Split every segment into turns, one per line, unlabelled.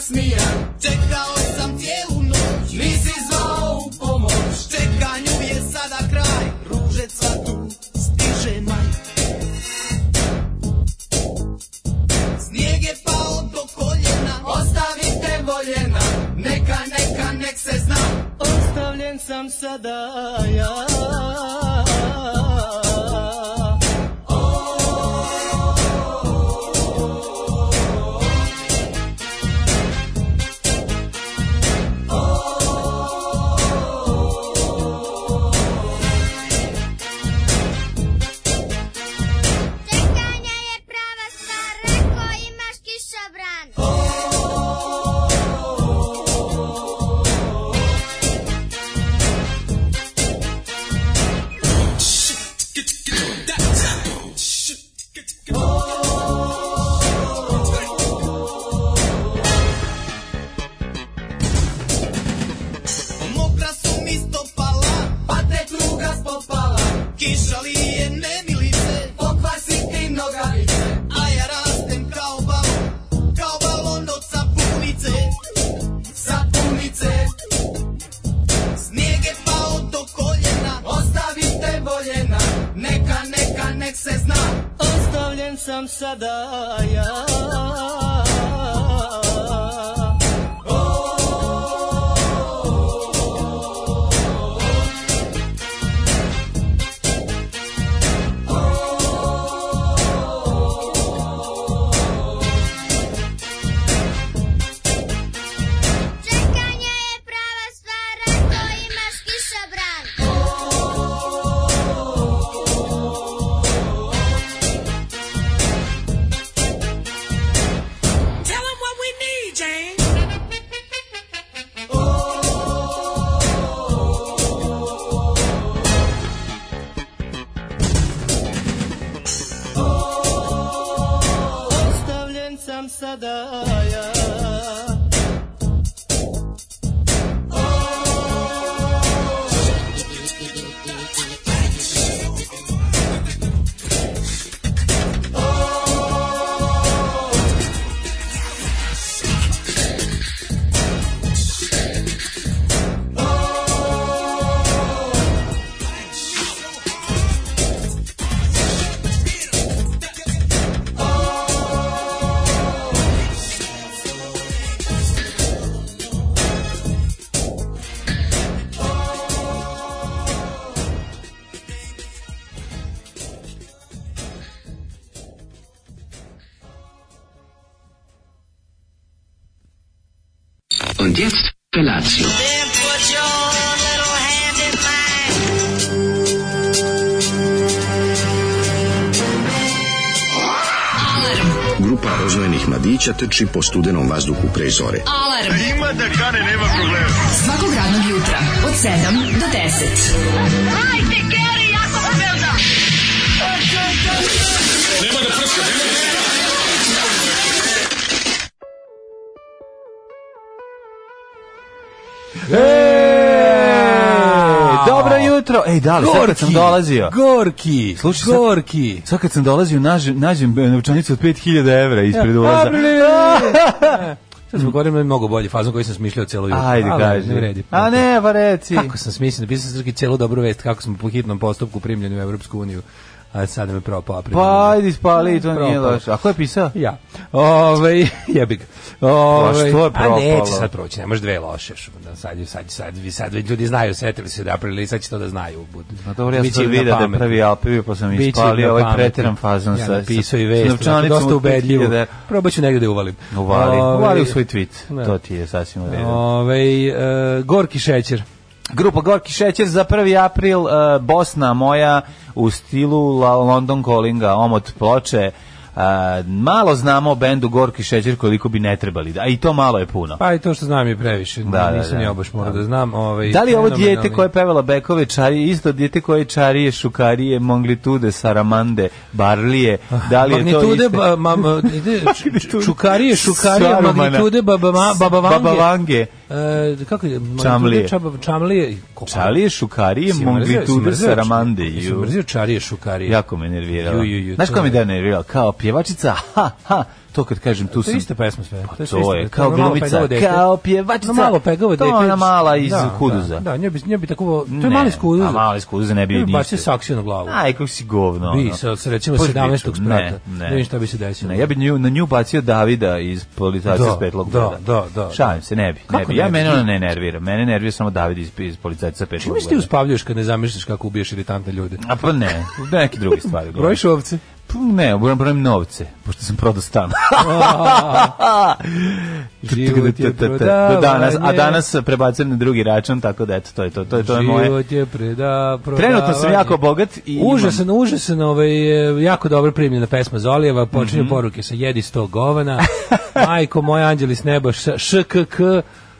smijan Čekao sam cijelu noć Nisi zvao u pomoć Čekanju je sada kraj Ružec sva tu stiže maj Snijeg je pao do koljena Ostavite voljena Neka, neka, nek se zna Ostavljen sam sada ja
Čekanje je prava stvar, rekao imaš kišobran.
Mokra su mi stopala, pa te druga spopala. Kiša li je nemilice, pokvasi ti nogavice. A ja rastem kao balon, kao balon od sapunice, sapunice. Snijeg je pao do koljena, ostavite voljena. Neka, neka, nek se zna, ostavljen sam sada ja.
Čekanje je prava stvar, rekao imaš kišobran.
Tell them what we need, Jane.
Ostavljen sam sada ja
Und jetzt Felatio.
Then put your little hand in mine.
Grupa rozvojenih mladića teči po studenom vazduhu pre zore.
Alarm. A ima da kane, nema problema. Svakog radnog jutra, od 7 do 10. Hajde, Geri, jako se velda.
Ej, dobro jutro. Ej, da li, sad kad sam dolazio.
Gorki,
Slušaj, sad-
Gorki.
Sad kad sam dolazio, nađem, nađem e, novčanicu od 5000 evra ispred ulaza.
Sad smo govorili mnogo bolji fazom koji sam smišljao celo jutro.
Ajde,
Ali,
kaži.
Ne vredi.
A ne, pa reci.
Kako sam smislio, napisao sam Srki celu dobru vest kako smo po hitnom postupku primljeni u Evropsku uniju. A sad nam je propao april.
Pa, ajde, ispali, to
Propao.
nije loše. A ko je pisao?
Ja. Ovaj jebi ga.
Pa
Ovaj
što je
A neće
propalo?
sad proći, ne može dve loše. š- Da sad sad sad vi sad već ljudi znaju, setili se da aprili, sad će to da znaju. Bud.
Pa dobro, ja sam
Biće
sad
im na
vidio da je
pamet.
prvi Alpivio, pa sam
Biće
ispalio
na
ovaj
pamet.
preteran fazon
ja
sa...
napisao
sa-
i vest,
sa
znači,
novčanicom
dosta
od 5000
ubedljivo.
evra.
Probat ću negde da uvalim.
Uvali,
Ovaj,
uvali u svoj tweet.
Da.
To ti je sasvim u redu.
Ovaj e, gorki šećer.
Grupa Gorki Šećer za 1. april, e, Bosna moja u stilu La London Callinga, omot ploče. E, malo znamo o bendu Gorki Šećer koliko bi ne trebali, a i to malo je puno.
Pa i to što znam je previše.
Da, da,
Nisam
da.
ja baš morao da znam. Ovaj,
Da li je ovo
fenomenalni-
dijete koje je pevalo Bekove čarije, isto dijete koje je čarije, šukarije, monglitude, saramande, barlije, da li je to
magnitude,
isto?
ba, ma, ma, ide,
Magnitude.
ču- čukarije, šukarije,
Sarumana.
magnitude, baba, ma, baba vange.
Baba Vange.
E, kako je? Magnitude,
Čamlije.
čab- čamlije. Kako-
Čarije, šukarije,
Si mrzio- si
monglitude,
mrzio-
saramande.
si
ju.
mrzio čarije, šukarije.
Jako me nervirala.
Ju, ju, ju,
Znaš
to
ko mi
je-
da nervirala? Kao pjevačica, ha, ha, to kad kažem tu
To
sam.
je ista pesma sve.
Pa
To je
to
sve ista
je
pesma.
kao
Ono malo pegavo
glumica,
dete.
kao pjevačica.
Ono malo pegavo
To
dete.
ona mala iz
Da,
Kuduza.
Da, da, njoj bi, njoj bi tako... To je
Ne,
mali iz Kuduza.
A mali iz kuduza ne bi
Njoj
joj
bi bacio
ništa.
saksiju na glavu.
Aj, kako si govno.
Bi,
ono.
sa- sa recimo
Puš
17.
biću.
sprata.
Ne,
Da
ne.
vidim šta bi se desilo.
Ne, ja bi nju, na nju bacio Davida iz policajaca
Da,
s petlog
da,
broda.
da, da.
Šalim se, ne bi.
Kako
ne bi.
ne
Ja
bi?
mene ona ne nervira. Mene nervira samo David iz, iz policajaca s petlog
Čime se ti
broda.
uspavljaš kad ne zamišljaš kako ubiješ iritantne ljude?
A pa ne, neke druge stvari.
Brojiš ovce?
Pa Ne, moram brojim novce, pošto sam prodao stan.
Život je
Do danas, a
prodavanje.
danas prebacujem na drugi račun, tako da eto, to je to, to je, to je moje.
Život je preda,
Trenutno sam jako bogat i
Užasan, užasan, ovaj, e, jako dobro primljena pesma Zolijeva, počinje
Mhm.
poruke sa jedi sto govana, majko moj anđeli s neba, š- škk,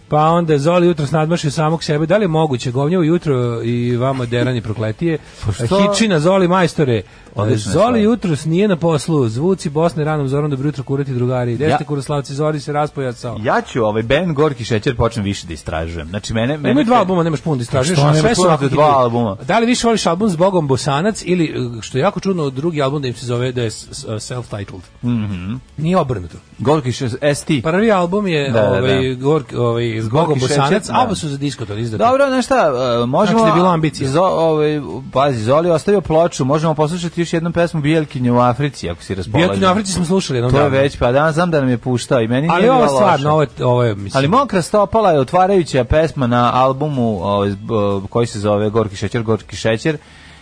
pa onda Zoli jutro nadmašio samog sebe, da li je moguće govnje ujutro i vama derani prokletije,
Pa što?
hičina Zoli majstore,
Odlična
Zoli
stvar.
jutro nije na poslu, zvuci Bosne ranom zorom dobro jutro kurati drugari, gde
Ja-
ste kuroslavci, Zoli se raspojacao.
Imam, ja ću ovaj band Gorki šećer počnem više da istražujem. Znači mene mene
Imaju dva albuma, nemaš puno da istražuješ,
Što
a
nemaš
sve su
puno,
ovako
dva
hitovi.
albuma?
Da li više voliš album s Bogom Bosanac ili, uh, što je jako čudno, drugi album da im se zove da je s- s- self-titled.
Mhm.
Nije obrnuto.
Gorki šećer ST.
Prvi album je
Da, da,
ovaj, Gork, ovaj, s Bogom
Gorki
Bosanac,
šećer, da.
album su za disko to izdati.
Dobro, znaš šta, e, možemo...
Znači da je bilo ambicije.
Zo, ovaj, pazi, Zoli je ostavio ploču, možemo poslušati još jednu pesmu Bijelkinje u Africi, ako si raspolažen.
Bijelkinje u Africi smo slušali jednom
To je
davno.
već, pa danas znam da nam je puštao i meni
Ali
nije
ovo
bilo loše.
stvarno, ovo je, ovo je mislim,
Ali Mokra stopala je otvarajuća pesma na albumu o, z- o, koji se zove Gorki šećer, Gorki šećer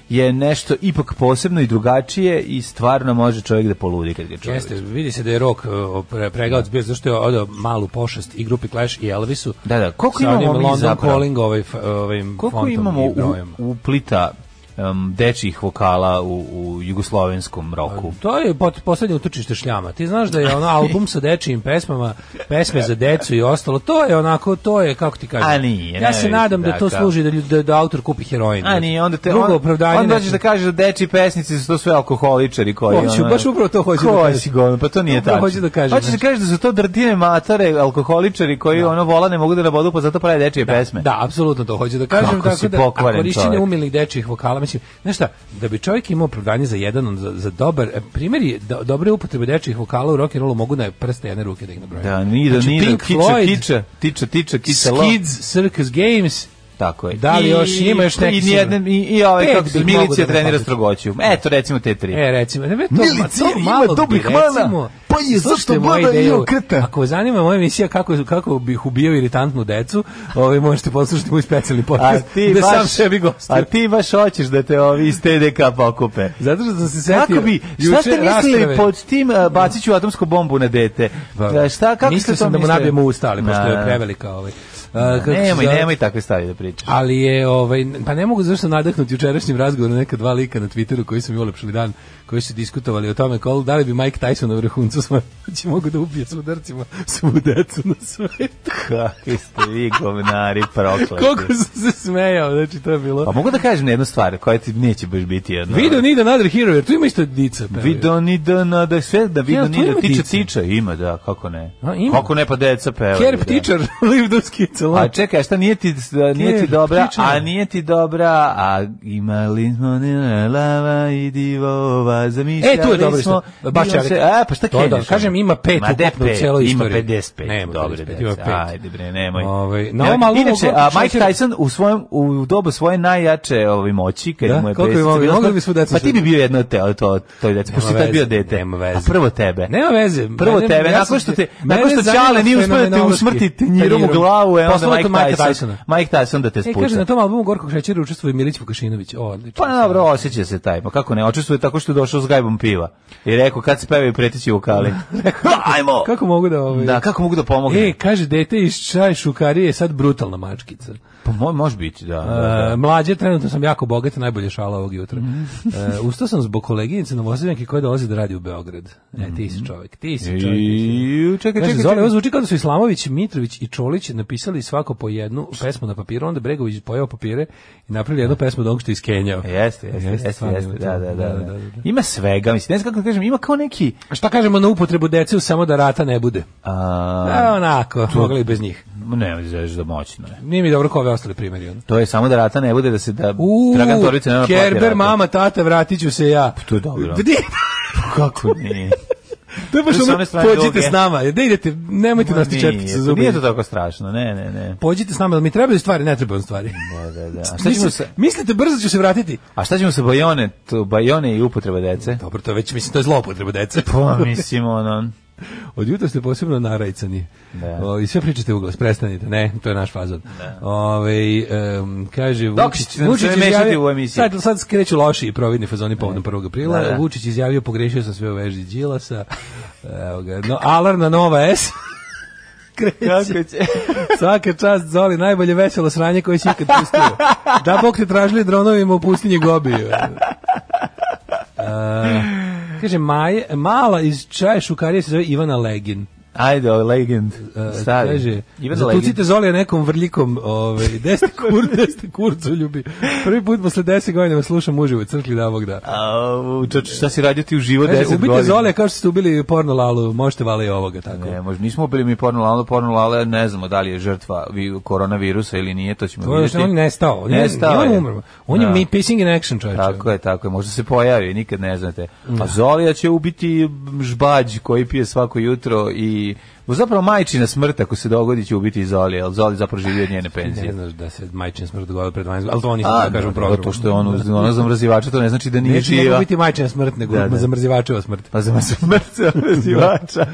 je nešto ipak posebno i drugačije i stvarno može čovjek da poludi kad ga čuje.
Jeste, vidi se da je rok pre, pregaoc bio zašto je odao malu pošast i grupi Clash i Elvisu.
Da, da, koliko
Sa
imamo
onim
mi
London
zapravo?
Calling ovaj, f- ovim
Koliko
fontom i
imamo u,
brojem?
uplita em, dečjih vokala u, u jugoslovenskom roku?
To je pot, poslednje utočište šljama. Ti znaš da je ono album sa dečijim pesmama, pesme za decu i ostalo. To je onako, to je kako ti kažeš.
A nije,
Ja
ne
se
vidi
nadam
se
da to
tako.
služi da, ljud- da, da autor kupi heroin.
A nije, onda te
Pa, drugo
on,
opravdanje.
onda
ne-
ćeš da kažeš da dečji pesnici su to sve alkoholičari koji
Hoću, baš upravo to hoću da
Ko
kažem.
si govno, pa to nije
Upravo
tako.
hoću da kažem,
Hoćeš da
znači.
kažeš da su to drdine matore, alkoholičari koji ono vola ne mogu da nabodu, pa zato prave dečje pesme.
Da, apsolutno to hoću da kažem.
Kako si
tako da,
pokvaren
a korišćenje
čovek.
umilnih dečijih vokala, mislim, znaš šta, da bi čovjek imao opravdanje za jedan, za, za dobar, e, primjer je, do, dobre upotrebe dečijih vokala u rock'n'rollu mogu na prste jedne ruke da ih nabrojim.
Da, nije da
Znači,
nije da
Pink
kiča,
Floyd,
kiča, tiča, tiča, kiča, lo.
Skids, Circus Games,
Tako je.
Da li još ima još neki
I
sigurno?
nijedan, i, i ovaj,
Pet
kako
bih
se,
mogao
milicija
da
trenira
napatim.
strogoću. Eto, recimo te tri.
E, recimo, ne, to,
Milicija
ma, to
ima
malo bi,
dobrih mana,
recimo,
pa je zato
slušajte,
mlada
moju ideju,
i okreta.
Ako vas zanima moja emisija kako, kako bih ubio iritantnu decu, ovaj, možete poslušati moj specijalni
A
podcast,
ti
gde
baš,
sam sebi gostio.
A ti baš hoćeš da te ovi iz TDK pokupe.
Zato što sam se setio
Kako bi, šta ste mislili pod tim a, bacit ću atomsku bombu na dete? E, Šta, kako
Pa, Mislio
ste to
sam da mu
mislili?
nabijem u usta, ali pošto
Da.
je prevelika. Ovaj. A, kako se
Nemoj,
zove?
nemoj takve stvari da pričaš.
Ali je, ovaj, pa ne mogu zašto nadahnuti jučerašnjim razgovorom neka dva lika na Twitteru koji su mi ulepšili dan, koji su diskutovali o tome kol, da li bi Mike Tyson na vrhuncu svoje moći mogu da ubije s udarcima svu decu na svetu.
Kakvi ste vi govnari prokleti.
Koliko sam se smejao, znači to je bilo.
Pa mogu da kažem jednu stvar koja ti neće baš biti jedna.
Video need another hero, jer tu ima isto dica. pa, pevaju.
Video ni da na da sve da
Jel,
video
tu
ni
ima
da tiče
ptice?
tiča ima da kako ne.
A, ima.
Kako ne pa deca pevaju.
Care
da.
teacher, ono. leave those kids alone.
A čekaj, a šta nije ti nije
Care
ti dobra,
ptičara.
a nije ti dobra, a imali smo ne lava i divova, zamišljali
E,
smo.
tu je dobro isto. Baš
Bilo
ja
se-
rekao.
A, pa šta
To da,
kenješ?
kažem, ima pet
Ma, de
ukupno u
pet,
celoj
Ima
istoriji.
55,
Nema
dobre
55,
deca.
ima pet.
Ajde bre, nemoj.
Ovaj, na
Nemoj.
ovom albumu
Inače,
Gorki
a Mike
šećer-
Tyson u svojem u dobu svoje najjače ovaj moći, kad
Da,
mu je
koliko bi
pesnica
mogli-
bila-
mogli bi svu decu
Pa ti bi
sad.
bio jedno od te, to, to je deca, pošto si tad
veze,
bio dete.
nema veze.
A prvo tebe.
Nema veze.
Prvo
mene-
tebe,
ja
nakon
sam
što
ti-
te,
mene
nakon što
zanima
Čale nije uspeo da te
fenomenološki
usmrti tanjirom u
tanjirom.
glavu, e onda
Poslat
Mike
od Mikea
Tyson.
Tysona.
Mike Tyson da te
E,
spuca.
kaže, na tom albumu Gorkog šećera učestvuje Milić Vukašinović. O, odlično.
Pa dobro, osjeća se taj, pa kako ne, očistuje tako što je došao s gajbom piva. I rekao, kad se pevaju preteći vokali. Ajmo!
Kako mogu da... Ovaj...
Da, kako mogu da pomognem?
E, kaže, dete iz čaj šukarije je sad brutalna mačkica.
pa mo- može biti, da. da, da.
E, mlađe, trenutno sam jako bogat, najbolje šala ovog jutra.
Mhm.
E, ustao sam zbog koleginice Novosavljanke koja dolazi da radi u Beograd. E, ti si čovjek, ti si čovjek.
I, Mhm. čekaj,
Kaže,
čekaj,
Zoli,
čekaj.
ovo zvuči kao da su Islamović, Mitrović i Čolić napisali svako po jednu pesmu na papiru, onda Bregović pojao papire i napravili jednu pesmu od onog što je iskenjao.
Jeste, jeste,
Jeste,
jeste,
stvarno
jeste,
ima
da,
to.
da, da,
Da, da,
da.
da.
Ima svega, mislim, ne znam kako da kažem, ima kao neki...
A Šta kažemo na upotrebu dece samo da rata ne bude?
A,
A, onako, mogli i bez njih.
ne, znaš da moćno je.
Nije mi dobro ko ove ostale primjeri. ono.
To je samo da rata ne bude da se da
Uuu,
Dragan Torbica ne naplati
Kerber,
ratu. Pa
mama, tata, vratit ću se ja.
To je dobro.
Gdje?
Pa Kako nije?
To je baš
S
ono,
one strane
pođite
druge.
s nama. Ne idete, nemojte nas ti čepiti sa
Pa Nije
zubima.
to tako strašno, ne, ne, ne.
Pođite s nama, ali mi trebaju stvari, ne trebaju stvari.
Da, da, da. A šta ćemo
Mislite,
sa,
mislite, brzo ću se vratiti.
a šta ćemo sa bajone, tu, bajone i upotreba dece?
Dobro, to je već, mislim, to je zlopotreba dece.
Pa, mislim, ono,
Od jutra ste posebno narajcani.
Da.
O, I sve pričate u glas, prestanite. Ne, to je naš fazon. Ove, um, kaže,
Dokšić će nam sve mešati u emisiji.
Sad, sad skreću loši i providni fazoni povodom 1. aprila.
Da, da.
Vučić izjavio, pogrešio sam sve u veži Đilasa. Evo ga, no, alarm na Nova S. Kreće.
kako će...
Svaka čast, Zoli, najbolje veselo sranje koje si ikad pustio. Da bok te tražili dronovima u pustinji Gobi. E, kaže, Maje, mala iz čaje šukarije se zove Ivana Legin.
Ajde, o, legend,
E,
stari.
Kaže,
Ivan
zatucite
Legend.
Zolija nekom vrljikom, ovaj, deste kur, deste kurcu ljubi. Prvi put posle 10 godina vas slušam uživo, crkli da Bog da.
Au, čoče, šta si radio ti u živo
Kaže,
10 godina?
ubite Zolija kao što ste ubili porno lalu, možete vale i ovoga, tako.
Ne, možda nismo bili mi porno lalo, porno lalo, ne znamo da li je žrtva vi- koronavirusa ili nije, to ćemo
To je
vidjeti.
što on je nestao. On je,
Nestao
on je
je.
umro. On je
Da.
mi pacing in action, čovječe.
Tako je, tako je, možda se pojavi, nikad ne znate. A Zolija će ubiti žbađ koji pije svako jutro i zapravo majčina smrt ako se dogodi će ubiti i Zolija, ali Zolija zapravo živi od njene
Ne
penzije.
znaš da se majčin smrt dogodila pred 12 ali to oni
A,
da kažu u
dobro,
programu.
to što je on uz- ona zamrzivača, to ne znači da nije
Neće nego
živa.
biti majčina smrt, nego
Da, da.
zamrzivačeva smrt.
Pa za smrt zamrzivača.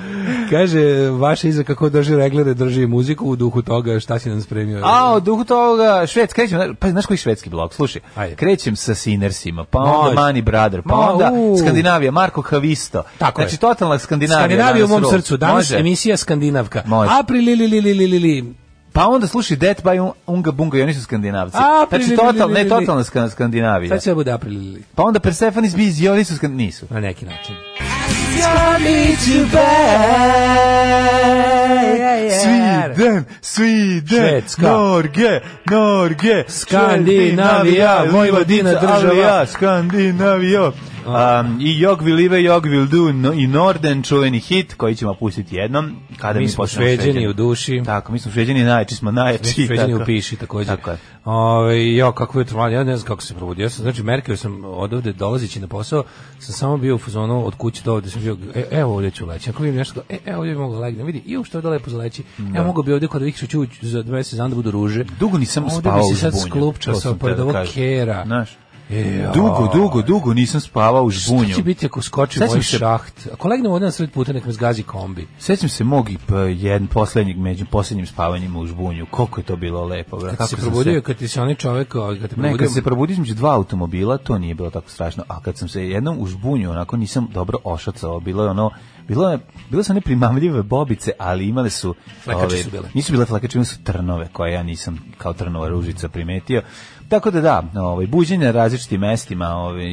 Kaže, vaša iza kako drži reglere, drži i muziku u duhu toga šta si nam spremio.
A, od duhu toga, šved, krećem, pa znaš koji švedski blok, slušaj,
Ajde.
krećem sa Sinersima, pa onda
Može.
Mani Brother, pa
Ma,
onda
u.
Skandinavija, Marko Havisto,
Tako je.
znači totalna Skandinavija.
Skandinavija u
danas
mom
rul.
srcu. Danas
Može.
emisija Skandinavka.
Može.
April li li li li li li li.
Pa onda slušaj Death by Un- Unga Bunga i oni su skandinavci.
A,
znači
pri-
total, ne
pri-
totalna skan- Skandinavija.
Sad će da bude April li li li.
Pa onda Persephone Biz i oni su skan... nisu.
Na neki način.
Sviden, Sviden,
Švedska.
Norge, Norge,
Skandinavija, Vojvodina država.
ali ja, Skandinavija. Um, I Jog will live, Jog will do, no, i Norden, čuveni hit, koji ćemo pustiti jednom. Kada mi,
Mi smo
postanemo
šveđani u duši.
Tako, mi smo šveđani najjači, smo najjači.
Već Šveđani
tako.
u piši takođe.
Tako je.
Ove, jo, kako je trvalo, ja ne znam kako sam se probudio. Ja sam, znači, Merkel sam odovde dolazeći na posao, sam samo bio u fazonu od kuće do ovde, sam bio, e, evo ovde ću leći. Ako vidim nešto, e, evo ovde bi mogao da legnem, vidi, i što je da lepo zaleći. Evo mogu bi ovde kod ovih što ću ući za dva meseca, znam da budu ruže.
Dugo nisam spavao
Ovde
u
bi se sad
žbunju,
sklupčao
to
sa
sam
pored
teo da
ovog
kažem.
kera.
Znaš,
Ja.
dugo, dugo, dugo nisam spavao u žbunju.
Šta će biti ako skoči
Sad ću
moj
se-
šaht? Ako legnem ovde na sred puta, nek me zgazi kombi.
Sećam se mog i p- jedan poslednjeg među poslednjim spavanjem u žbunju. Koliko je to bilo lepo, bra.
Kad
Kako
si
sam
probudio, kad ti se onaj čovek, o, kad te
Ne,
probudio,
kad sam se probudio između dva automobila, to nije bilo tako strašno, a kad sam se jednom u žbunju, onako nisam dobro ošacao, bilo je ono, bilo je, bile su one primamljive bobice, ali imale su...
Flekače
ove,
su bile.
Nisu bile flekače, imale su trnove, koje ja nisam kao trnova ružica primetio. Tako da da, ovaj, buđenje na različitim mestima, ovaj,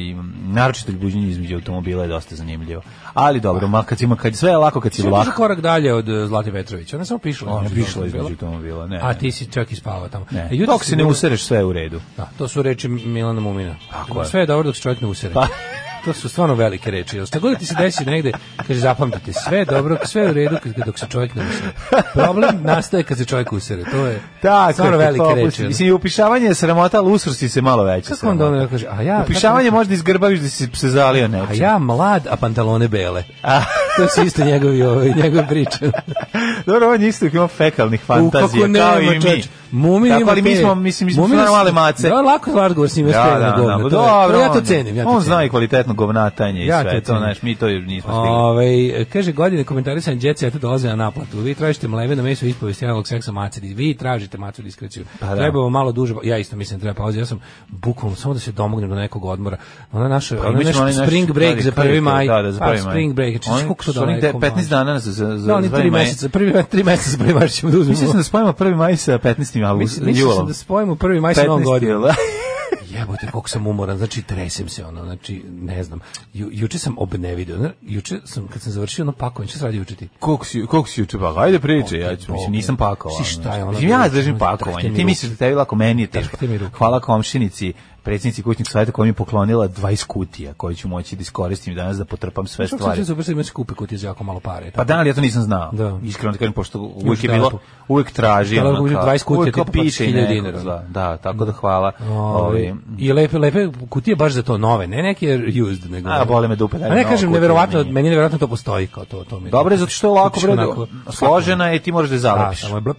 naročito buđenje između automobila je dosta zanimljivo. Ali dobro, ma kad, ima, kad sve je lako kad si
Sve je
vlak.
otišla korak dalje od e, Zlate Petrović. Ona je samo pišla.
Ona je
između
pišla
automobila.
između automobila, ne.
A ti si čak i spavao tamo.
Ne.
E, jutros
Dok se ne
bilo-
usereš sve je u redu.
Da, to su reči Milana Mumina.
Tako je.
Sve je dobro dok se čovjek ne usere.
Pa.
To su stvarno velike reči. Jel šta god da ti se desi negde, kaže zapamtite, sve je dobro, sve je u redu kad, dok se čovjek ne usere. Problem nastaje kad se čovjek usere. To je stvarno
je,
velike
to
reči. ono.
opusti.
jel?
Mislim, i upišavanje je sramota, ali usrsi se malo veće.
Kako onda ono kaže, a ja...
Upišavanje možda izgrbaviš da si se zalio nečim.
A ja mlad, a pantalone bele.
A,
To su isto njegovi, ovaj, njegove priče.
dobro, on je isto ima fekalnih fantazija,
U,
kao i mi.
čoveč. Mumin
Tako,
ima
ali mi
te-
smo, mislim, mi smo
Mumin
stvarno
su-
male mace.
Da, lako razgovor s njima
Da,
spremno
da, da, ma
govno. to je-
dobro,
ja to
onda.
cenim. Ja to
on
cenim.
zna i kvalitetno govnatanje i
Ja to
sve to,
cenim.
znaš, mi to nismo stigli.
Ove, Ovaj, kaže godine komentarisanja djece, eto dolaze na naplatu. Vi tražite mleve na meso ispovesti analog seksa maceri. Vi tražite macu diskreciju.
Pa da.
Treba vam malo duže. Ja isto mislim da treba pauze. Ja sam bukvalno samo da se domognem do nekog odmora. Ona naša,
Pa
ona
imaćemo
naš
onaj naš-
spring break
da,
za
da,
1. maj.
Da, da, za
Pa,
1. maj.
Spring break. Znači,
Oni-
koliko to
su oni
daleko,
te- 15
mlađe?
dana za, za, za
ono? Da, oni
1.
tri
maj.
meseca, prvi tri meseca prvi maj ćemo da uzmemo.
Mislio sam da spojimo 1. maj sa 15.
Mislim,
avgustom,
mislio sam
julom.
da spojimo 1. maj sa novom
15.
godinom.
jula.
Jebote, koliko sam umoran, znači tresem se ono, znači ne znam. Ju, juče sam obnevidio, znaš, juče sam kad sam završio ono pakovanje, šta se radi juče ti?
Koliko si, koliko si juče pakao? Ajde priče, ja ću, mislim, nisam pakovao.
Si šta je
znaš.
ono
Mislim, ja
bilo?
držim
Ono,
pakovanje.
drhte mi
Ti
ruke.
misliš da tebi lako, meni je teško.
Drhte mi ruke.
Hvala komšinici predsjednici kućnog savjeta koja mi je poklonila 20 kutija koje ću moći da iskoristim danas da potrpam sve
Što
stvari.
se super sad imaš kupe kutije za jako malo pare.
Pa da, ali ja to nisam znao.
Da.
Iskreno ti kažem, pošto uvijek je
šta
bilo,
lepo.
uvijek traži.
Šta
ono
lepo, uzeti
kao-
20 kutija,
uvijek kao
tipa, pa
piše i
1000
nekog
dinara. ono.
zla. Da, tako da hvala. Ovi,
Ovaj, I lepe, lepe kutije baš za to nove, ne neke used. Nego
A, bole me dupe, da,
A ne
nova
kažem,
kutija
neverovatno,
nije.
meni je neverovatno to postoji kao to. to mi
Dobro je, zato što je lako,
Kupiš
bre,
onako-
složena je i ti moraš da je
Da,
zalepiš.
samo je blup.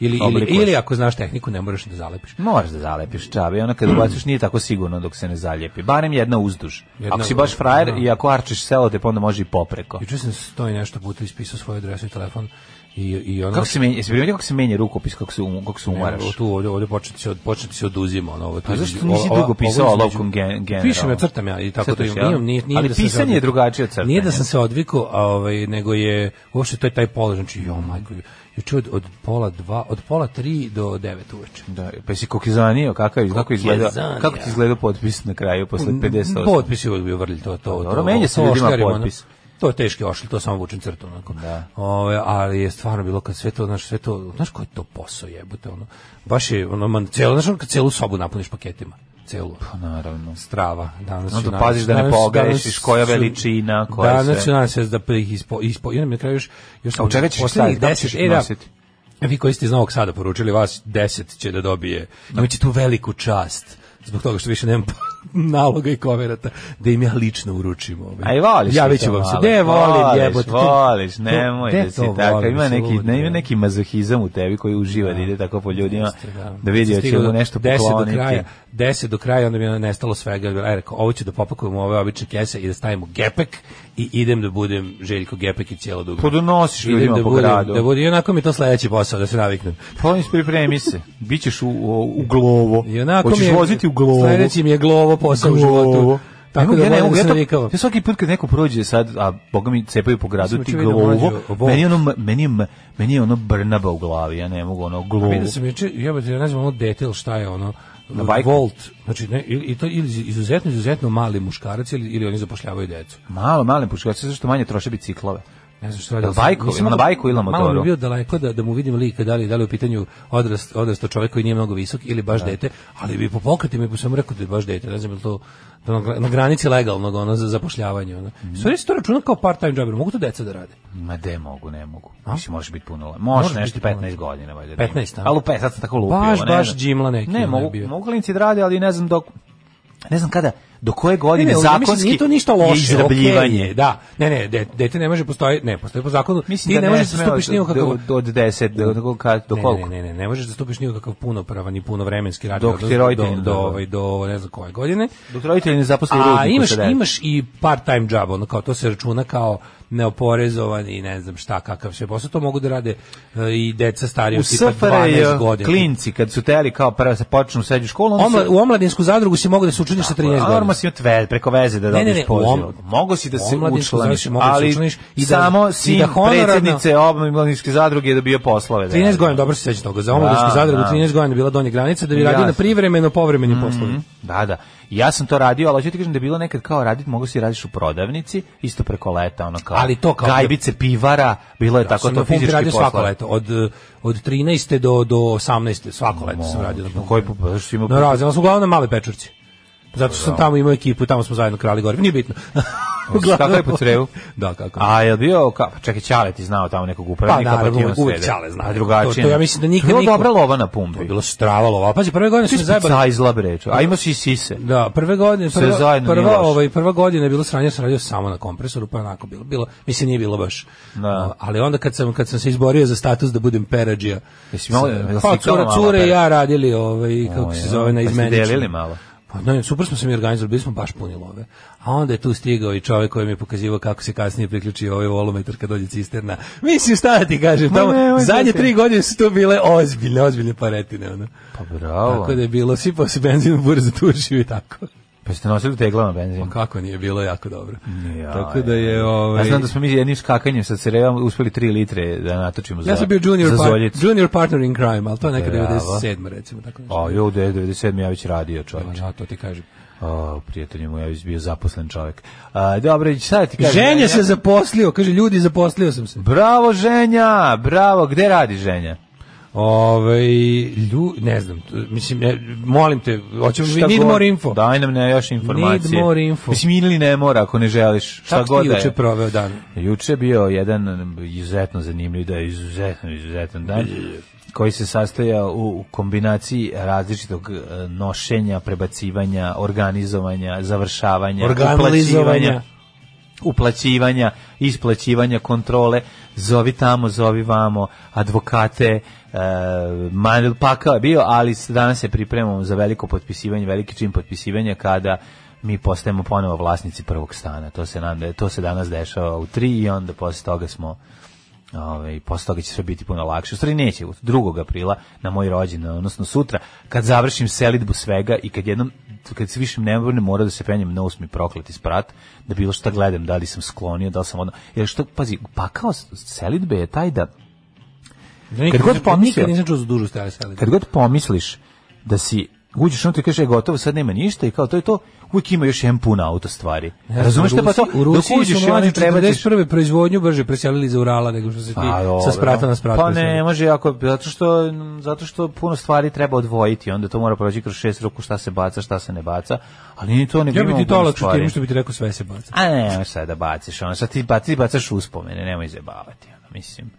Ili, ili,
Oblikuješ.
ili ako znaš tehniku, ne moraš da zalepiš.
Moraš da zalepiš čabe, ona kad ubaciš nije tako sigurno dok se ne zalijepi. Barem jedna uzduž.
Jedna
ako si baš
uzduž,
frajer
da.
i ako arčiš selo, te pa onda može i popreko.
Juče sam sto i nešto puta ispisao svoju adresu i telefon i, i ono...
Kako se menja, jesi primetio kako se menja rukopis, kako se, um, kako se umaraš?
Evo, tu ovdje, ovdje početi se, od, početi se oduzima. Ono, ovo, tu
A Pa
između-
zašto nisi
ova-
dugo
ovo
pisao
između-
olovkom gen- generalno?
Pišem ja, crtam ja i tako
Crtaš,
to
jel?
imam. Nije, nije, nije
Ali
da sam se
pisanje je
odvikao.
drugačije od crtanja.
Nije da sam se odvikao, a, ovaj, nego je uopšte to je taj položaj. Znači, jo, majko, juče od, od pola dva, od pola tri do devet uveče.
Da, pa si kokizanio, kakav je, kako izgleda,
Kokizanija.
kako ti izgleda potpis na kraju posle 58?
Potpis je uvijek bio vrlj, to, to,
Dobro,
to,
menja se
to
ljudima
oškarimo, ono.
potpis.
To je teški ošli, to samo vučem crtu onako.
Da.
Ove, ali je stvarno bilo kad sve to, znaš, sve to, znaš koji je to posao jebote, ono. Baš je, ono, man, celo, znaš, ono, kad celu sobu napuniš paketima. Celu.
Pa naravno.
Strava. Danas
Onda
ću nadam se-
paziš da ne
danas-
pogrešiš,
danas
koja
ću-
veličina, koja sve.
Danas ću nadam se da pre- ih ispo... ispo I onda mi na kraju još... još
A u čega ćeš
poslednjih
staviti? Kako ćeš
10
ih
e, da,
nositi?
vi koji ste iz Novog Sada poručili, vas 10 će da dobije. Imaće tu veliku čast zbog toga što više nemam naloga i koverata da im ja lično uručim ovaj.
A i voliš
ja
ti
viću
to
vam se.
malo.
Ne volim
Voliš,
jebote.
Voliš,
To-
nemoj
gde
da si
to
takav.
volim,
Ima neki,
suludo,
ne, ima
je.
neki mazohizam u tebi koji uživa da ide tako po ljudima, da vidi
Sam
hoće
stigao
li mu
do-
nešto
10
pokloniti.
Do kraja, 10 do kraja, onda mi je nestalo svega. Aj, rekao, ovo ću da popakujem u ove obične kese i da stavim u gepek i idem da budem Željko Gepek i cijelo dugo.
Pa donosiš ljudima
da
po
budem,
gradu. Pa
Da budem, i onako mi je to sledeći posao, da se naviknem.
Polim se pripremi se. Bićeš u, u, u glovo.
I onako mi
Hoćeš
je,
voziti u glovo.
Sledeći mi je glovo posao u životu. Tako da volim da se navikavam.
Ja svaki put kad neko prođe sad, a boga mi cepaju po gradu
Mislim,
ti
čuo vidim
glovo,
mlađu, Wolf.
meni je ono, meni je, meni je ono brnaba u glavi, ja ne mogu ono glovo.
Vidio sam juče, jebote, ja ne znam ono dete ili šta je ono,
Na bajku?
Volt, znači ne, ili, i to ili izuzetno, izuzetno mali muškarac ili, ili oni zapošljavaju decu.
Malo, male puškače, zašto manje troše biciklove.
Ne znam što radi.
Na bajku,
Nisam
na
mogao-
bajku ili na
Malo
motoru?
bi bio daleko da, da mu vidim lika, da li, da li je u pitanju odrast, odrasto čovjek koji nije mnogo visok ili baš dete, ali bi po pokretima i po svemu rekao da je baš dete, ne znam je li to da na, gra- na granici legalnog ono, za zapošljavanje. Ono. Sve se to računa kao part-time job, mogu to deca da rade.
Ma de mogu, ne mogu. Mislim, možeš biti puno. le- Možeš
Možeš
nešto
biti puno
15
le-
godina, valjda.
15, a?
ali u 5, sad sam tako lupio.
Baš,
ne znam.
baš džimla neki ono
Ne,
je
mogu,
bio.
mogu klinci da rade, ali ne znam dok... Ne znam kada, do koje godine
Ne, ne, ali ja mislim,
zakonski
nije to ništa loše,
je izrabljivanje.
okej je, da. Ne, ne, de- dete ne može postoji, ne, postoji po zakonu.
Mislim
ti
da
ne,
ne
možeš da
sme
stupiš
od-
ni u kakav
do- od 10 do- do kad- do
Ne,
koliko?
Ne, ne, ne, ne možeš da stupiš ni u kakav punopravan i punovremenski radni
Dok
odnos
ti
do,
roditelji
do,
ne
do,
daju.
ovaj, do ne znam koje godine.
Dok pa roditelji ne zaposle u
A
rudniku
imaš
sa devet.
imaš i part-time job, ono kao to se računa kao neoporezovan i ne znam šta, kakav sve posao, to mogu da rade e, i deca starije
U
od tipa
SFRJ
12 godina.
klinci, kad su teli kao prvo se počnu u srednju školu, onda
Omla,
su...
u omladinsku zadrugu si mogu da se učiniš sa 13 godina.
Norma si imao tve- preko veze da
Ne, ne,
dobiš
ne, u
poziv.
om-
Mogo si da se
omladinsku
učlaniš,
zadrugu mogu da se
ali
učlaniš i da-
samo
i
sin
da honorarno-
predsjednice omladinske zadruge je dobio poslove. da
13
radi.
godina, dobro se sećam toga. Za omladinsku
Da,
zadrugu
da.
13 godina je bila donja granica da bi
Jasno. Mhm.
radio na privremeno povremenim poslovima.
Da, da. Ja sam to radio, ali hoću ti kažem da je bilo nekad kao radit, mogu si radiš u prodavnici, isto preko leta, ono kao.
Ali to kao-
gajbice pivara, bilo je tako
sam
to
na pumpi
fizički
radio
posla.
svako leto, od, od 13. do, do 18. svako leto sam radio na pumpi.
Koji pump? Zato što ima
Na razne, ali smo uglavnom male pečurci. Zato što sam tamo imao ekipu, tamo smo zajedno krali gore, nije bitno.
Kako je po crevu?
Da, kako.
A je li bio kao pa čekaj Ćale ti znao tamo nekog upravnika
Pa, naravno,
ti on
uvek- uvek
sede.
Ćale zna.
A drugačije.
To- to ja mislim da nikad
Bilo
niko-
dobra lova na
To je
pumpi.
bilo stravalo, a pazi, prve
Ti
godine smo
si
se zajebali.
pizza iz labreću. A imao si i sise.
Da, prve godine,
Sve
prva,
zajedno nije
prva,
loše.
ovaj, prva godina je bilo sranje, sam radio samo na kompresoru, pa je onako bilo, bilo, mislim nije bilo baš.
Da.
Ali onda kad sam, kad sam se izborio za status da budem peradžija,
Jesi imao-
sam-
jel si
pa
kao
cura,
mala
cure i
pera?
ja radili, ovaj, kako
O,
se
ja.
zove, na
Pa ste
izmeničnom.
delili malo?
Pa ne, super smo se mi organizovali, bili smo baš puni love. A onda je tu stigao i čovjek koji mi je pokazivao kako se kasnije priključio ovaj volometar kad dođe cisterna. Mislim, šta da ti kažem,
Ma
tamo,
nemoj
zadnje
da ti-
tri godine su to bile ozbiljne, ozbiljne paretine. Ono.
Pa bravo.
Tako da je bilo, sipao se benzin u bur za tušiju i tako.
Pa ste nosili teglama
Pa
benzin.
kako nije bilo jako dobro.
Ja,
Tako da je ovaj
Ja znam da smo mi jednim skakanjem sa cerevama uspeli 3 litre da natočimo za
Ja sam bio junior,
za
par,
zoljicu.
junior partner in crime, ali to je nekad
Bravo.
97. recimo. Tako nešto. Pa,
A jo, da je 97. ja već radio čovječ.
Ja to ti kažem.
O, prijatelju mu ja već bio zaposlen čovjek. A, dobro, i sad ti kažem.
Ženja
ja-
se zaposlio, kaže ljudi zaposlio sam se.
Bravo, ženja! Bravo, gde radi ženja?
Ove, Ovaj, lju, ne znam, t- mislim, ne, molim te, hoćemo,
Šta
need
god.
more info.
Daj nam ne još informacije.
Need more info.
Mislim, ili ne mora ako ne želiš. Šta
Kako
god
ti
da
juče
je.
proveo dan?
Juče je bio jedan um, izuzetno zanimljiv da je izuzetno, izuzetan dan koji se sastojao u kombinaciji različitog eh, nošenja, prebacivanja, organizovanja, završavanja,
Organizovanja.
uplaćivanja, uplaćivanja, isplaćivanja, kontrole, zovi tamo, zovi vamo, advokate, e, manil pakao je bio, ali s- danas se pripremamo za veliko potpisivanje, veliki čin potpisivanja kada mi postajemo ponovo vlasnici prvog stana. To se, nam, de- to se danas dešava u tri i onda posle toga smo Ove, posle toga će sve biti puno lakše. U stvari neće, od 2. aprila na moj rođendan, odnosno sutra, kad završim selidbu svega i kad jednom kad se više ne moram mora da se penjem na osmi prokleti sprat, da bilo šta gledam, da li sam sklonio, da li sam ono... Jer što, pazi, pakao s- selidbe je taj da
Nikad,
god
nisam-
pomislio.
Nikad nisam čuo za dužu stajali sali.
kad god pomisliš da si uđeš unutra i kažeš, e, gotovo, sad nema ništa i kao to je to, uvijek ima još jedan pun auto stvari. Razumeš te pa to?
U
dok
Rusiji
uđeš
su
i onda
mlađi
im prebaciš
41. proizvodnju brže preselili za Urala nego što se ti
Pa, dobro.
sa sprata na sprat.
Pa ne,
preselio.
može ako zato što zato što puno stvari treba odvojiti, onda to mora proći kroz šest ruku šta se baca, šta se ne baca. Ali ni to ne
Ja bi ti to olakšao tim što bi ti rekao sve se baca.
A ne, nemoj sad da baciš, ono, sad ti baci, bacaš uspomene, nemoj zajebavati, ono, mislim.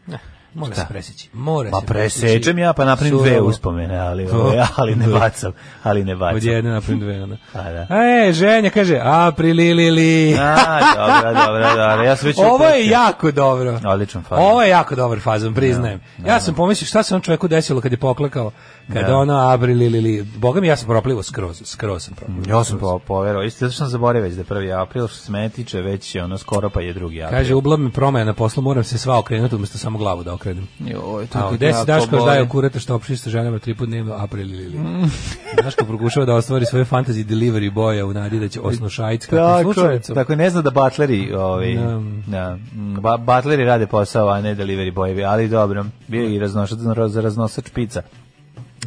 Mora
Šta?
se presjeći. Mora
Pa
se
presečem ja, pa napravim dve
Surovo.
uspomene, ali,
To.
ovaj, ali ne
Da.
bacam, ali ne
Od
bacam.
jedne napravim dve, ona.
Pa da.
E, ženja kaže, a prililili.
A, dobro, dobro, dobro, ja sam već
Ovo je
upustio.
jako dobro.
Odličan fazon.
Ovo je jako dobar fazon, priznajem. Ja sam pomislio šta se on čovjeku desilo kad je poklakao, kad
Da.
ono abri li li li. Boga mi, ja sam proplivo skroz, skroz sam proplivo.
Ja sam po, poverao, isto zato što sam zaboravio već da je prvi april, što se mene tiče, već je ono skoro pa je drugi april.
Kaže, ublam mi promaja na poslu, moram se sva okrenuti, umjesto samo glavu da okrenem.
Joj, to
A
ti
gde
jako
si Daško
boli.
daje kurata što opšti sa ženama tri put dnevno, april ili ili.
Mm.
Daško pokušava da ostvari svoje fantasy delivery boja u nadi da će osno šajic kako
Tako, je,
slučajnicu.
tako je, ne zna da batleri, ovaj,
Da.
da, mm, ba, batleri rade posao, a ne delivery bojevi, ali dobro, bio je i raznošač, za raznosač pica.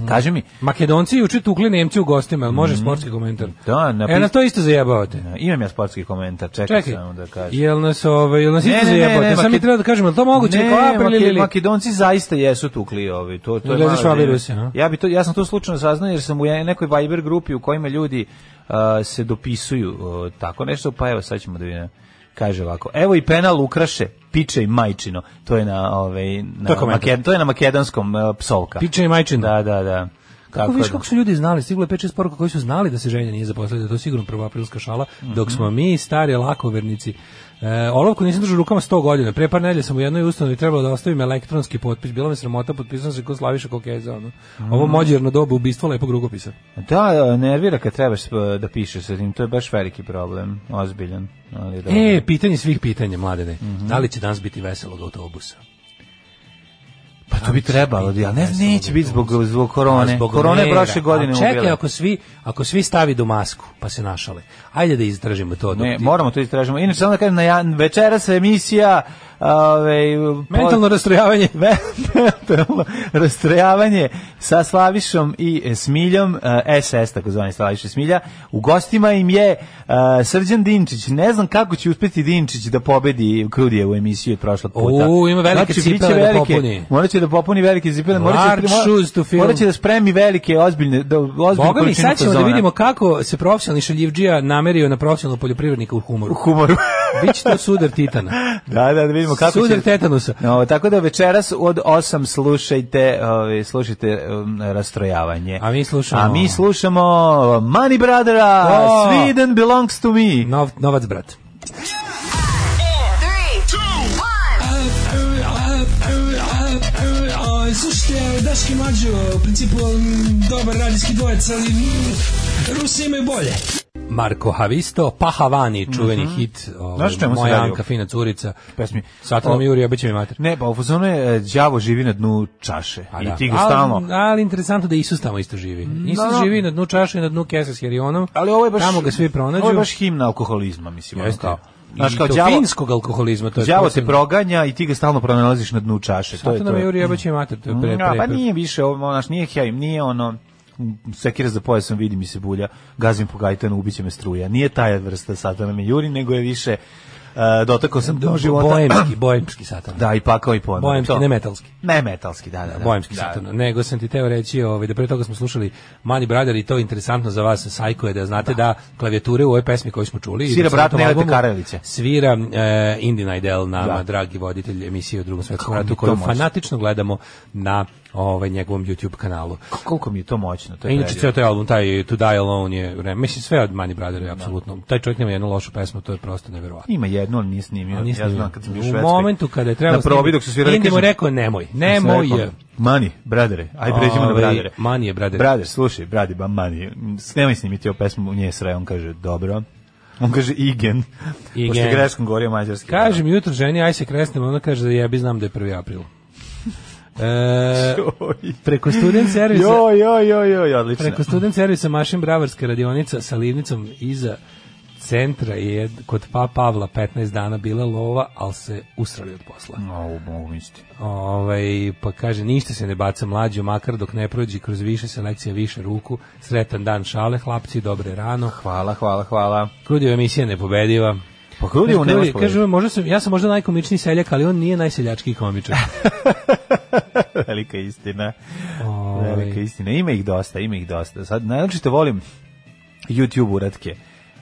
Kaži mi,
Makedonci juče tukli Nemci u gostima, jel može sportski komentar?
Mm. Da, napis-
E, na to isto zajebavate.
imam ja sportski komentar, čekaj,
Čekaj,
samo da kažem.
jel nas, ove, jel nas
Ne,
isto
ne, ne,
zajebavate?
ne,
Sam
Maked-
mi treba da kažem, jel to moguće?
Ne,
Ne, april
Maki-
ili ili?
Makedonci zaista jesu tukli ovi. To, to je
Ili
malo
Švabi
zanimljivo.
Rusi, a?
ja, bi to, ja sam to slučajno saznao jer sam u je- nekoj Viber grupi u kojima ljudi uh, se dopisuju uh, tako nešto, pa evo sad ćemo da vidimo. Kaže ovako, evo i penal ukraše, piče i majčino. To je na, ovaj, na,
To je komentar.
Maked- to je na makedonskom uh, psovka.
Piče i majčino.
Da, da, da.
Kako
Tako
viš
da.
kako su ljudi znali, stiglo je 5-6 poruka koji su znali da se ženja nije zaposlila, da je to sigurno prva aprilska šala,
Mhm.
dok smo mi stari lakovernici. E, olovku nisam držao u rukama 100 godina. Pre par nedelja sam u jednoj ustanovi trebalo da ostavim elektronski potpis. Bila me sramota, potpisao sam se kod Slaviša Kokeza. Ono.
Mhm.
Ovo mođerno dobu ubistvo lepog rukopisa.
Da, e, nervira kad trebaš uh, da pišeš sa tim, to je baš veliki problem, ozbiljan. Ali dobro.
E, pitanje svih pitanja, mladene.
Mhm.
Da li će danas biti veselog autobusa?
Pa to bi trebalo, ja ne znam,
Veselog
neće biti zbog zbog Pa korone.
Zbog
Korona je
mera.
prošle godine
A Čekaj,
ubila.
ako svi, ako svi stavi do masku, pa se našale. Ajde da istražimo to. dok
Ne,
ti-
moramo to istražimo. Inače samo da kažem na ja, večeras je emisija ovaj
Mentalno rastrojavanje.
mentalno rastrojavanje sa Slavišom i Smiljom, eh, SS, takozvani Slaviša i Smilja. U gostima im je eh, Srđan Dinčić. Ne znam kako će uspjeti Dinčić da pobedi Krudijevu emisiju od prošlog puta.
U, ima velike
biće
cipele da
velike-
popuni.
Morat će da popuni velike cipele.
Large shoes to fill.
morat će da spremi velike, ozbiljne, da, ozbiljne
Boga mi,
količine
sad ćemo da
fazona.
vidimo kako se profesionalni šaljivđija namerio na profesionalnog poljoprivrednika u humoru.
U humoru.
Biće to sudar Titana.
da, da, da vidimo kako
sudar
će...
tetanusa.
No, tako da večeras od 8 slušajte, ovaj slušajte um, rastrojavanje.
A mi slušamo-
A mi slušamo Money Brothera,
O!
Sweden belongs to me.
Nov, novac brat.
Slušajte, Daški Mađo, u principu m, dobar radijski dvojec, ali m, Rusi imaju bolje.
Marko Havisto, Pahavani, čuveni hit. Ovaj,
Mhm. Znaš čemu se
moja
radi?
Anka, fina curica.
Pesmi.
Satanom
O-
Juri, obeće mi mater.
Ne, pa u fazonu je e, đavo živi na dnu čaše.
Pa
I
da.
ti ga
Ali-
stalno.
Ali, interesantno da Isus tamo isto živi. Isus
Mm. da, da.
živi na dnu čaše i na dnu kese s herionom.
Ali ovo je baš
Tamo ga svi pronađu.
Ovo je baš himna alkoholizma, mislim, ono
Jeste.
kao.
Znaš
Znaš kao đavo,
finskog alkoholizma, to je
đavo te
posebno.
proganja i ti ga stalno pronalaziš na dnu čaše. To je to.
Satanom Juri, obeće mi mater, to je pre, pre,
Ja, pa
pre-
nije više, ovo, naš, nije hejm, nije ono, m, sekira za pojasom, vidi mi se bulja, gazim po gajtanu, ubiće me struja. Nije taj vrsta satana me juri, nego je više e, dotakao sam do života.
Bojemski, bojemski satan.
Da, i pakao i pojma.
Bojemski, ne metalski.
Ne metalski, da, da. da.
Bojemski
da.
satan. Nego sam ti teo reći, ovaj, da pre toga smo slušali Mani Brother i to je interesantno za vas, Sajko je da znate da, klavijature u ovoj pesmi koju smo čuli. i
Svira
na
brat
tom
Nenada
albumu
Karajlića.
Svira e, Indi Najdel, nama
Da.
dragi voditelj emisije o drugom svetskom
mi
ratu,
to
koju
može?
fanatično gledamo na ovaj njegovom YouTube kanalu.
K- Koliko mi je to moćno, to
A
je
E, Inače,
predivno.
ceo taj album, taj To Die Alone je, re- mislim, sve od Mani Brothera je apsolutno. Taj čovjek nema jednu lošu pesmu, to je prosto nevjerovatno.
Ima jednu, ali nije snimio.
A nije
Ja
snimio.
znam kad sam bio u
u
Švedskoj.
momentu kada je trebalo
Na probi
snimiti,
dok su svirali,
Indi mu
kažem,
rekao nemoj,
sam
nemoj
rekao,
je.
Mani, bradere. Ajde, pređemo na
Ovaj,
bradere.
Mani je brother.
Brader, slušaj, bradi, ba, mani. S- Nemoj snimiti ovu pesmu, nje je sre, on kaže, dobro. On kaže, igen.
Igen.
Pošto je greškom govorio mađarski.
Kažem jutro ženi, aj se kresnem, ona kaže da jebi znam da je 1. april. E,
Joj.
preko student servisa...
Joj, joj, joj, joj, odlično.
Preko student servisa Mašin Bravarska radionica sa livnicom iza centra je kod pa Pavla 15 dana bila lova, ali se usrali od posla.
Au, mogu misliti.
Ovaj, pa kaže, ništa se ne baca mlađo, makar dok ne prođi kroz više selekcija, više ruku. Sretan dan šale, hlapci, dobre rano.
Hvala, hvala, hvala.
Krudio emisija nepobediva.
Pa Krudijevu
Kaže,
nemaš
Krudije, Kaže, možda sam, ja sam možda najkomičniji seljak, ali on nije najseljački komičar.
Velika istina.
Ovaj.
Velika istina. Ima ih dosta, ima ih dosta. Sad najčešće volim YouTube uratke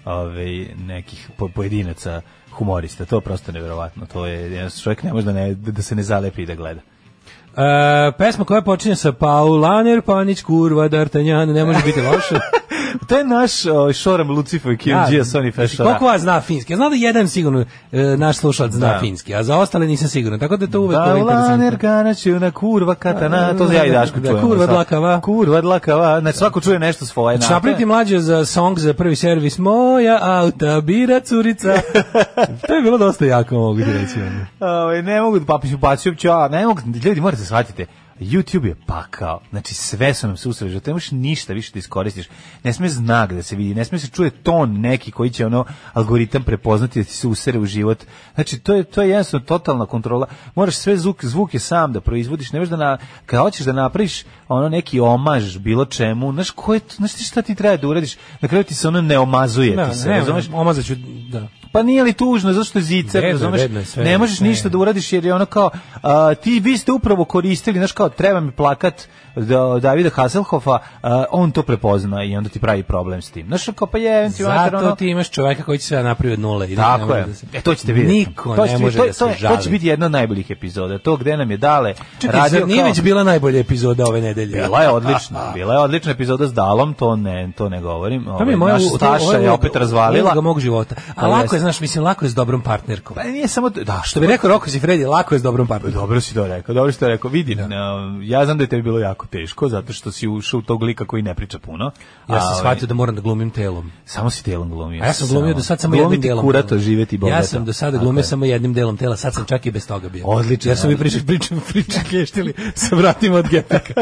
ovaj nekih po- pojedinaca humorista. To je prosto neverovatno. To je jednostavno čovjek ne može da, ne, da se ne zalepi i da gleda.
E, pesma koja počinje sa Paulaner, Panić, Kurva, D'Artagnan, ne može biti loše.
To je naš ovaj, šoram Lucifer Kimđija Sony
znači,
Fešara.
Koliko vas zna finski? Ja znam da jedan sigurno e, naš slušalac zna
Da.
finski, a za ostale nisam siguran. Tako da je to uvek
Da,
da,
laner ganaću na kurva katana, to ja i Daško
Da,
čujemo.
kurva
sad.
dlakava.
Kurva dlakava, znači svako čuje nešto svoje.
Znači,
na-
napraviti mlađe za song za prvi servis Moja auta bira curica To je bilo dosta jako mogu ti reći ono.
Ovaj ne mogu pa bacio pća, ne mogu, ljudi morate shvatiti. YouTube je pakao. Znači sve su nam se usređe, ne možeš ništa više da iskoristiš. Ne sme znak da se vidi, ne sme se čuje ton neki koji će ono algoritam prepoznati da ti se usere u život. Znači to je to je jednostavno totalna kontrola. Moraš sve zvuk, zvuke sam da proizvodiš, ne možeš da na, kad hoćeš da napraviš ono neki omaž bilo čemu, znaš ko je, to- znaš ti šta ti treba da uradiš? Na kraju ti se ono ne omazuje,
Da,
ti se,
ne,
razumeš?
omazaću, da.
Pa nije li tužno, zašto je zicer,
Bedno je,
razumeš?
bedno je sve,
ne možeš
ne.
ništa da uradiš jer je ono kao, a, ti vi ste upravo koristili, znaš kao, treba mi plakat da, Davida Hasselhoffa, a, on to prepozna i onda ti pravi problem s tim. Znaš, kao pa je, ti mater,
Zato
ono,
ti imaš čoveka koji će sve napraviti od nule. i da ne
Tako
može
je.
da se-
E, to ćete vidjeti.
Niko
to
ne
ćete-
može
to,
da se
to, je-
žali.
To će biti jedna od najboljih epizoda. To gde nam je dale
Čekaj,
radio
zar nije
kao-
već bila najbolja epizoda ove nedelje?
Bila je odlična, bila je odlična epizoda s Dalom, to ne, to ne govorim.
Pa mi
Ovaj,
je moja
naš
u- to- ovo
Staša je
uloga-
opet razvalila.
Uloga mog života. A
Ali
lako
jeste.
je, znaš, mislim, lako je s dobrom partnerkom.
Pa nije samo, da,
Što bi rekao Roko Sifredi, lako je s dobrom partnerkom.
Dobro si to rekao, dobro si to rekao. Vidi, na- ja znam da je tebi bilo jako teško, zato što si ušao u tog lika koji ne priča puno.
Ja sam
ali
shvatio da moram da glumim telom.
Samo si telom glumio.
A ja sam glumio do sad samo jednim delom.
Glumiti kurato,
tela.
živeti bogato.
Ja sam do sada
Tako
glumio
je.
samo jednim delom tela, sad sam čak i bez toga bio.
Odlično.
Jer su mi priče priče priče klještili sa vratima od gepeka.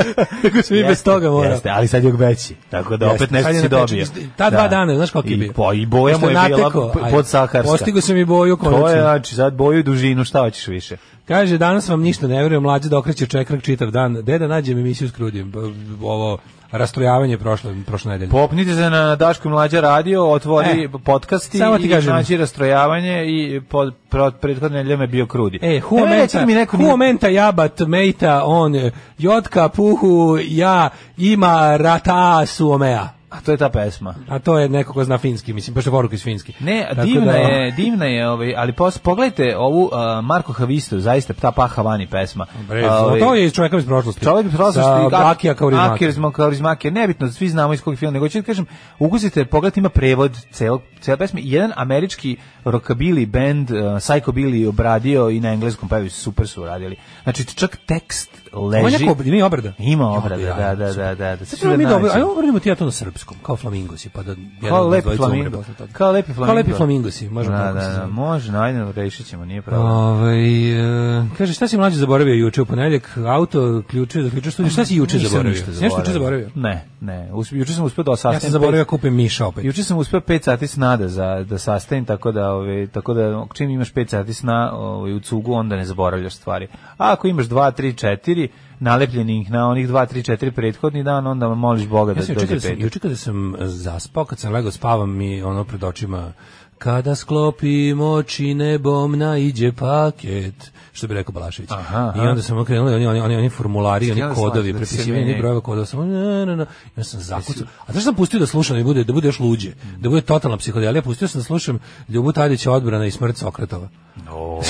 Tako sam i bez
Jeste,
toga morao.
Jeste, ali sad je još veći. Tako da
Jeste,
opet nešto
sad je
si
na peč-
dobio.
Ta dva dana, znaš koliki je
I,
bio?
Po, I boja mu
Pošto
je
je
bila
natekao,
p-
ajde.
podsaharska.
Postigao sam i boju
To je,
konačno.
znači, sad boju i dužinu, šta hoćeš više?
Kaže, danas vam ništa ne verujem, mlađe da okreće čekrak čitav dan. Deda, nađem emisiju s Krudijem. B- b- Ovo rastrojavanje prošle, prošle nedelje.
Popnite se na Daško i Mlađa radio, otvori
E,
podcasti
samo ti
i
kažem.
naći rastrojavanje i pod, pro, prethodne nedelje me bio krudi.
E,
Nemoj reći
huomenta,
da mi neko nije-
huomenta jabat, mejta, on, eh, jotka, puhu, ja, ima, rata, suomea.
A to je ta pesma.
A to je neko ko zna finski, mislim, pošto je poruka iz finski.
Ne,
Tako
divna
da-
je, divna je, ovaj, ali pos, pogledajte ovu uh, Marko Havistu, zaista ta Paha Vani pesma.
Bre,
Ovaj,
to je iz čovjeka iz prošlosti.
Čovjek bi prosto
Sa
što
Akija Kaurismaka.
Akija Kaurismaki, nebitno, svi znamo iz kog filma, nego ću da kažem, ukusite, pogledajte, ima prevod celog, cela pesme. Jedan američki rockabilly band, uh, Psycho Billy obradio i na engleskom pevi super su uradili. Znači, čak tekst
Ovo je
leži.
neko, nije obrada.
Ima obrada,
Ja,
da, da, da,
super.
da, da.
Sad
Sad
ćemo
ću
mi
da
da
nađem.
obradimo- obradimo ti ja to na srpskom, kao flamingosi, pa da jedan
Kao
od
lepi
dvojice umre
flamingo.
posle toga.
Kao lepi flamingo.
Kao lepi flamingosi, možemo
da,
tako
da,
se
da,
zove.
može, najde, rešit ćemo, nije problem.
Ovaj e, kaže šta si mlađe zaboravio juče u ponedjeljak auto ključe zaključio studij šta si juče
Nisam
zaboravio
ništa
Nešto juče zaboravio
Ne, ne. Us, juče sam uspeo da
Ja
sastavim.
sam zaboravio da kupim Miša opet.
pet- Juče sam uspeo 5 sati sna da za da sastavim tako da ovaj tako da čim imaš 5 sati sna ovaj u cugu onda ne zaboravljaš stvari. A ako imaš 2 3 4 nalepljenih na onih 2 3 4 prethodni dan onda moliš Boga
Ja
da
sam
dođe
juče kada sam,
pet.
juče kada sam e, zaspao, kad sam legao spavam mi ono pred očima Kada sklopim oči nebom naiđe paket što bi rekao Balašević.
Aha,
I onda sam okrenuli, oni, oni, oni, oni formulari, oni
ja da
kodovi,
slažem da si
prepisivanje
meni-
brojeva kodova, samo ne, ne, ne. Ja sam zakucao. A znaš sam pustio da slušam da bude, da bude još luđe, da bude totalna psihodelija, pustio sam da slušam Ljubu Tadića odbrana i smrt Sokratova.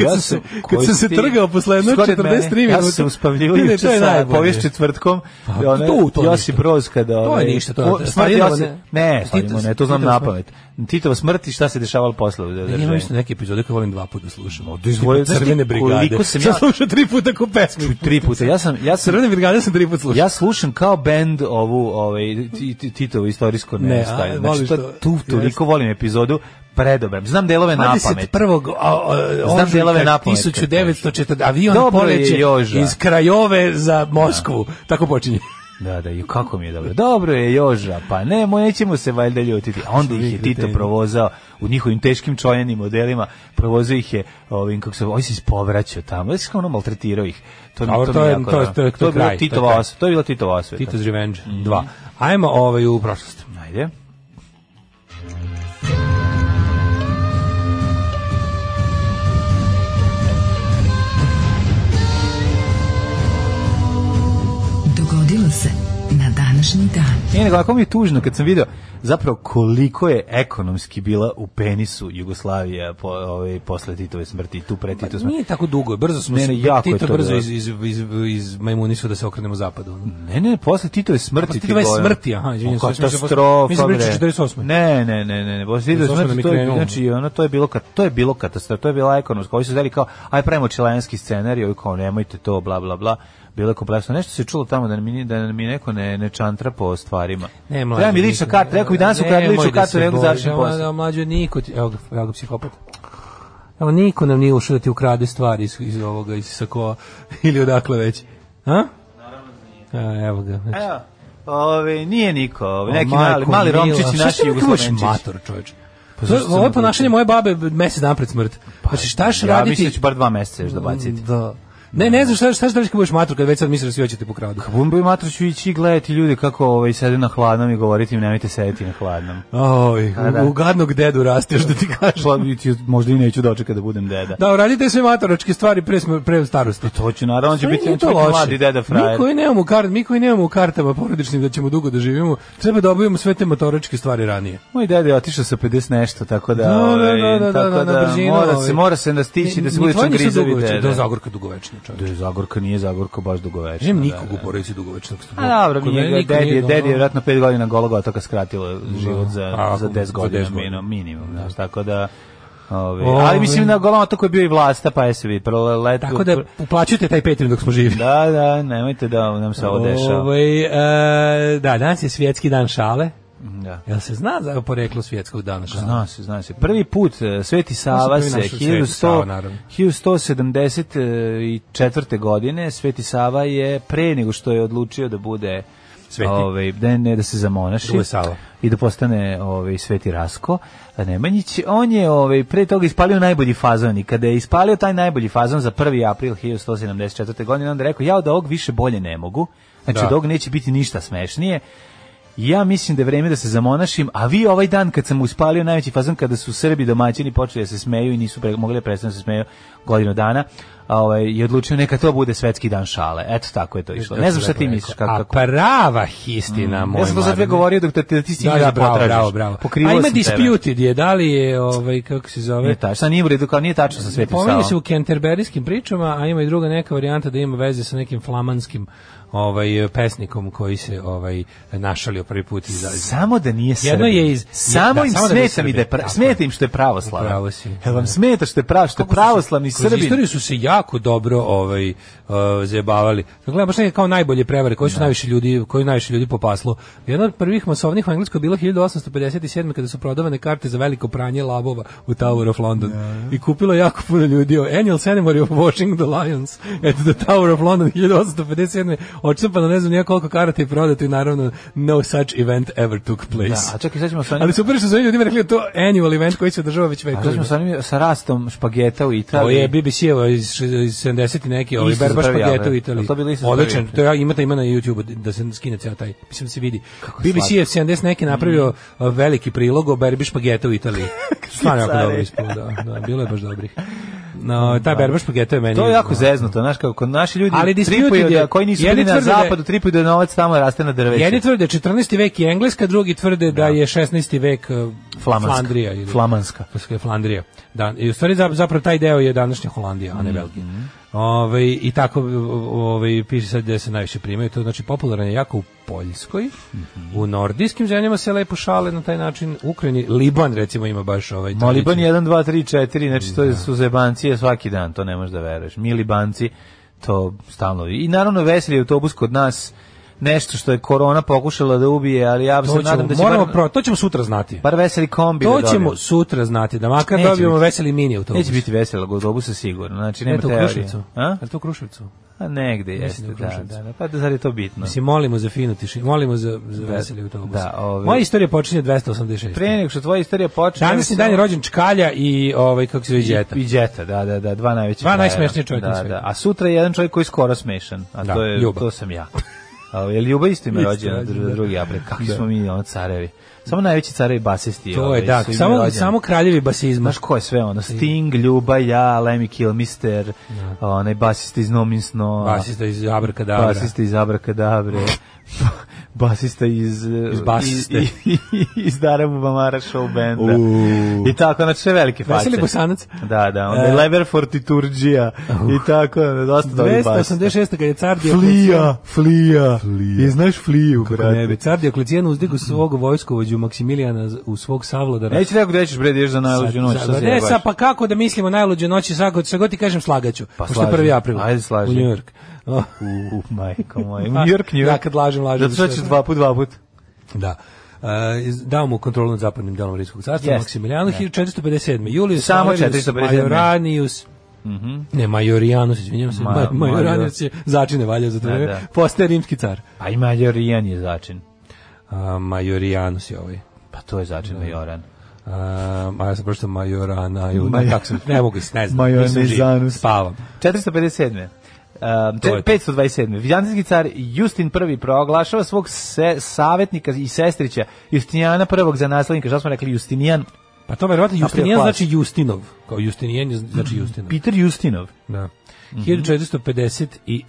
Ja sam,
sam se- kad sam se trgao posle jedno
Skored
43
mene, Ja
minuta.
sam uspavljivo
Ne, ne,
juče
to je
sa
najbolje.
povijest četvrtkom.
Pa,
da ona-
to- to
Josip
ništa.
Broz kada...
je
ovaj,
ništa, to je-
o, smrt
Staljinova
Josip-
ne-
Ne, Staljinova
Tito-
ne, to znam
Titova
na
smrt.
pamet. Titova smrt i šta se dešavalo posle u
Ja imam
državi.
isto neke epizode koje volim dva puta da slušam. Od
izvoli- znaš ti
crvene brigade.
koliko sam
Sad
ja-
slušao tri puta ko pesmu.
Čuj, Tri puta. Ja sam, ja sam
Crvene brigade sam tri puta slušao.
Ja slušam kao bend ovu ovaj ti- ti- Titovo istorijsko
Ne,
nestaje.
a,
Znači
voliš
to,
to?
tu toliko
Jeste.
volim epizodu predobem. Znam delove na pamet.
21. a, a,
Znam
ožujka
delove napamet,
1940 avion
Dobro je,
poleće
Joža.
iz Krajove za Moskvu. Tako počinje.
Da, da, i kako mi je dobro. Dobro je Joža, pa ne, mo nećemo se valjda ljutiti. A onda ih je Tito
kreteni.
provozao u njihovim teškim čojenim modelima, provozao ih je ovim kako se oj se ispovraćao tamo. Znači kao ono maltretirao ih. To mi
Dobro,
to,
to
mi
je-
jako
to je-
da.
to je- to je
bilo
kraj, to je
Titova
kraj.
osveta. To je bila Titova osveta.
Tito's Revenge 2. Ajmo ovaj u prošlost.
Ajde.
Dogodilo se na današnji dan.
I nego, ako mi je tužno kad sam video zapravo koliko je ekonomski bila u penisu Jugoslavija po, ovaj, posle Titove smrti, tu pre Titove smrti.
Pa Nije tako dugo, brzo smo
Ne, ne,
se-
jako je
Tito
to
brzo
bilo.
iz, iz, iz, iz majmunisu da se okrenemo zapadu. ono.
Ne, ne, posle Titove smrti.
posle
ti
Titove
govorim.
smrti, aha, izvinjam
O,
se, mislim da se posle-
Katastrofa,
mislim da pričaš
bre.
48..
Ne, ne, ne, ne, ne, posle Titove
48 da mi
smrti, to je,
krenulo.
znači, ono, to je bilo, kat- to je bilo katastrofa, to je bila ekonomska. Ovi su zdeli kao, aj pravimo čilenski scenarij, ovi kao, nemojte to, bla, bla, bla. Bilo je kompleksno. Nešto se čulo tamo da mi, da mi neko ne, ne čantra po stvarima.
Ne, mlađe.
Treba mi lična karta, rekao bi danas u kartu ličnu kartu, rekao završim posao.
posao. Mlađe, niko ti, evo ga, evo ga psihopat. Evo, niko nam nije ušao da ti ukrade stvari iz, iz ovoga, iz sakoa, ili odakle već. A? Naravno Evo ga. Znači,
Evo, ove, nije niko, neki
O,
mali,
majko
mali
mila.
romčići
Šta
naši
ti uvijek budeš
jugoslovenčići.
Mator, čoveče.
Pa
To je-
zašto sam
ovo je
odlučio?
ponašanje moje babe mesec dana pred smrt. znači šta ćeš
Pa Ja
raditi?
mislim da ću bar dva meseca još da baciti.
Da. Ne, ne znam šta, šta ćeš da radiš kad budeš mator, kad već sad misliš da svi hoćete pokradu.
Bumbo i Matro ću ići gledati ljudi kako ovaj, sede na hladnom i govoriti im nemojte sedeti na hladnom.
Oj,
A, da.
u, u gadnog dedu rasteš da ti kažem.
Pa, ti- možda i neću dočekati da budem deda.
Da, uradite sve matoročke stvari pre, smo- pre starosti.
To ću, naravno, on će
Pa
biti,
nije
on će
to
biti
loše.
mladi deda
Mi
frajer.
koji nemamo, u kart, mi koji nemamo u kartama porodičnim da ćemo dugo da živimo, treba da obavimo sve te motoričke stvari ranije.
Moj deda je otišao sa 50 nešto, tako da,
Da, da,
ovaj,
da, da,
tako
da, na brzinu,
mora,
ovaj.
se, mora se nastići da se
Ni- ni
bude čim
tvoji nisu
grizavi
dugovečni.
deda.
Da, Zagorka dugovečna čovjek.
Da je Zagorka nije Zagorka baš dugovečna.
Žem
da,
nikog
da.
u porodici dugovečnog stvarno.
A dobro,
Kod
nije,
mene niko
dedi, je,
nije,
dedi je
ono-
vjerojatno pet golina golog otoka skratilo život za,
A,
za
ako-
10
za
godina
10
minu-
godina.
minimum, znaš, tako da... Ove,
Ove.
ali mislim na golom otoku je bio i vlasta, pa je se vidi, prvo letu...
Tako da uplaćujte taj Patreon dok smo živi.
Da, da, nemojte da nam se ovo dešava.
Ovaj, e, da, danas je svjetski dan šale.
Da.
Jel se zna za poreklo svjetskog dana šale?
Zna se, zna se. Prvi put eh, Sveti Sava
prvi
se
našao Sveti Sava,
1100
naravno.
1174. godine Sveti Sava je pre nego što je odlučio da bude
Sveti.
Ovaj, da ne, da se zamonaši.
Da bude Sava.
I da postane ovaj Sveti Rasko Nemanjić. On je ovaj pre toga ispalio najbolji fazon i kada je ispalio taj najbolji fazon za 1. april 1174. godine onda je rekao ja od ovog više bolje ne mogu. Znači
Da.
od ovog neće biti ništa smešnije. Ja mislim da je vreme da se zamonašim, a vi ovaj dan kad sam uspalio najveći fazon kada su Srbi domaćini počeli da se smeju i nisu pre, mogli da prestanu da se smeju godinu dana, a ovaj je odlučio neka to bude svetski dan šale. Eto tako je to išlo. Ne znam šta ti misliš kako
A
kako. Mm.
prava histina, moj
Ja sam to za dve
Marine.
govorio dok te, te, ti stigneš
da,
da,
da, bravo,
potražiš.
bravo, bravo.
Pokrivao
A ima
sam tebe.
disputed je, da li je, ovaj, kako se
Nije
zove,
tačno, sad nije u redu, kao nije tačno sa svetim
pominje se u
Savom.
kenterberijskim pričama, a ima i druga neka varijanta da ima veze sa nekim flamanskim ovaj pesnikom koji se ovaj našalio prvi put iz
Samo da nije Srbin.
Jedno je iz-
Samo
da,
im
samo da nije
smeta mi
Srbin.
da je pra-
Tako
smeta im što je pravoslavan.
Upravo si.
Jel vam smeta što je pravo, što je pravoslavni
Kroz
Srbin?
istoriju su se jako dobro ovaj uh, zajebavali. Dakle, baš neke kao najbolje prevare koji su najviše ljudi, koji najviše ljudi popaslo. Jedna od prvih masovnih u Engleskoj je bila 1857 kada su prodavane karte za veliko pranje labova u Tower of London. I kupilo jako puno ljudi. O, Annual ceremony of washing the lions at the Tower of London 1857. Očepano ne znam nije koliko karata i prodato i naravno no such event ever took place.
Da, a čekaj, sad ćemo sa onim-
Ali super je što su ovi ljudima rekli da je to annual event koji se održava već
A šta
vekovima.
smo sa, onim- sa rastom špageta u Italiji?
Ovo Pa je BBC-evo iz iz 70 i neki, ovaj
Isto za
Berbaš
prvi
Pageto
album.
u Italiji.
Jel to bili isto za
Odličan,
prvi?
to ja imate ima na YouTubeu da se skine ceo taj, mislim da se vidi. BBC je 70 neki napravio
Mm.
a, veliki prilog o Berbaš Pageto u Italiji. Stvarno jako
Car
dobro
je.
ispalo, da, da, bilo je baš dobrih. No, taj Berbaš Pageto je meni...
To je jako zeznuto, znaš kako naši ljudi
Ali Disputed
tripuju da
je-
koji nisu
jedni
bili na
tvrde da je-
zapadu, tripuju da novac tamo raste na drveću.
Jedni tvrde 14. vek je Engleska, drugi tvrde da je 16. vek e,
Flamanska.
Flandrija. Ili,
Flamanska.
Flamanska je Flandrija. Da, I u stvari zap- zapravo taj deo je današnja Holandija, a ne
Mhm.
Belgija. Ovaj, I tako ovaj, piše sad gde se najviše primaju. To znači popularan je jako u Poljskoj,
Mhm.
u nordijskim zemljama se lepo šale na taj način. U Ukrajini, Liban recimo ima baš ovaj...
Moliban
tradiciju.
1, 2, 3, 4, znači to su zebancije svaki dan, to ne možeš da veruješ. Mi libanci, to stalno. I naravno veseli autobus kod nas, nešto što je korona pokušala da ubije, ali ja se
To ćemo,
nadam da će
moramo,
bar,
pro- to ćemo sutra znati.
bar veseli kombi
To
da
ćemo
dobijemo.
sutra znati, da makar
Neće
dobijemo
biti.
veseli mini autobus.
Neće biti veselog autobusa sigurno, znači nema
E, to u
teorije.
Kruševcu.
A?
Je to u Kruševcu?
A Pa negde
Mislim
jeste,
da
da,
u Kruševcu.
da, da. Pa da, zar je to bitno?
Mislim, molimo za finu tišinu, molimo za, za
Da,
veseli autobus.
da, ove-
Moja istorija počinje 286.
Pre nego što tvoja istorija počne...
Danas je
ja
dan je
mislim-
rođen Čkalja i ovaj, kako se zove, Đeta.
I, i Đeta, da, da, da, dva najveća.
Dva
frajera.
najsmešnija čovjeka
da,
na svijetu.
Da. A sutra je jedan čovjek koji je skoro smešan, a
Da,
to je
Ljuba.
to sam ja. A, je li Ljuba isto ima
Isto
rođena
rođen,
dru-
da.
drugi april? Kakvi
Da.
smo mi ono carevi? Samo najveći carevi basisti.
To
ovaj,
je, da,
su im
samo,
rođeni.
samo kraljevi basizma.
Znaš ko je sve ono? Sting, Ljuba, ja, Lemmy Kilmister, onaj basista iz Nominsno,
Basista iz Abrakadabra.
basista iz Abrakadabre, basista iz... eh,
Iz basiste.
Iz, iz, iz Darabu Bamara show benda.
Uuu.
I tako, znači sve velike face.
Veseli Bosanac.
Da, da, onda je
E.
Lever Fortiturgija i tako, onda dosta dobri bas.
286. kad je car Dioklecijan,
Flija, flija, I znaš fliju,
Kako ne
brate.
bi, car Dioklecijan uzdigu svog vojskovođu Maksimilijana z- u svog savladara.
Neću rekao da ćeš bre, da ideš za najluđu noć,
Sad-
šta
sad-
se
Ne,
jebaš?
sa, pa kako da mislimo najluđe noći, sad god- sad god ti kažem slagaću,
Pa
pošto je
slaži.
1. april
Ajde, slaži.
u New York.
U, majko moja. New York, New York.
Ja kad lažem, lažem.
Zato što ćeš dva put, dva put.
Da. E, iz- dao mu kontrolu nad zapadnim delom Rimskog carstva,
Jest.
Maksimilijanu, 1457. Julius
Samo
Salerius
457.
Majoranius, Ne, Majorianus, izvinjavam se.
Mhm. Ma-
Ma, Majorianus
Major-
je začine valja za to.
Da,
vreme.
da.
Postaje rimski car.
A i Majorijan je začin.
A, Majorianus je ovaj.
Pa to je začin Majoran.
A, a ja sam pročitao Majorana. Ju,
Major-
ne, kako sam, ne mogu, ne znam. nisam živ,
Majoranizanus.
Spavam.
457. Um,
To je to.
527. Vizantijski car Justin I proglašava svog se, savjetnika i sestrića Justinijana I za naslednika. Šta smo rekli? Justinijan
Pa to verovatno Justinijan
Aprijaplas.
znači Justinov. Kao Justinijan je znači Justinov.
Peter Justinov.
Da.
Mhm.
1459.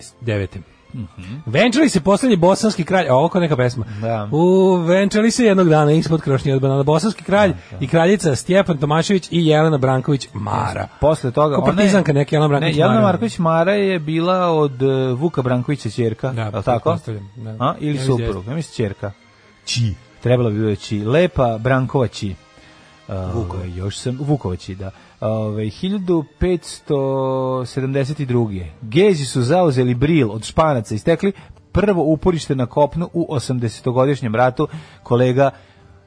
Venčali se poslednji bosanski kralj, a ovo kao neka pesma.
Da.
U, venčali se jednog dana ispod krošnje od banana. Bosanski kralj i kraljica Stjepan Tomašević i Jelena Branković Mara.
Posle toga
Ko
ona je-
partizanka neka, Jelena Branković
Ne, Jelena
Mara.
Marković Mara je bila od eh, Vuka Brankovića ćerka,
Da,
je li tako?
pretpostavljam, da.
A, ili
Ja mislim da
suprug, ja mislim ćerka. Či. Trebalo bi doći Lepa Brankovaći. Vuković, još sam Vukovići, da. Ove, 1572. Gezi su zauzeli Bril od Španaca i stekli prvo uporište na kopnu u 80-godišnjem ratu. Kolega,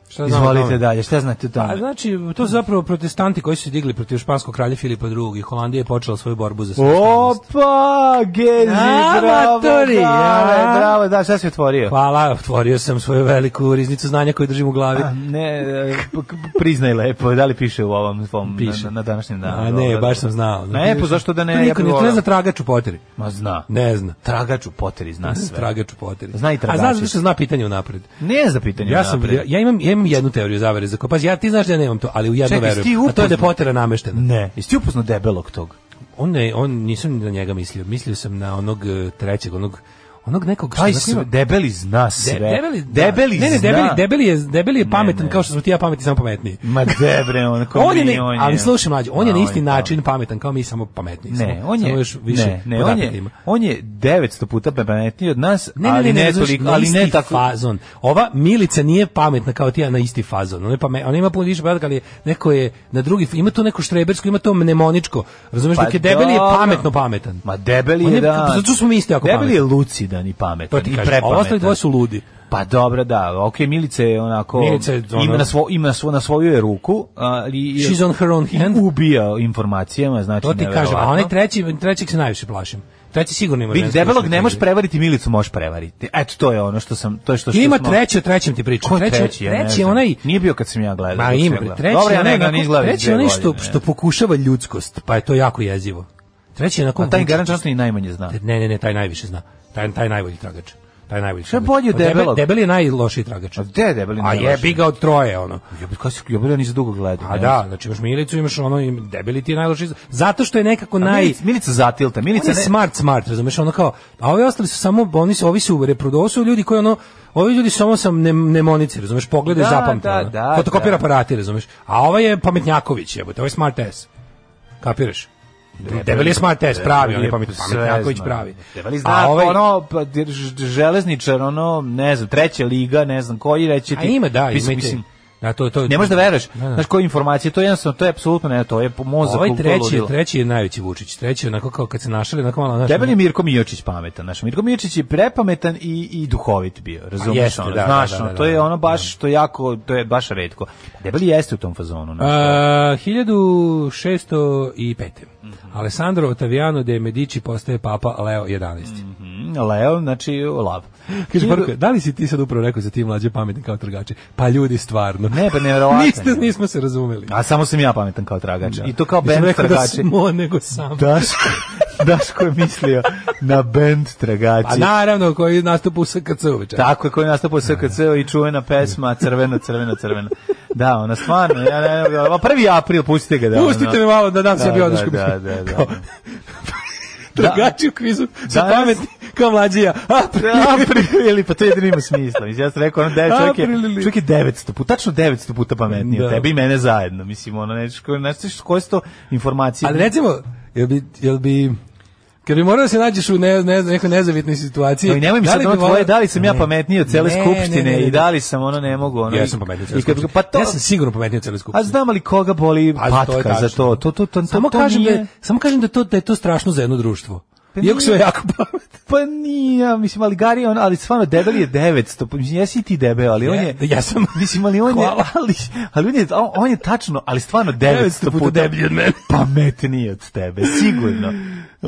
Šta znamo o
izvolite
tome?
dalje. Šta znate o
A
tome?
znači, to su zapravo protestanti koji su se digli protiv španskog kralja Filipa II. I Holandija je počela svoju borbu za samostalnost.
Opa, Gezi,
A,
bravo,
matori,
dale,
a?
bravo, da, šta si otvorio?
Hvala, otvorio sam svoju veliku riznicu znanja koju držim u glavi.
Ne, e, p- k- priznaj lepo, da li piše u ovom svom
Piše.
Na, na današnjem danu?
A ne, baš sam znao.
Ne, pa zašto da ne, ja
Niko
bi
ne,
volao.
ne zna tragač u poteri.
Ma zna.
Ne zna.
Tragač u poteri zna sve.
Tragač u poteri.
Zna i
A
tragači.
zna zato što zna pitanje unapred.
Ne za pitanje
Ja sam
unapred.
ja, ja imam ja imam jednu teoriju zavere za kopaz. Ja ti znaš da ja nemam to, ali u jedno
Čekaj,
verujem.
si ti
A to je da je
upoznao?
potera nameštena.
Ne, jesi ti upoznao debelog tog?
On ne, on nisam ni na njega mislio. Mislio sam na onog eh, trećeg, onog onog nekog što
Taj
onako
sve,
ima-
debeli zna sve.
De- debeli, da.
debeli
ne, ne,
zna.
debeli, debeli je, debeli je pametan
ne.
kao što smo ti i ja pametni, samo pametniji.
Ma debre, on
On je,
kombini,
ne,
on je.
ali slušaj mlađe, on je
A,
na isti
tamo.
način pametan kao mi, samo pametniji.
Ne,
Samo-
on je
samo još više
ne, ne, on
podataka
je
ima.
on je 900 puta pametniji od nas,
Ne, ne,
ali
ne,
ne,
ne, razumeš,
toliko,
na
ali ne
isti
tako.
fazon. Ova Milica nije pametna kao ti ja na isti fazon. Ona, je pame- ona ima puno više podataka, ali je- neko je na drugi, ima to neko štrebersko, ima to mnemoničko. Razumeš,
Pa
dok je debeli je
dobro.
pametno pametan.
Ma debeli
On
je,
je- pa,
da.
zato smo mi isti jako
Debeli
pametni.
je lucidan i pametan
To
i
ti kažem.
prepametan.
A Ovo ostali dvoje su ludi.
Pa dobro, da. Okej, Milica je onako
Milica je ono-
ima na svo ima na svo na svoju je ruku, ali je-
She's on her own
i
hand.
ubija informacijama, znači
To ti kažem, a onaj treći, trećeg se najviše plašim. Treći sigurno ima.
Vidi,
vremensku
debelog
strategiju.
ne možeš prevariti, Milicu možeš prevariti. Eto, to je ono što sam, to je što, što
Ima
smo-
treći, o trećem ti pričam.
ono- Ko je treći? Ja ne
treći je
znam.
onaj
Nije bio kad sam ja gledao.
Ma
dok sam
ima,
ja gledao.
treći
Dobro, ja
onaj
ne, ga
onako-
ne izgledam iz
treći
dve
onaj što,
godine,
što pokušava ljudskost, pa je to jako jezivo. Treći je onako...
A taj Garan Časni najmanje zna.
Ne, ne, ne, taj najviše zna. Taj, taj najbolji tragač. Taj najbolji
Šta je
tragač.
bolji od
Od debe-
debelog?
Debeli je najlošiji tragač.
A gde je debeli
A
najlošiji?
jebi ga od troje, ono.
Ja bih kasio, ja bih ja nisam dugo gledao.
A
ne.
da, znači imaš Milicu, imaš ono, im- debeli ti je najlošiji. Zato što je nekako
A
naj...
Pa Milica, Milica zatilta. Milica
Milica je
ne...
smart, smart, razumeš, ono kao, a ovi ostali su samo, oni su, ovi su u reprodosu, ljudi koji ono, ovi ljudi su samo sam ne, nemonici, razumeš, pogledaj
Da,
da, zapamte,
da,
ono.
da,
fotokopira
da.
aparati, razumeš, a ovaj je pametnjaković, jebote, ovaj je smart S, kapiraš? Debeli, je smart S, pravi, on je pamet,
sve
pametnjaković
zna.
pravi.
Debeli
a
zna,
ovaj,
ono, pa, jer ž- železničar, ono, ne znam, treća liga, ne znam koji, reći ti.
a ima, da,
Mislim,
ima i te-
mislim,
da, to, to,
Ne možeš da veruješ.
Da, da.
Znaš koje informacije, to je jednostavno, to je apsolutno ne, to je po mozak.
Ovaj treći, je- treći je najveći Vučić, treći je onako kao kad se našali, onako malo, znaš,
Debeli
ono-
je Mirko Mijočić pametan, znaš, Mirko Mijočić je prepametan i, i duhovit bio, razumiješ
jeste,
ono,
da,
znaš,
da, da,
ono,
da,
to je
da,
ono baš, što jako, to je baš redko. Debeli jeste u tom fazonu, znaš,
A, 1605.
Mhm.
Alessandro Ottaviano de Medici postaje papa Leo 11.
Mm, Leo, znači, lav.
Kaže Borko, da li si ti sad upravo rekao za ti mlađe pametni kao trgače? Pa ljudi stvarno.
Ne, pa nevjerovatno.
Niste, nismo se razumeli.
A samo sam ja pametan kao tragač. I to kao
Nisam
band
rekao da
tragači.
smo, nego sam.
Daško, Daško je mislio na band tragači.
A Pa naravno, koji nastup u SKC uveče.
Pa Tako je, koji je nastupao SKC i čuvena pesma Crveno, crveno, crveno. Da, ona stvarno, ja, ne, ne, a prvi april, pustite ga da... ono-
Pustite me malo da dam
Da,
sebi
da,
odušku.
da, da, da.
Kao- Tragači u kvizu su
Danas-
pametni kao mlađija. A,
April, ili pa to jedino ima smisla. Mislim, ja sam rekao, ono, devet, čovjek je,
April ili-
čovjek je 900 puta, tačno 900 puta pametniji od
Da.
tebe i mene zajedno. Mislim, ono, nešto, nešto, koje su to informacije?
Ali recimo, jel bi, jel bi Kad bi morao da se nađeš u ne, ne, nekoj nezavitnoj situaciji...
No i nemoj mi sad
li bi
ono tvoje,
volao-
da li sam ja
Ne.
pametniji od cele
Ne, ne,
skupštine
ne, ne, ne.
i da li sam ono ne mogu ono.
Ja
i-
sam pametniji
i
od cele
kad-
skupštine.
Pa to,
Ja sam sigurno pametniji od cele
a
skupštine.
znam li koga boli
Pa, to je
patka za
tačno.
to? To, to, to, to,
samo
to
kažem
nije-
da samo kažem da to da je to strašno za jedno društvo.
Pa
Iako su
nije.
jako pametni.
Pa nije, ja, mislim, ali Gari, je on, ali stvarno, debel je 900, pa mislim, jesi i ti debel, ali on je...
Ja- ja sam.
Mislim, ali on je,
Hvala.
ali, ali on je, on, on je tačno, ali stvarno 900 puta deblji od mene. Pametniji od tebe, sigurno.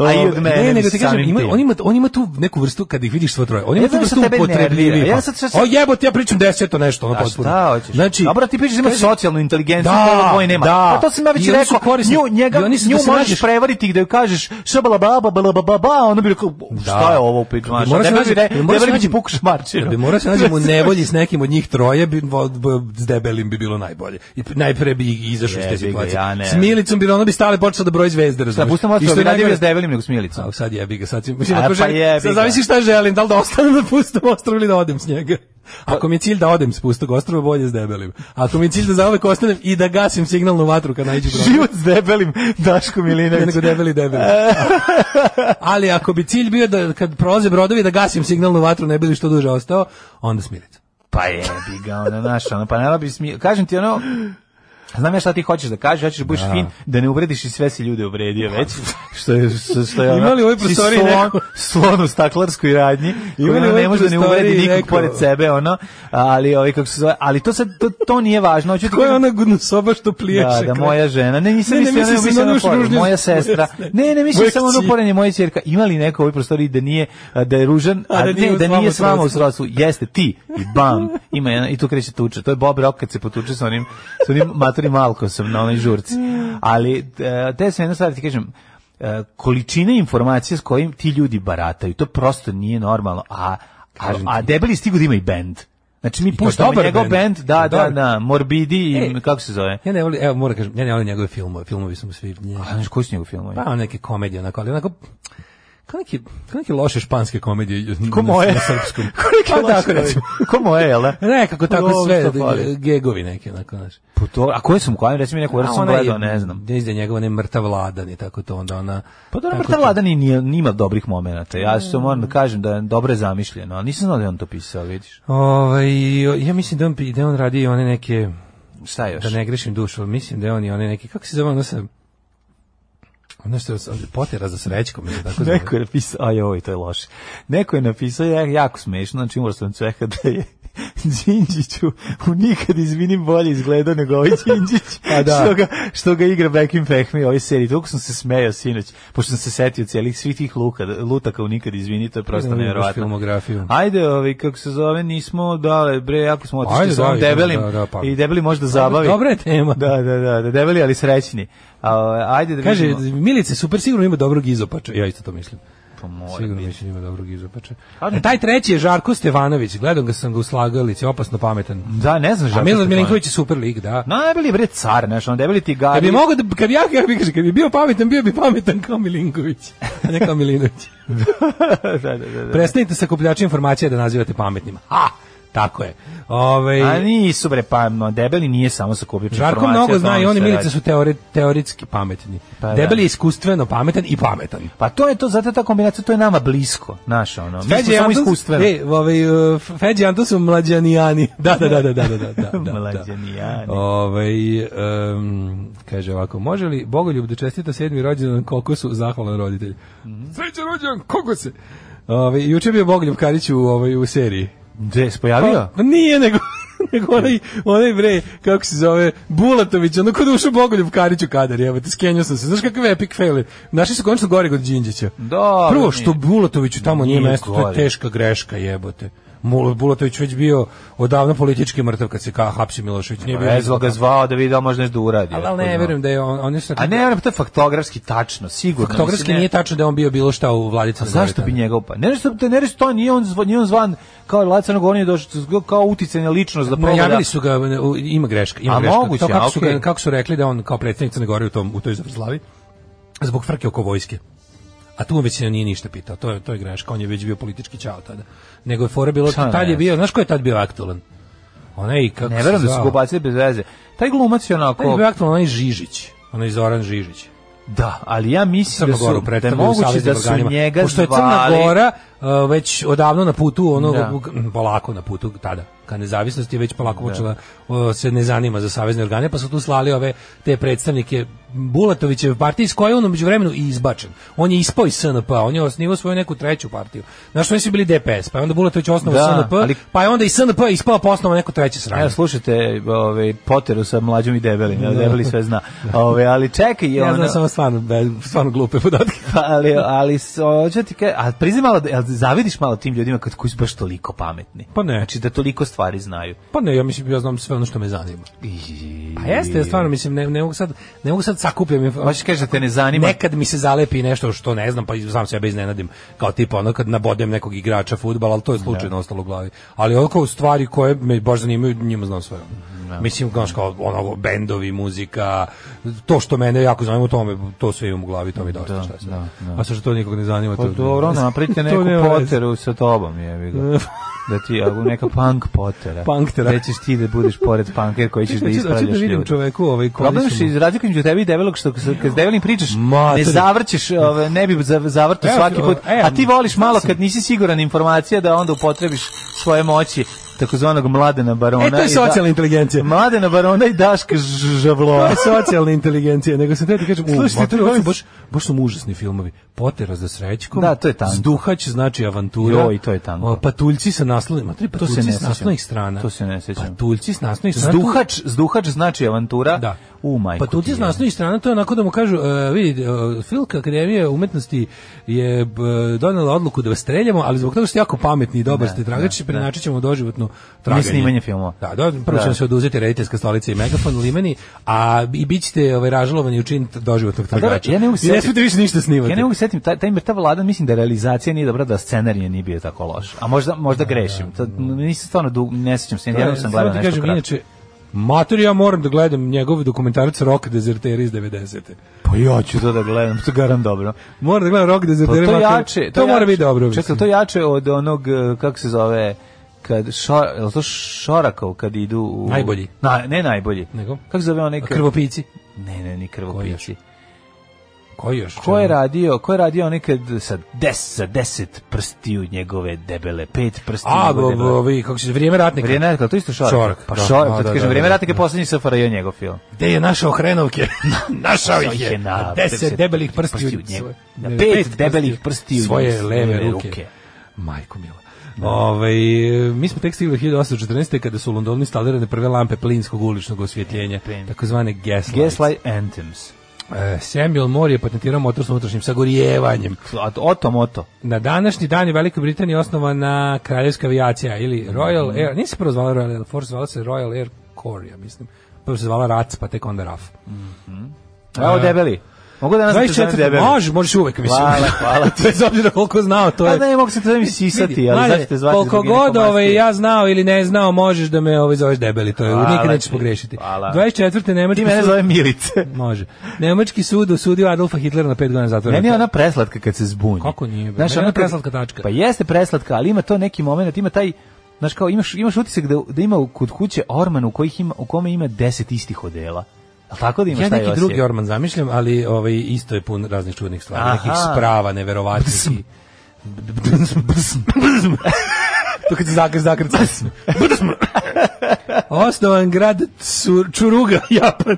A i od mene,
Ne, nego ti
mislim,
kažem,
samim
ima,
tim.
on ima on ima tu neku vrstu kad ih vidiš svo troje. On
Ja
ima tu
znam što
vrstu
tebe nervira.
upotrebljivi.
Ja
pa.
sad- sad- sad-
O jebote, ja pričam deseto nešto, ono
A
potpuno.
šta hoćeš?
Znači,
Dobro, ti pričaš da imaš
kaže-
socijalnu inteligenciju,
Da,
da, tvoj nema.
da.
Pa to sam ja već
I oni su
rekao,
korisni.
nju, njega,
I oni su-
nju
da se
možeš
nađeš-
prevariti gde joj kažeš šabala baba, bala baba, ba, ono bi rekao, šta je ovo u piču,
Da
znaš,
bi morao se
debeli bi
nađem- da
re-
bi morao se
debeli bi ti
nađem-
pokušao
Da
marčinu.
bi morao se nađem u nevolji s nekim od njih troje, bi, vo- b- s debelim bi bilo najbolje. I p- najpre bi izašao iz
Jebi
te
ga,
situacije.
ja ne.
S Milicom bi ono bi stale počelo da broji
Da,
zvezde, razumiješ?
pustam vas, to bi radio s debelim nego s milicom.
A sad jebi ga, sad, ću- mislim,
A,
ako
pa
želim,
jebi
sad
ga.
zavisi šta želim, da li da ostanem na pustom ostrovu ili da odem s njega. Ako mi je cilj da odem s pustog ostrova, bolje s debelim. Ako mi je cilj da zauvek ostanem i da gasim signalnu vatru kad najđu problem.
Život s debelim, Daško
Ne,
Milinović.
nego debeli debeli. Ali ako bi cilj bio da kad prolaze brodovi da gasim signalnu vatru ne bi li što duže ostao, onda smirica.
Pa jebi ga, ono, znaš, ono, pa ne bi smio, kažem ti, ono, Znam ja šta ti hoćeš da kažeš, hoćeš da budeš fin, da ne uvrediš i sve si ljude uvredio već. Što je, što, što je ono,
Ima li u ovoj
si
prostoriji
slon,
neko-
slon u staklarskoj radnji,
Ima li
koji
u
ono
ovoj
ne može da ne
prostoriji
uvredi nikog
neko-
pored sebe, ono, ali, ovaj, kako se zove, ali to sad, to, to nije važno. Hoću ti
Ko je
kažem-
ona gudnosoba što pliješe?
Da, da
kraj?
moja žena. Ne, nisam
Ne, ne,
mislio, ne,
mislio sam na
mislio
onu
na
još
pored,
ružniju-
moja sestra. Ne, ne, mislio
Mojeg
sam ono
kći.
pored nje, moje ćerka. Ima li neko u ovoj prostoriji da nije a, da je ružan, a,
A da nije
ne,
u
da nije s
svom
vama u
srodstvu.
srodstvu. Jeste ti i bam. Ima jedna i tu kreće tuča. To je Bob Rock kad se potuče sa onim sa onim Matorim Malkosom na onoj žurci. Ali e, te se jedna stvar ti kažem e, količina informacija s kojim ti ljudi barataju, to prosto nije normalno. A a, a debeli stigu da ima i bend. Znači mi
to
puštamo
dobar
njegov
bend.
bend, da, da,
Dobar.
da, Morbidi i
Ej.
kako se zove?
Ja ne volim, evo moram kažem, ja ne volim njegove filmove, filmovi su mu svi nje.
A znaš koji su njegov film? ovaj?
Pa neke komedije onako, ali onako kao neke, kao neke loše španske komedije
Ko
na-
moje?
na srpskom.
Ko neki
Pa
loš
tako
čovjek.
recimo.
Ko moje, jel? da?
Nekako tako
Dobro,
sve,
što fali.
gegovi neki, onako, znaš.
Pa to- A koje su mu koje? Reci mi neku, jer sam
onaj-
gledao, ne znam.
Ne znam, njegova ne mrtav vladan i tako to, onda ona...
Pa dobro,
tako
Mrtav
to- Mm.
Vladan i nije, nima dobrih momenata. Ja se moram da kažem da je dobro je zamišljeno, ali nisam znao da je on to pisao, vidiš.
Ovaj, ja mislim da on, pi- da je on radi i one neke,
Šta još?
da ne grešim dušu, ali mislim da je on i one neke, kako se zove ono sa... Ono što se potera za srećkom, ili tako zove.
Neko je napisao, aj oj, to je loše. Neko je napisao ja- jako smešno, znači umro sam od cveha da je Đinđiću u nikad izvinim bolje izgledao nego ovaj Đinđić
Pa da.
što, ga, što ga igra Bekim Fehmi u ovoj seriji. Toliko sam se smejao sinoć, pošto sam se setio cijelih svih tih luka, lutaka u nikad izvini, to je prosto
Idemo vidimo Ono, baš
nevjerovatno.
filmografiju.
Ajde, ovaj, kako se zove, nismo dale, bre, jako smo otišli
Ajde,
sa ovom
da, idemo,
debelim
da, da, pa.
i debeli možda zabavi.
Dobra je tema.
Da, da, da, da debeli, ali srećni. A, ovaj, ajde da
Kaže,
vidimo.
Milice, super, sigurno ima dobrog izopača. Ja isto to mislim.
Pa mora
Sigurno
biti.
mislim da ima dobrog izopača.
Kažem
E, taj treći je Žarko Stevanović. Gledam ga sam ga u slagalici, opasno pametan.
Da, ne znam
A
Žarko
Milorad
Stefanović.
Milinković je super lik, da.
Najbolji je, bre car, znaš, on debeli ti gadi.
Kad bi mogao da, kad bi ja, ja bih kad bi bio pametan, bio bi pametan kao Milinković, a ne kao Milinović.
da, da, da, da.
Prestanite sa kupljačima informacija da nazivate pametnima. Ha! Tako je. Ovaj
A nisu bre pamno, debeli nije samo sa kupljača
Žarko
informacija,
mnogo zna
tamo
i on i
se
Milica
radi.
su teori, teoritski pametni.
Pa da.
Debeli je iskustveno pametan i pametan.
Pa to je to, zato je ta kombinacija, to je nama blisko, znaš, ono. Mi smo
Feđe
samo
Antus-
iskustveno.
E, ovaj, uh, Feđe Anton su mlađanijani. Da, da, da, da, da, da, da, da, da.
Mlađanijani.
Ovaj, em, kaže ovako, može li Bogoljub da čestita sedmi rođendan Kokosu, zahvalan roditelj?
Mhm.
Srećan rođendan Kokose! Ovaj, juče je bio Bogoljub Karić u, ovaj, u seriji.
Gde se pojavio?
Pa, nije, nego, nego onaj, onaj bre, kako se zove, Bulatović, ono kod ušao Bogoljub Karić u kadar, evo te, skenio sam se. Znaš kakav epic failure? Naši su konačno gore kod Đinđića.
Dobro,
Prvo, što
nije.
Bulatoviću tamo nije,
Nije
mesto, to je
gore.
teška greška, jebote. Mul- Bulatović već bio odavno politički mrtav kad se ka hapsi Milošević. Nije bio
Vezlo Pa, ga zvao da vidi da li može nešto da uradi.
Ali, ali ne,
otkud
verujem da je on... on je sad-
A ne, verujem, to je faktografski tačno, sigurno.
faktografski
Mislim, ne-
nije tačno da je on bio bilo šta u vladi
A
Crne Gore
zašto bi
tada.
njega upao? Ne nešto ne nešto to nije on zvan, nije on zvan kao Lacano Gorni je došao kao uticajna ličnost da proba Pa da
Najavili su ga, ne, u- ima greška, ima
A
greška.
moguće,
to kako,
a
su ga-
okej.
kako su rekli da on kao predsjednik Crne Gore u, tom, u toj zavrzlavi, zbog frke oko vojske. A tu on već se nije ništa pitao, to je, to je greška, on je već bio politički čao tada. Nego je fora bilo,
Šta
tad je
ne
bio, znaš ko je tad bio aktualan? Onaj, kako
ne
se
verujem da su
zvao?
ga bacili bez veze. Taj glumac je onako
Tad je bio aktualan onaj Žižić, onaj Zoran Žižić.
Da, ali ja mislim da
Crnu Goru
su, da je
predstavljaju u
moguće
saveznim
da su
organima.
njega
Pošto je Crna
zvali.
Gora uh, već odavno na putu, ono,
Da.
g- polako na putu tada, ka nezavisnosti, je već polako počela uh, se ne zanima za savezne organe, pa su tu slali ove te predstavnike Bulatovićeve partije, iz koje je on umeđu vremenu i izbačen. On je ispao iz SNP, on je osnivao svoju neku treću partiju. Znaš, oni su bili DPS, pa je onda Bulatović osnovao
Da,
SNP,
ali-
pa je onda i SNP ispao pa osnovao neku treću sranju.
Evo, slušajte ovaj, Poteru sa mlađom i debelim, da. debeli sve zna. Ove, ali čekaj, je
Ja
ona...
znam samo stvarno, be- stvarno glupe podatke.
Pa, ali, ali s- hoću ti ka, a priznaj malo, da- jel zavidiš malo tim ljudima kad koji su baš toliko pametni?
Pa ne.
Znači da toliko stvari znaju.
Pa ne, ja mislim, ja znam sve ono što me zanima.
I...
Pa jeste, ja stvarno mislim ne, ne mogu sad ne mogu sad sakupljam inf-
Hoćeš kaži da te ne zanima?
Nekad mi se zalepi nešto što ne znam, pa sam sebe iznenadim. Kao tipa ono kad nabodem nekog igrača fudbala, al to je slučajno ostalo u glavi. Ali ono kao stvari koje me baš zanimaju, njima znam sve. Mislim, znaš, kao ono, bendovi, muzika, to što mene jako zanima, to, me, to sve imam u glavi, to mi dosta.
Da,
šta sad.
da, da.
A sad što to nikog ne zanima,
Pa
to...
dobro, napravite
to
neku
nema veze.
poteru sa tobom, jebi ga. Da ti, ako neka punk potera.
Punk tera.
Da ćeš ti da budeš pored punker koji ćeš da
Hoću- hoću
ispravljaš
da vidim
ljude.
čoveku ovaj koji
Problem
su
što
mu-
iz razlike između tebe i debelog što kad kad s debelim pričaš,
Mater.
ne zavrćeš, ove, ne bi za- zavrtao
Evo ti,
svaki put.
e,
A ti voliš malo
sam.
kad nisi siguran informacija da onda upotrebiš svoje moći takozvanog mladena barona.
E, to je
i da-
socijalna inteligencija.
Mladena barona i Daška Ž- Žavloa.
socijalna inteligencija, nego sam te da kažem, u,
Slušajte,
Mater, ovo su
ono. to je-
baš, baš su mu užasni filmovi. Potera za srećkom,
Da, to je tanko.
Zduhać znači avantura.
Joj, to je tanko.
O, Patuljci sa naslovima, tri
se
patuljci
ne
s
sjećam.
naslovnih strana.
To se ne sjećam.
Patuljci s naslovnih strana.
Zduhač, zduhač znači avantura.
Da.
U majku.
Pa tu ti
ti
s naslovnih strana, to je onako da mu kažu, e, vidi, uh, Filka Akademija umetnosti je e, donela odluku da vas streljamo, ali zbog toga što ste jako pametni i dobar ste tragač, prenačit ćemo doživotno traganje.
snimanje filmova.
Da, da, prvo
Da.
ćemo se oduzeti rediteljska stolica i megafon u limeni, a i bit ćete ovaj, ražalovani učin doživotnog
Pa dobro,
tragača.
ja ne mogu
I ne
sjetiti-
smete više ništa snimati.
Ja ne mogu setim, taj, taj mrtav ladan, mislim da realizacija nije dobra, da scenarij nije bio tako loš. A možda, možda grešim. To, nisam stvarno, dug, ne sećam se, jednom sam
Samo
gledao
ti
nešto
kažem,
kratko.
inače, Mater, ja moram da gledam njegov dokumentarac Rock Dezerteri iz 90.
Pa ja ću to da gledam, to garam dobro.
Moram da gledam Rock
Pa to
Dezerteri. Mater.
jače, to,
to mora
jače.
biti dobro.
Čekaj,
mislim.
to jače od onog eh, kako se zove kad šor, je li to Šorakov kad idu u
Najbolji.
Na, ne najbolji.
Nego?
Kako se zove onaj
A
kad-
Krvopici.
Ne, ne, ni krvopici.
Koji još?
Ko je radio, ko je radio onaj kad sa 10 sa 10 prstiju njegove debele, pet prstiju.
A,
njegove
bo-
debele.
bo- ovi, kako se vrijeme ratnika.
Vrijeme ratnika, to isto Šorak.
Šorak,
pa
da.
Šorak,
Da,
da,
da,
kažem,
da,
vrijeme
da,
ratnika je poslednji SFRJ njegov film.
Gde je našao hrenovke? našao ih je.
na
Na deset debelih prstiju.
prstiju njegov- na
svoje- ne,
pet debelih prstiju
Svoje
njegove
leve
leve
ruke.
ruke.
Majko mila. Ovaj, mi smo tek stigli 1814. kada su u Londonu instalirane prve lampe plinskog uličnog osvjetljenja, takozvane gaslights.
Gaslight Anthems.
E, Samuel Moore je patentirao motor s unutrašnjim sagorijevanjem.
A Oto moto.
Na današnji dan je u Velikoj Britaniji osnovana kraljevska avijacija ili Royal
Mhm.
Air, nije se prvo zvala Royal Air Force, zvala se Royal Air Corps, ja mislim. Prvo se zvala RAC, pa tek onda RAF.
Evo
E,
debeli. Mogu danas da te zovem
24.
debeli?
Može, možeš uvek, mislim.
Hvala, hvala.
Bez obzira koliko znao, to
Pa
je...
da ne mogu se te zovem sisati,
Vidi,
ali
mlađe,
zašto te zvati?
Koliko
zbog
god
ginekomastije?
ovaj, ja znao ili ne znao, možeš da me ovaj, zoveš debeli, to je,
Hvala
nikad nećeš
ti,
pogrešiti.
hvala.
24.
Ti
Nemački
mene
sud...
zove Milice.
Može. Nemački sud osudio Adolfa Hitlera na 5 godina zatvora.
Meni je ona preslatka kad se zbunji.
Kako nije, bre? Meni je ona
kad-
preslatka tačka.
Pa jeste preslatka, ali ima to neki moment, ima taj Znaš kao, imaš, imaš utisak da, da ima u- kod kuće orman u, kojih ima, u kome ima deset istih odela. Jel tako da imaš
Ja
taj
neki
osjećaj?
drugi orman zamišljam, ali ovaj isto je pun raznih čudnih stvari,
Aha.
nekih sprava neverovatnih. i- To kad se zakr- zakrca. Osnovan grad Tsur- Čuruga, Japan.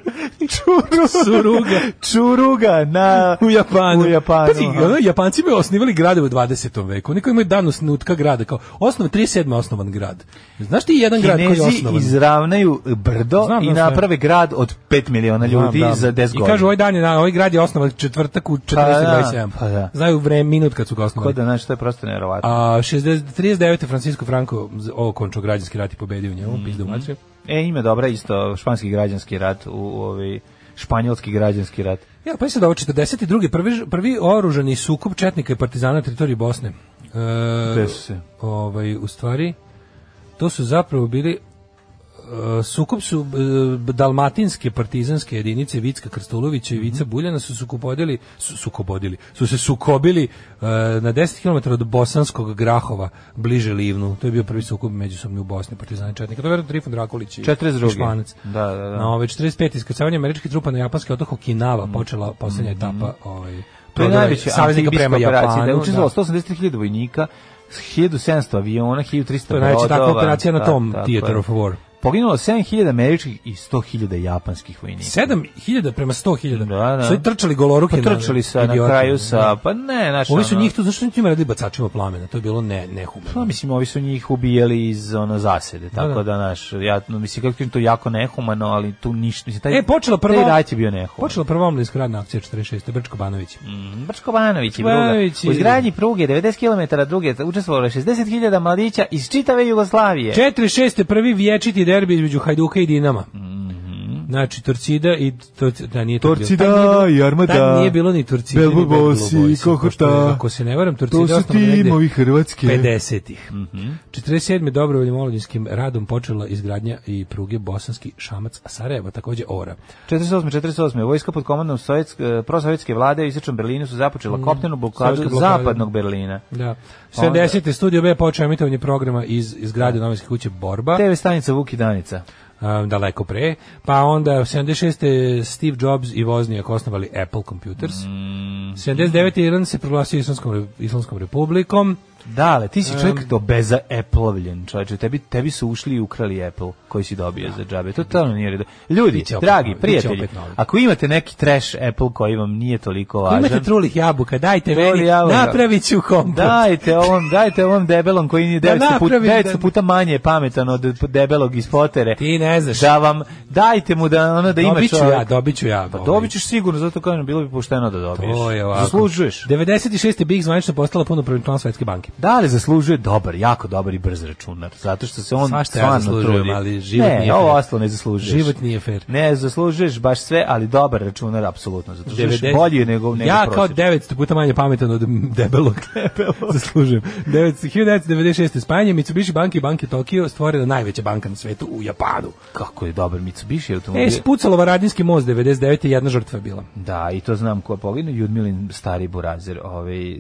Čuruga. Suruga.
Čuruga na...
U Japanu.
U Japanu,
Pazi,
aha.
ono, Japanci bi osnivali grade u 20. veku. Oni koji imaju dan osnutka grada. Kao, osnov, 37. osnovan grad. Znaš ti jedan grad koji je
Kinezi
osnovan?
izravnaju brdo
Znam,
i
znam, znam.
naprave grad od 5 miliona ljudi
Znam, da.
za 10
I kažu,
godina.
ovaj dan je, na- ovaj grad je osnovan četvrtak u 14.27.
Pa da, pa da.
Znaju vreme, minut kad su ga
Ko
osnovali.
da, znaš, to je prosto nevjerovatno.
A 60 39. Francisco Franco z- okončao građanski rat i pobedio u njemu, pizdu u mačju.
E, ime dobra isto, španski građanski rat, u, u ovaj, španjolski građanski rat.
Ja, pa se da ovo 42. Prvi, ž- prvi oružani sukob četnika i partizana na teritoriji Bosne. E,
Gde su se?
ovaj, u stvari, to su zapravo bili e, sukob su e, dalmatinske partizanske jedinice Vicka Krstulovića i
Mhm.
Vica Buljana su sukobodili, su, sukobodili, su se sukobili e, na 10 km od bosanskog Grahova, bliže Livnu. To je bio prvi sukob međusobni u Bosni partizani i četnika. To je verovatno Trifon Drakulić i,
42..
i Španac.
Da, da, da. Mhm.
Na ove 45 iskrcavanje američkih trupa na japanski otok Okinawa počela poslednja etapa ovaj
To je
prodora
najveće
saveznika prema Japanu.
Da je učestvovalo
da.
183.000 vojnika, 1700 aviona, 1300
To je najveća takva
brodova.
operacija na
ovaj, Da,
tom
tako
Theater
je.
of War.
Poginulo 7000 američkih i 100.000 japanskih vojnika.
7000 prema 100.000.
Da, da.
Su i trčali goloruke.
Pa trčali sa na
idioti.
kraju sa, pa ne, znaš,
Ovi su
ono-
njih tu, zašto su njima radili bacačima plamena? To je bilo ne, nehumano.
Pa mislim, ovi su njih ubijali iz ono zasede, tako
da.
da, naš, ja, no, mislim, kako ti kažem, to je jako nehumano, ali tu ništa, mislim, taj,
E, počela prva...
taj rat je bio nehuman.
Počela prva omlinska radna akcija 46. Brčko Banović.
Brčko Banović je druga.
Banović je-
U izgradnji pruge 90 km druge učestvovalo je 60.000 mladića iz čitave Jugoslavije.
46. prvi vječiti derbi između Hajduka i Dinama.
Mm. Mhm.
Znači, Torcida i... Tor, da, nije to bilo.
Torcida
Tad nije bilo-
i Armada.
Tad nije bilo ni Torcida,
Belbo
ni Belbo
Bosi,
Boysi,
Kohota.
pošto je, Ako se ne varam, Torcida je osnovana negde
Hrvatske.
50-ih.
Mhm.
47. dobrovoljnim olodinskim radom počela izgradnja i pruge Bosanski Šamac Sarajevo, takođe Ora.
48. 48. Vojska pod komandom sovjetsk, e, prosovjetske vlade u Istočnom Berlinu su započela kopnenu blokadu
sovjetska blokada.
zapadnog Berlina.
Da.
Pa onda-
70. studio B počeo emitovanje programa iz izgrade novinske kuće Borba,
TV stanica Vuki Danica.
um, daleko pre. Pa onda 76. Steve Jobs i Vozniak osnovali Apple Computers.
Mm.
79. Iran se proglasio Islamskom, re- Islamskom republikom. Pa
Dale, ti si čovjek um, dobeza Apple-ovljen, čovječe. Tebi, tebi su ušli i ukrali Apple koji si dobio za džabe. To totalno nije redo. Ljudi,
Biće opet
dragi,
novi, biće
prijatelji,
opet novi.
ako imate neki trash Apple koji vam nije toliko
Ako
važan...
Imate trulih jabuka, dajte
Truli
meni,
jabuka.
napravit ću kompot.
Dajte ovom, dajte ovom debelom koji nije
Da
900 puta,
napravi
900
da-
puta manje je pametan od debelog iz potere.
Ti ne znaš.
Da vam, dajte mu da, ono, da ima
Dobit ću
čovjek.
ja, dobit ću ja.
Pa
ovaj.
dobit ćeš sigurno, zato kažem, bilo bi pošteno da dobiješ.
To je ovako.
Zaslužuješ.
96. Big zvanično postala punopravni član Svetske banke.
Da li zaslužuje dobar, jako dobar i brz računar, zato što se on
Svašta ja
stvarno
zaslužujem,
trudi.
ali život
ne,
nije
ovo
fer.
ostalo ne zaslužuješ.
Život nije fair.
Ne, zaslužuješ baš sve, ali dobar računar, apsolutno. Zaslužuješ
90
bolji nego, nego
ja kao
prosječan.
900 puta manje pametan od debelog. Zaslužujem. 900, 1996. Spajanje Mitsubishi banke i banke Tokio stvorila najveća banka na svetu u Japanu.
Kako je dobar Mitsubishi automobil.
E, spucalo Varadinski most 99. i jedna žrtva je bila.
Da, i to znam ko je poginuo, Judmilin stari burazer, ovaj, e,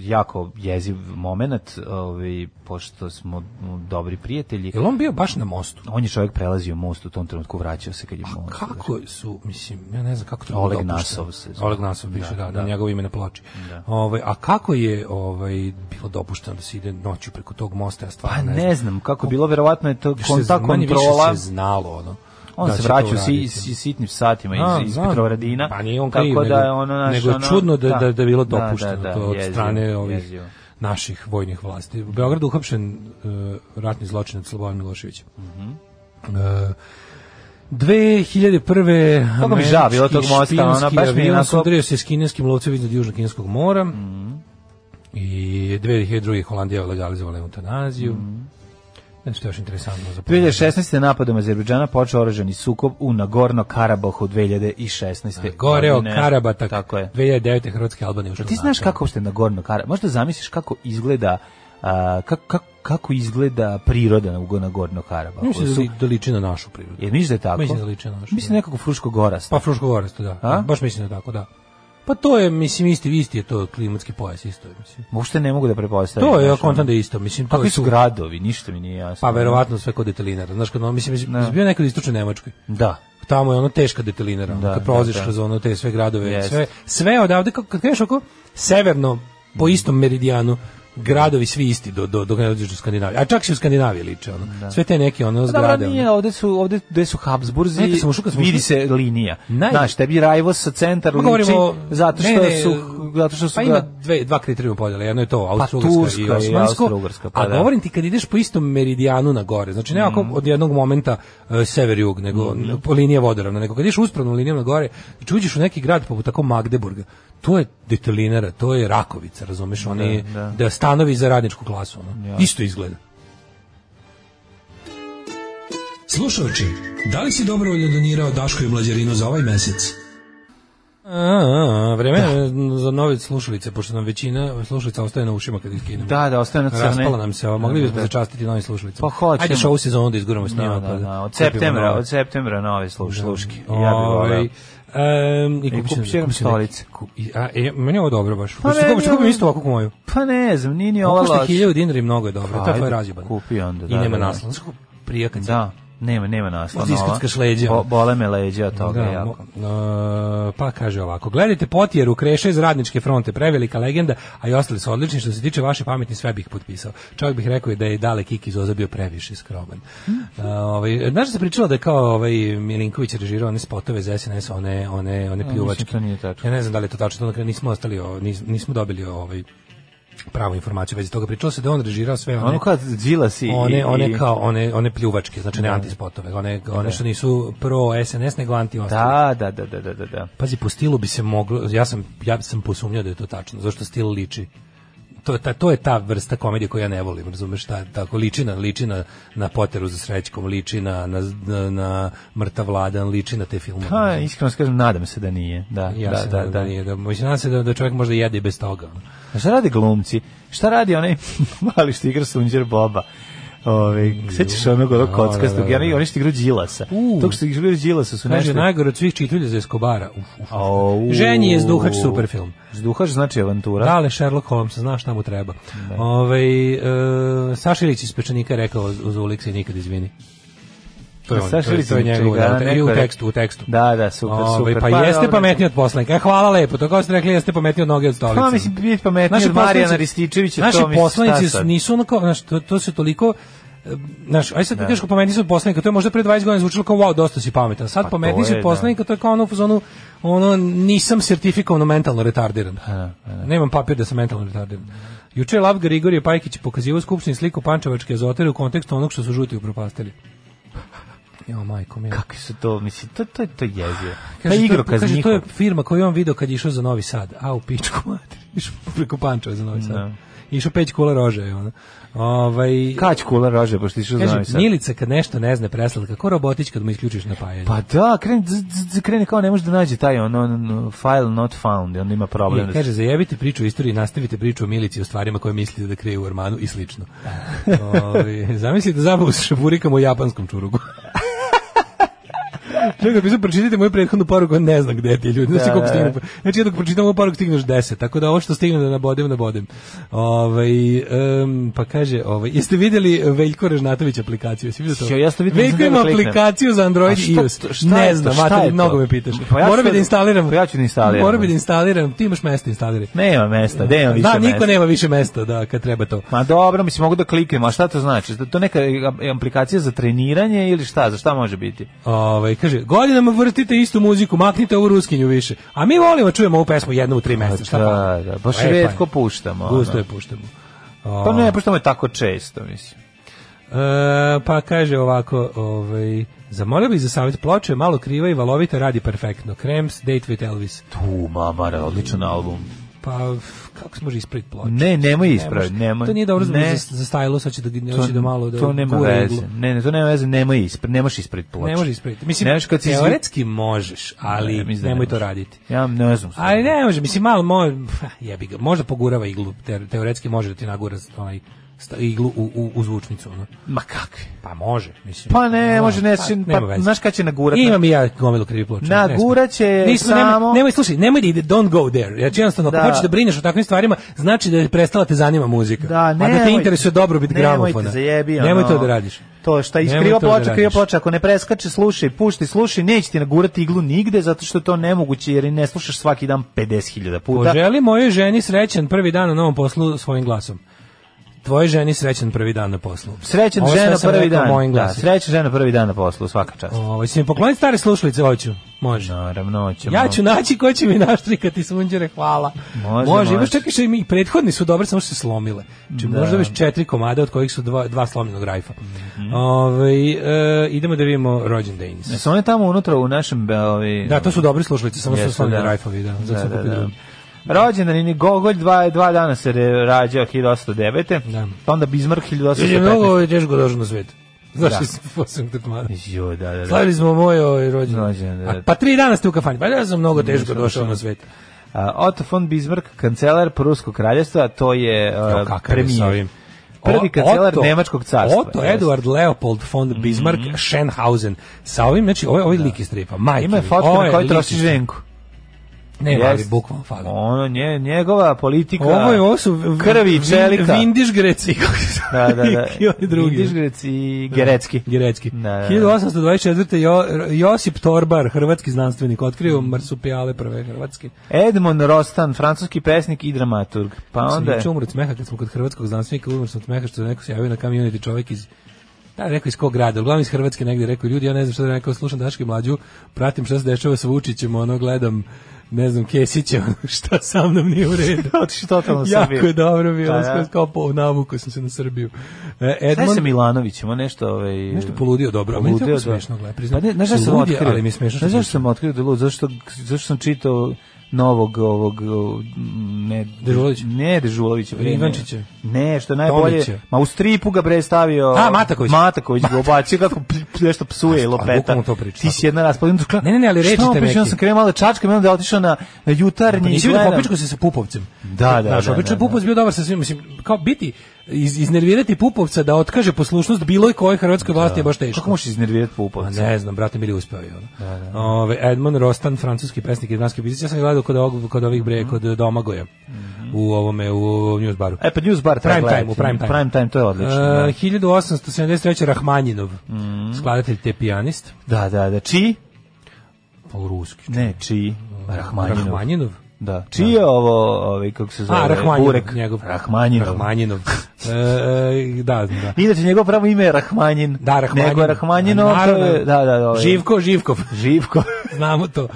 jako jeziv moment, ovaj, pošto smo m, dobri prijatelji.
Jel on bio baš na mostu?
On je čovjek prelazio most u tom trenutku, vraćao se kad je most.
Kako su, mislim, ja ne znam kako to je
Oleg
dopušteno.
Nasov se zove.
Oleg Nasov piše, da, na njegovo ime na ploči.
Da.
Ovaj, a kako je ovaj, bilo dopušteno da se ide noću preko tog mosta? Ja stvarno
Pa
ne znam.
ne znam, kako je bilo, verovatno je to
Više se-
konta
manje više
kontrola.
se znalo ono.
On
da
se
će
vraćao
to
si,
uraditi. ono.
si, sitnim satima
A,
iz, iz
znam.
Petrovaradina.
Pa nije on kriv,
tako da
nego,
je ono, naš,
nego je
ono,
čudno da, da, da je bilo
da,
dopušteno
da, da,
to od
jezivo,
strane ovih
jezivo.
naših vojnih vlasti. U Beogradu uhapšen uh, ratni zločinac Slobodan Milošević. Mhm. Uh, 2001.
Kako mi žao bilo tog mosta,
špijunski
ono, baš mi je
avion
onako- Mhm.
sudario se s kineskim lovcem iznad Južnog kineskog mora. I 2002. Holandija legalizovala eutanaziju.
Mhm.
Nešto što je još interesantno za
2016. napadom Azerbejdžana počeo oružani sukob u Nagorno-Karabahu 2016.
Goreo
godine.
Karabatak.
Tako je.
2009. Hrvatske Albanije ušle
Ti
u
znaš
NATO.
kako uopšte Nagorno-Karabah, možda zamisliš kako izgleda a, kako, kako, kako izgleda priroda u Nagorno-Karabahu.
Mislim da
Su-
li- da liči na našu prirodu.
Jel misliš da je tako?
Mislim da liči na našu.
Mislim nekako Fruško-Gorast.
Pa Fruško Gorasto, da.
A?
Baš mislim da je tako, da. Pa to je, mislim, isti, isti je to klimatski pojas, isto je, mislim.
Uopšte ne mogu da prepostavim.
Pa- To je, ja
znaš, Pa ono.
kontam da je isto, mislim, to
Kakvi
je
su
tu-
gradovi, ništa mi nije jasno.
Pa verovatno sve kod detelinara. Znaš, kad, ono, mislim, mislim,
Da.
bio nekad u istočnoj Nemačkoj.
Da.
Tamo je ono teška detelinara, ono,
Da,
kad prolaziš
da, da.
kroz ono te sve gradove,
Jeste.
sve, sve odavde, kako- kad kreneš oko severno, po
Mhm.
istom meridijanu, gradovi svi isti do, do, do, do, do Skandinavije. A čak si u Skandinaviji liče, ono. Sve te neke, ono,
Pa Dobro,
zgrade. ono.
nije, ovde su, ovde gde su Habsburzi,
Nekad sam ušao, kad sam
vidi
ušao-
se linija.
Naj-
Znaš, tebi Rajvos sa centar
Ma,
liči,
Pa govorimo o-
zato što
ne, ne,
su, zato što su
pa
ga- Pa
ima dve, dva kriterijuma podjele, jedno je to Austrougarska
Turska i
i Osmansko,
Austrougarska, pa
a
da. Mhm.
govorim ti kad ideš po istom meridijanu na gore, znači ne ako od jednog momenta e, sever-jug, nego po linije vodoravna, nego kad ideš uspravnom linijom na gore, znači uđeš u neki grad poput tako Magdeburga, to je detelinara, to je Rakovica, razumeš, oni
Da, da.
da stanovi za radničku klasu, ono. isto izgleda.
Slušalči, da li si dobrovoljno donirao Daško i Mlađarinu za ovaj mesec?
A, a, a, vreme je za nove slušalice, pošto nam većina slušalica ostaje na ušima kad ih kinemo.
Da, da, ostaje na crne.
Raspala nam se, ovo, mogli
Da,
bismo
da.
se častiti novim slušalicama.
Pa hoćemo.
Ajde još ovu sezonu da izguramo s njima.
Da,
pa
da, da, od
kupimo
septembra,
nove.
od septembra nove sluš, sluške. Ja bih E,
Ovaj,
volao.
em, I
kupit
kupit
ću
ću- kupit ću
stolice.
neki- ku- i- A, e, meni je ovo dobro baš. Pa
meni
ne,
je
kupim,
ovo-
isto ovako kao moju.
Pa ne znam, nije ni ova
Ovo što
loša.
hiljaju dinara i mnogo je dobro.
Pa,
Ta tvoja
ajde,
je razjebana.
kupi onda,
I
da,
nema
da, da.
naslov. Znaš kako prija kad se-
Da, nema, nema naslova.
Možda iskackaš leđa.
Bo, bole me leđa od toga,
Da,
jako.
mo- e, pa kaže ovako, gledajte potjeru kreše iz radničke fronte, prevelika legenda, a i ostali su odlični, što se tiče vaše pameti sve bih potpisao. Čak bih rekao i da je Dale Kiki Zoza bio previše skroman. E, ovaj, znaš da se pričalo da je kao ovaj Milinković režirao one spotove za SNS, one, one, one pljuvačke.
mislim, to nije tačno.
Ja ne znam da li je to tačno, to na kraju nismo ostali, o- nis- nismo dobili ovaj pravu informaciju vezi toga. Pričalo se da je on režirao sve one
Ono kad džila si i-
one
i-
one kao one one pljuvačke, znači ne antispotove, one one što nisu pro SNS nego anti ostali.
Da, da, da, da, da, da, da.
Pazi, po stilu bi se moglo, ja sam, ja sam posumnjao da je to tačno, zašto stil liči. To, je ta, to je ta vrsta komedije koju ja ne volim, razumeš, ta, tako liči na, liči na, na Poteru za srećkom, liči na, na, na, na Mrtav Vladan, liči na te filmove.
Pa, iskreno skažem, nadam se da nije. Da,
ja
da,
se
da,
nadam
da.
nije, da, mislim, nadam se da, da čovjek možda jede i bez toga. ono.
A Pa šta rade glumci? Šta radi onaj mali što igra sunđer Boba? Ove, sećaš onog onog
Da, da,
kockastog,
da,
ja ne,
da.
oni što igraju Đilasa.
U.
Tog što igraju Đilasa su
Kaže,
nešto...
najgore od svih čitulja za Eskobara. Uf, uf, uf.
Au.
Ženji je Zduhač, super film.
Zduhač znači avantura.
Da, ali Sherlock Holmes, znaš šta mu treba. Ovaj e, Saša Ilić iz Pečenika je rekao uz Uliksa i nikad izvini. To je, on,
Saša
to je,
Ilić
to je
iz
njegovo,
Pečenika,
da,
da,
i u
neko je-
tekstu, u tekstu.
Da, da, super,
Ovaj,
super.
pa,
Pa
jeste
dobro.
pametniji od poslanika. E, hvala lepo, to kao ste rekli, jeste pametniji od noge od stolice.
Pa, mislim, biti pametniji
Naši
od Marijana
poslanici-
Rističevića, to
Naši
mislim, šta
poslanici
sad?
su- nisu onako, znaš, to, to su toliko e, Znaš, aj sad kad kažeš kao pametni su od poslanika, to je možda pre 20 godina zvučalo kao wow, dosta si pametan. Sad
Pa,
pametni
to
su
je, da.
od poslanika, to je kao ono u fazonu ono nisam sertifikovano mentalno retardiran. Nemam papir da sam mentalno retardiran. Juče je Lav Grigorije Pajkić pokazivao skupštini sliku pančevačke azotere u kontekstu onog što su žuti upropastili. Jo, majko mi.
Kakvi su to, mislim, to, to, to je jezio. Ta
Kaže, to je-
igrokaz
kaže, to
njihov.
je firma koju je on video kad je išao za Novi Sad. A, u pičku mater. Išao preko Pančeva za Novi Sad.
Da.
Išao peć kula rože. Ono. Ovaj,
Kać kula rože, pošto išao za novi
kaže,
sad.
Milica kad nešto ne zna preslatka, kako robotić kad mu isključiš na pajanje.
Pa da, krene, z- z- z- krene kao ne može da nađe taj on, on, on file not found, i onda ima problem.
I, kaže, zajebite priču o istoriji, nastavite priču o Milici, o stvarima koje mislite da krije u Armanu i slično. Ovaj, zamislite zabavu s šaburikama u japanskom čurugu. Čekaj, pisao, pročitajte moju prethodnu poruku, on ne zna gde ti je ljudi. Znači,
Da, da,
koliko stignu. Znači, jednog pročitam ovu poruku, stigneš deset. Tako da ovo što stignem da nabodem, nabodem. Ovaj, em, pa kaže, ovaj, jeste vidjeli Veljko Režnatović aplikaciju? Jesi vidio to?
Jo, ja sam vidio, nisam
Veljko ima
da kliknem.
aplikaciju za Android i iOS. ne znam, mater, mnogo me pitaš.
Pa ja ću
Moram bi
to-
da instaliram.
Pa ja ću da instaliram.
Moram bi da instaliram. Ti imaš mesta instaliraj.
Nema mesta, da ima više
Da, niko
mesta.
nema više mesta, da, kad treba to.
Ma dobro, mislim, mogu da kliknem, a šta to znači? Da To neka aplikacija za treniranje ili šta? Za šta može biti?
Ovaj kaže, godinama vrtite istu muziku, maknite ovu ruskinju više. A mi volimo čujemo ovu pesmu jednom u tri meseca, šta
Pa da,
fali?
da, baš
Lepa je.
retko puštamo,
Gusto
ono.
je puštamo.
Pa ne, pošto mu je tako često, mislim.
E, pa kaže ovako, ovaj, zamolio bih za savjet ploče, malo kriva i valovita, radi perfektno. Krems, Date with Elvis.
Tu, mamara, odličan album.
Pa, f, kako se može ispraviti ploče?
Ne, nemoj ispraviti,
može.
nemoj.
To nije dobro
Ne.
ne. za, za stylo, sad će da, hoće da malo da
to nema
gura
veze.
iglu.
Ne, ne, to nema veze, nema ispred, nemaš ispred ploče.
Ne može ispraviti. Mislim,
Nemaš kad si izvi-
teoretski možeš, ali
Ne, mislim da
nemoj
ne
to
može.
raditi.
Ja ne znam. šta.
Ali ne može, mislim, malo mo, pa, jebi ga, možda pogurava iglu, te, teoretski može da ti nagura onaj, sta- iglu u, u, u zvučnicu. Ono.
Ma kakvi?
Pa može, mislim.
Pa ne,
Ono,
može, ne, sin-
nema
pa,
veze.
znaš kad će nagurat?
Imam i ja gomilu krivih ploča. ne smem.
Naguraće
Nismo, nemoj-
samo-
Nemoj, slušaj, nemoj da ide, don't go there. Jer jednostavno,
Da.
ako hoćeš da brineš o takvim stvarima, znači da je prestala te zanima muzika.
Da,
A da te
nemoj-
interesuje dobrobit
Nemoj
gramofona.
te zajebi, ono.
Nemoj to da radiš.
To šta iz
Nemoj
kriva
to da
ploča, kriva
radiš.
ploča, ako ne preskače, slušaj, pušti, slušaj, neće ti nagurati iglu nigde, zato što je to nemoguće, jer i ne slušaš svaki dan 50.000 puta.
Poželi mojoj ženi srećan prvi dan na novom poslu svojim glasom. Tvoje ženi srećan prvi dan na poslu.
Srećan
Ovo sve
žena
sam
prvi
rekao
dan.
Mojim
Da,
glasom.
srećan žena prvi dan na poslu, svaka čast.
Ovo, si mi pokloniti stare slušalice, hoću. Može.
Naravno, ćemo.
Ja ću naći ko će mi naštrikati sunđere, hvala.
Može,
može.
može.
Imaš čekaj što i mi prethodni su dobre, samo što se slomile. Či možda već četiri komade od kojih su dva, dva slomljenog rajfa.
Mhm.
Ovaj, e, idemo da vidimo Rođen Danes.
Jesu one tamo unutra u našem... e, Ovi,
Da, to su dobri slušalice, samo su
Jesu,
slomljeni
da.
rajfovi, da. Zato sam
da,
kupio
da.
drugi.
Rođendan i Gogolj dva, dva dana se re- rađao 1809.
Da.
Pa onda Bismarck
Jer je
1815.
mnogo je teško došao na svet. Znaš
Da.
što sam posebno tretmana.
Jo, da, da, da.
Slavili smo moj ovaj rođendan.
Rođendan, da.
A, Pa tri dana ste u kafani. Pa ja sam mnogo teško došao na svet.
A, Otto von Bismarck, kancelar Pruskog kraljestva, to je a,
Jo, kakav je sa
premijer.
ovim.
Prvi
O-
kancelar Nemačkog carstva.
Otto
Jeste. Mhm.
Eduard Leopold von Bismarck Schenhausen. Sa ovim, znači, ovo je ovaj lik iz stripa. Majke
Ima je
mi,
fotka
ovo
na kojoj
lik
troši
iz-
ženku.
Ne, ali
Jest.
bukvalno fali.
Ono, nje, njegova politika...
Ovo je, ovo su v-
krvi i
vin-
čelika.
Vindišgreci. kako se
Da, da, da.
I oni drugi.
Vindišgrec i Gerecki.
Gerecki.
Da, da, da.
1824. Jo, Josip Torbar, hrvatski znanstvenik, otkrio marsupijale prve hrvatske.
Edmond Rostan, francuski pesnik i dramaturg. Pa onda...
Onda
je-
je umro od smeha kad smo kod hrvatskog znanstvenika, umro sam od smeha što je neko se javio na community čovjek iz Da, rekao iz kog grada, uglavnom iz Hrvatske negdje, rekao ljudi, ja ne znam što da rekao, slušam Daški mlađu, pratim šta se dešava sa Vučićem, ono, gledam, ne znam, Kesića, ono, šta sa mnom nije u redu.
Otiši totalno
jako
Srbiju.
je dobro bio,
Pa,
on
da.
skroz kao po navuku sam se na Srbiju. E,
Šta je sa
Edmond,
Milanovićem, on nešto... Ovaj,
Nešto poludio dobro, a meni je tako smešno, gle, priznam.
Pa ne, znaš šta sam
Lud je,
otkrio?
ali mi je smešno što
Znaš zašto
piše.
sam otkrio da je lud? Zašto, zašto sam čitao novog ovog o, ne
Dežulović?
Ne, Dežulovića, bre, ne.
Ivančića?
Ne, što je najbolje.
Tomića?
Ma u stripu ga bre stavio.
A, Mataković.
Mataković ga obacio kako pl- pl- nešto psuje i lopeta.
bukvalno to priča,
Ti si jedna raspadin.
Ne, ne, ne, ali reći te neki.
Ja sam krenuo malo čačka, onda je otišao na na
Pa
jutarnji. i
nisi vidio
gledam.
Popičko se sa Pupovcem.
Da, da,
Znaš,
da,
obično
da,
je Pupovac bio dobar sa svim, mislim, kao biti, iz, iznervirati Pupovca da otkaže poslušnost bilo koje hrvatskoj vlasti je baš teško.
Kako možeš iznervirati
Pa
Pupovca?
ne znam, brate, bili uspeo je ono. Ove, Edmond Rostan, francuski pesnik i dranski pisac. Ja sam ga gledao kod, ovog, kod ovih bre, kod Domagoja. U ovome, u, ovom newsbaru.
Mhm. E pa news bar treba
Prime time,
gledati.
u prime time.
Prime time, to je odlično. da. Mhm.
E, 1873. Rahmanjinov, skladatelj te pijanist.
Da, da, da. Čiji?
Pa u ruski.
Ne, čiji? Rahmanjinov.
Rahmanjinov?
Da. Čiji je ovo, ovaj, kako se zove?
A, Rahmanjinov,
Burek.
njegov.
Rahmanjinov.
Rahmanjinov. E, e, da, da.
Inače, njegovo pravo ime je Rahmanjin.
Da, Rahmanjinov.
Nego je Rahmanjinov, to
Naravno.
je- da, da, da. ovaj,
Živko, Živkov.
Živko.
Znamo to.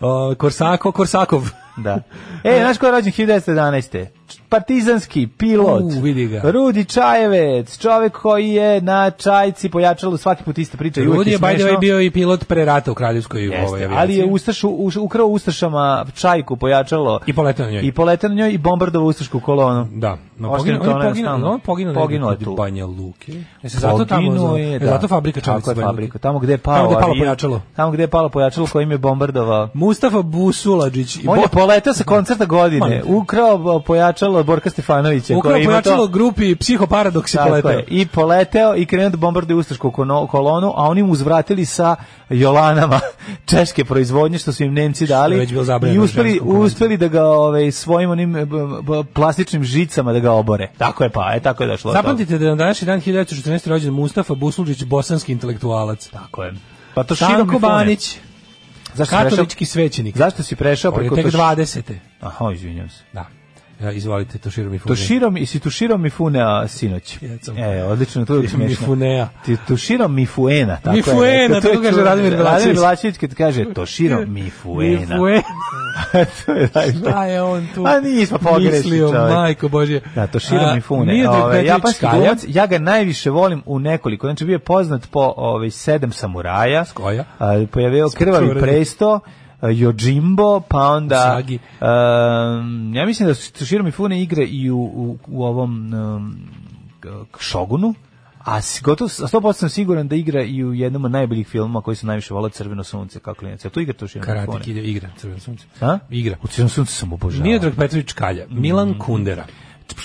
O, Korsako, Korsakov.
da. E, znaš ko je rođen 1911. Partizanski pilot.
U, vidi ga.
Rudi Čajevec, čovek koji je na Čajci pojačalo svaki put ista priča. i uvek
Rudi je by the
smešno.
way bio i pilot pre rata u Kraljevskoj
Jeste,
ovaj,
ali je
avijaciji.
Ustašu, uš, ukrao Ustašama čajku pojačalo
I poletao na njoj.
i poletao na njoj i bombardovao Ustašku kolonu.
Da, no
Ostaje
poginuo,
to
on je
ono
poginuo,
stalno.
on
Poginuo
poginuo poginuo
je tu.
kod Banja Luke. E se zato tamo,
Poginuo
zna-
je,
e,
da.
zato fabrika čavica
Tako je
Banja Luke.
fabrika, tamo gde je pao
Tamo gde je palo
avion,
pojačalo.
Tamo gde je palo pojačalo kojim je bombardovao.
Mustafa Busulađić i
On je
Bo-
poletao sa koncerta godine,
Molim te.
ukrao bo- pojačalo Borka Stefanovića.
Ukrao
koji ima
pojačalo
to-
grupi Psihoparadoks i
Tako
poletao.
je, I Znači, poleteo i krenuo da bombarduje Ustašku kono- kolonu, a oni mu uzvratili sa Jolanama češke proizvodnje što su im Nemci
je
dali
već bilo zabranjeno
i uspeli,
ženskom komentu.
uspeli da ga ovaj, svojim onim e, b- b- plastičnim žicama da ga obore. Tako je pa, e, tako je došlo. do toga.
Zapamtite da je na današnji dan 1914. rođen Mustafa Busulađić, bosanski intelektualac.
Tako je. Pa to
Stanko
široko bane.
Banić,
Zašto si prešao,
katolički svećenik.
zašto si prešao
On je
preko
tek
Toš-
20.
Aha, izvinjam se.
Da. Ja, izvolite, Toshiro Mifune.
Tuširo mi, si tuširo Mifunea sinoć.
Jesam.
E, odlično, to je smešno.
Mifunea.
Ti tuširo Mifuena, tako je.
Mifuena,
rekao, to je
tako kaže
čudo.
Radomir Vilačević.
Radomir Vilačević kad kaže tuširo Mifuena.
Mifue-
to je taj-
Šta je on tu?
A nismo pogrešni
Mislio,
čovjek.
majko Božje.
Da, to širo
A,
mi fune.
Miodrag
Ove,
Petrović
japanski
Kalja.
glumac, ja ga najviše volim u nekoliko. Znači, bio je poznat po ove, sedam samuraja. S
koja?
A, pojavio krvavi
Cure.
presto, a, Yojimbo, pa onda...
Usagi.
em, ja mislim da su širo mi fune igre i u, u, u ovom em, k- šogunu. A s- gotovo, s- 100% sam siguran da igra i u jednom od najboljih filmova koji se najviše vola Crveno sunce, kako klinac. Je tu igra to širo mi
Karate
fune?
Kid igra, Crveno sunce.
A?
Igra.
U Mm. Crvenom suncu sam obožavao.
Miodrag Petrović Kalja, Milan Kundera.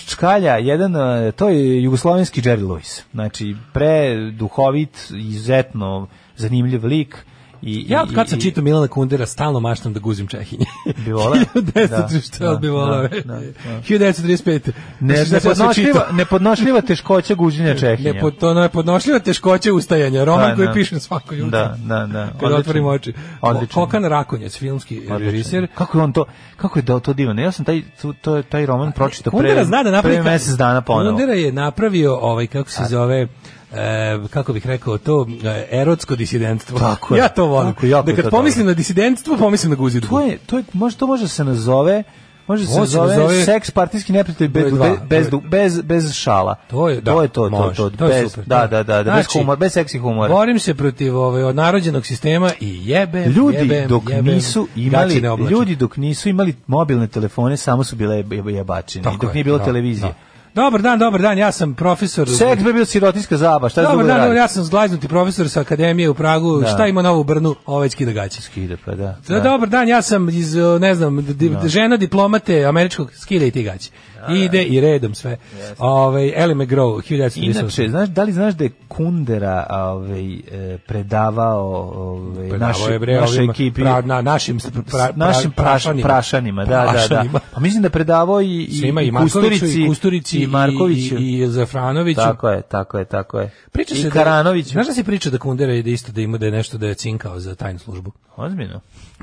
Čkalja, jedan, e, to je jugoslovenski Jerry Lewis. Znači, pre duhovit, izuzetno zanimljiv lik. I,
Ja od
i-
kad sam
i-
čitao Milana Kundera stalno maštam da guzim Čehinje.
Bi voleo?
1900, šta
Da,
bi volao?
da, da, da.
1935.
Ne,
Znači, da sam sve čitao.
nepodnošljiva, nepodnošljiva teškoća guđenja Čehinja.
Nepo, to je nepodnošljiva teškoća ustajanja, roman
Da,
koji
da.
pišem svako jutro.
Da, da, da.
Kada
Odlično.
otvorim oči.
Odlično.
Kokan Rakonjac, filmski
Odlično.
režiser.
Kako je on to, kako je da to divno? Ja sam taj, tu- to, taj roman pročitao
Kundera
pre,
zna da napravi
pre
ka-
mesec dana ponovo.
Kundera je napravio ovaj kako se zove e, kako bih rekao to e, erotsko disidentstvo.
Tako je.
Ja to volim.
Tako je, jako
da
je
kad
to
pomislim
dobro.
na disidentstvo, pomislim na guzidbu.
To je, to je, može, to može da se nazove, može da se
Ovo se
nazove,
nazove-
seks partijski neprijatelj
Broj
bez,
dva.
bez, du- bez, bez šala.
To je, da,
to je to, to,
može.
to,
To je
bez,
super.
da, da, da, da, bez
Znači,
humora, bez seksi humora.
Borim se protiv ovaj odnarođenog sistema i jebe
Ljudi
jebem,
dok
jebem,
nisu
gaće
imali
ne oblače.
ljudi dok nisu imali mobilne telefone samo su bile jeb- jeb- jebačine
Tako
i dok
je,
nije bilo
da,
televizije.
da. Dobar dan, dobar dan. Ja sam profesor
Seks bi bio sirotinska zaba, šta je
Dobar
drugo
dan,
da
dobar,
radi?
ja sam zglajznuti profesor sa akademije u Pragu.
Da.
Šta ima novo u Brnu? Ovaj skida gaće.
Skida, pa da.
Da. Dobar dan, ja sam iz, o, ne znam, di, žena diplomate američkog skida i ti gaće. Ide i redom sve. Ovaj Ellie McGraw, 1938.
Inače, znaš, da li znaš da je Kundera ovaj, e, predavao ovaj,
Pa
naše,
da, ovo je, bre,
našoj
ovima
ekipi?
pra- na, našim pra, pra,
našim prašanima, prašanima, da, da, da.
Prašanima.
Pa mislim da predavao i, i,
Svima i
i
Markoviću,
Kusturici,
i Kusturici,
i Markoviću.
i, i Zafranoviću.
Tako je, tako je, tako je.
Priča
I
se da-
Karanoviću.
znaš da se priča da Kundera je da isto da ima da je nešto da je cinkao za tajnu službu?
Ozbiljno.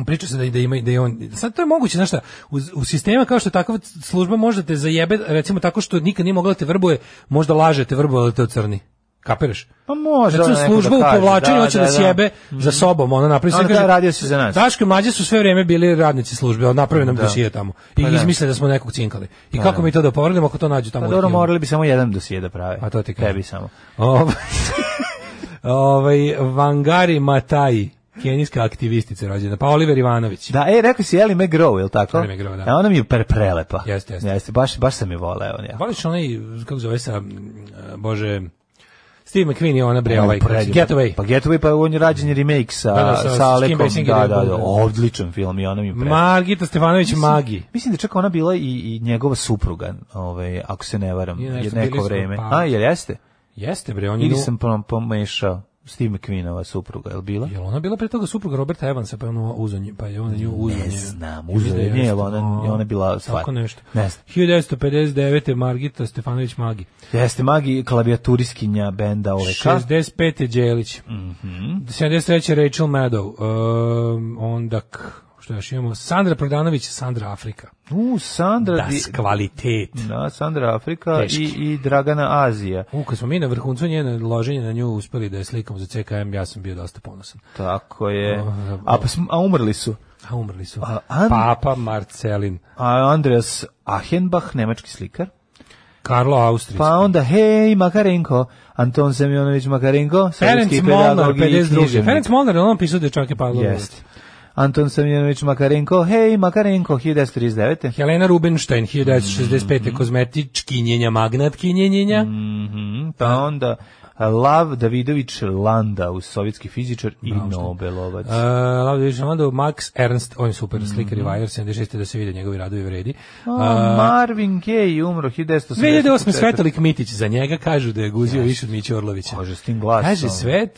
Priča se da, da ima da je on sad to je moguće znaš šta u, u sistema kao što je takva služba možda te zajebe recimo tako što nikad nije mogla da te vrbuje možda laže te vrbuje te crni kapiraš
Pa može
Recimo,
ona neko
služba
da
u
kaže,
povlačenju
da,
hoće
da, Pa
da,
da. Mhm.
sjebe za sobom, ona napravi
Ona
sve
kaže, radio si za nas.
Daško i mlađe su sve vrijeme bili radnici službe, on napravi nam dosije tamo. I
Pa da.
izmisle da smo nekog cinkali. I kako mi to da povredimo ako to nađu tamo?
Pa
u
dobro,
arhivu?
morali bi samo jedan dosije da prave.
A to ti kažem.
Tebi samo.
Ovaj, ovaj, Vangari Mataji, kenijska aktivistica rođena, pa Oliver Ivanović.
Da, e, rekao si Ellie McGraw, je li tako?
Ellie McGraw, da.
E, ona mi je pre prelepa.
Jeste, jeste.
baš, baš sam je voleo. Ja.
Voliš onaj, kako zove sa, mm, Bože, Steve McQueen je ona bre, ovaj, Getaway.
Pa Getaway, pa on je rađen je remake sa,
Da, da, sa-
sa,
sa Kim
Alekom.
Basingerem.
Da, da, da, odličan film i ona mi je pre...
Margita Stefanović Magi.
Mislim da čak ona bila i, i njegova supruga, ovaj, ako se ne varam,
Nije,
je
nešto bili
neko
smo,
vreme.
pa-
A, jel jeste?
Jeste bre, on je
Ili
nu-
sam pom- pomešao Steve McQueenova supruga, jel bila?
Jel ona bila pre toga supruga Roberta Evansa, pa je ona uzonje, pa je ona nju uzonje.
Ne znam, uzeo je, nije, jel ona, jel ona je bila stvar.
Tako nešto.
Ne znam.
1959. Margita Stefanović Magi.
Jeste magi klavijaturiskinja benda OVK.
65. Đelić.
Mhm.
73. Rachel Maddow. Um, onda, k- što još imamo? Sandra Prodanović, Sandra Afrika.
U, Sandra...
Das
Di-
kvalitet.
Da, Sandra Afrika
Teški.
i, i Dragana Azija.
U, kad smo mi na vrhuncu njene loženje na nju uspeli da je slikamo za CKM, ja sam bio dosta ponosan.
Tako je. A, pa, sm- a umrli su.
A umrli su.
A, An-
Papa Marcelin,
A Andreas Achenbach, nemački slikar.
Karlo Austrijski.
Pa onda, hej, Makarenko, Anton Semjonović Makarenko,
Ferenc
sovjetski
Molnar,
pedagog i
52.
književnik.
Ferenc Molnar, je on pisao Dečake Pavlova.
Jeste. Anton Semjonović Makarenko, hej, Makarenko, 1939.
Helena Rubinstein, 1965. kozmetičkinjenja, magnatkinjenja.
Mhm, pa onda Lav Davidović Landau, sovjetski fizičar i Nobelovac.
Uh, Lavdio Žamando, Max Ernst, on je super
Mhm.
slikar i vajer, 76. da se vide njegovi radovi vredi. E,
A, Marvin Gaye umro 1984.
2008. Svetolik Mitić, za njega kažu da je guzio više od Miće Orlovića.
Bože, s tim glasom.
Pa Kaže Svet,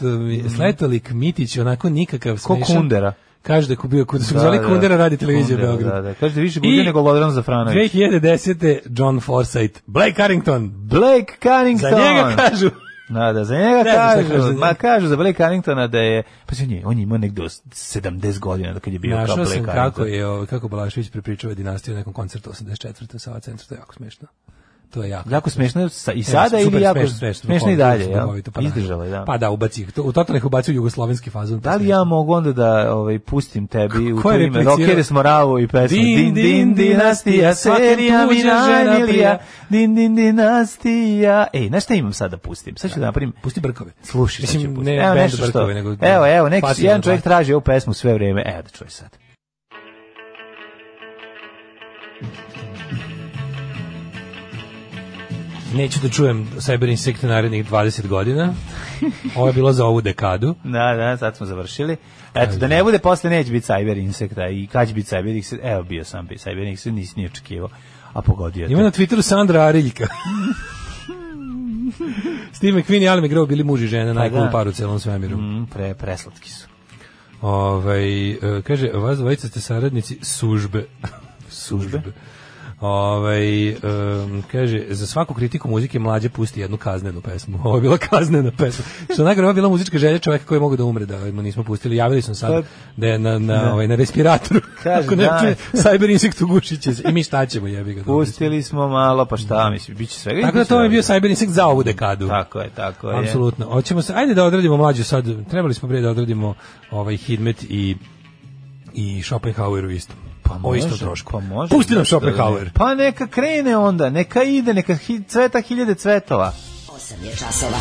Svetolik Mitić, onako nikakav
ono. Mhm. Ko
smešan.
Kundera.
Kaže da je kubio Kundera. Da,
Da,
zvali
da.
Kundera radi televizija u
Kundera,
Beogradu.
Da, da. Kaže da više gudio nego Lodran Zafranović.
2010. John Forsythe, Blake Carrington.
Blake
Za
Carrington.
njega kažu.
Da, da, za njega
Ne znam šta kažu za
kažu.
njega.
Ma kažu za Blake Carringtona da je... Pa se on je, on je imao negde 70 godina dok je bio kao
Našao
Blake
sam
Carrington.
kako je, ovaj, kako Balašević prepričava dinastiju na nekom koncertu 84. u Sava centru, to je jako smešno. To je jako.
Jako smešno sa- i sada
super,
ili jako
smešno,
smešno, i dalje, ja?
pa da.
Izdržala je, da.
Pa da, ubaci, to- u totalno ih ubacio jugoslovenski fazon. pa
Da li ja mogu onda da ovaj, pustim tebi u
Ko
to
je
ime?
replicirao?
Rokere smo ravo i pesmu.
Din,
Din, din,
din,
dinastija,
dinastija,
serija,
svaka tuđa žena
minanilija.
prija.
Din, din, dinastija. Ej, znaš šta imam sad da pustim? Sad ću da napravim
Pusti brkove.
Slušaj, sad
Mislim,
ću pustiti.
ne
evo
bend
nešto što,
Brkove, nego-
evo, evo, neki,
Fatima
jedan
Brkove.
čovjek traži ovu pesmu sve vrijeme, evo da čuje sad.
Neću da čujem Cyber Insect narednih 20 godina. Ovo je bilo za ovu dekadu.
Da, da, sad smo završili. Eto, da ne bude posle neće biti Cyber Insekta i kad će biti Cyber Insekt, evo bio sam bi Cyber Insekt, nisi ni očekivao, a pogodio. te.
Ima na Twitteru Sandra Ariljka. Steve McQueen i Alan McGraw bili muž i žena, najcool
Pa da.
par u celom svemiru.
Mm, pre, preslatki su.
Ovaj, e, kaže, vas dvojica ste saradnici sužbe. sužbe. Ovaj, em, kaže, za svaku kritiku muzike mlađe pusti jednu kaznenu pesmu. Ovo je bila kaznena pesma. Što najgore, ovo je bila muzička želja čoveka koji je mogao da umre, da mu nismo pustili. Javili smo
To
sad
je-
da je na, na, ovaj, na respiratoru.
Pa, Kaže,
Ako ne
da.
čuje, cyber insekt ugušit će se. I mi šta ćemo, jebi ga. dobro.
Pustili smo malo, pa šta, mislim, bit će svega.
Tako da to je bio cyber insekt za ovu dekadu.
Tako je, tako Pa je.
Apsolutno. Hoćemo se ajde da odradimo mlađu sad. Trebali smo prije da odradimo ovaj Hidmet i i Schopenhauer u istom. Pa o istom trošku.
Pa može.
Pusti nam
zašto da ne?
Schopenhauer.
Pa neka krene onda, neka ide, neka hi, cveta hiljade cvetova.
8 je časova.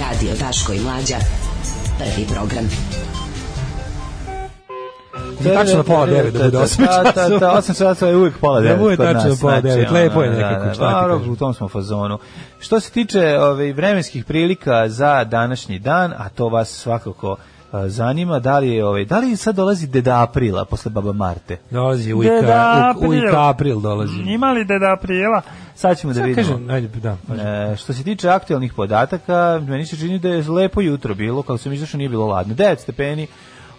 Radio Daško i Mlađa. Prvi program.
Za tačno na pola devet da bude osam
Da, da, da,
časova.
osam časova je uvijek pola
Da
devet.
bude
kod nas,
tačno pola
znači,
devet, lepo je
ono,
nekako,
da, da,
šta ti
dobro,
kažem.
U tom smo fazonu. Što se tiče ove, vremenskih prilika za današnji dan, a to vas svakako e, zanima, da li je, ovaj, da li sad dolazi deda aprila posle baba Marte?
Dolazi u
Deda
Ika, u, u
april.
Ika april dolazi.
Ima li deda aprila? Sad ćemo da
Sad
vidimo.
kažem, ajde, da. pažem.
E, što se tiče aktualnih podataka, meni se čini da je lepo jutro bilo, kako sam izašao nije bilo ladno. 9 stepeni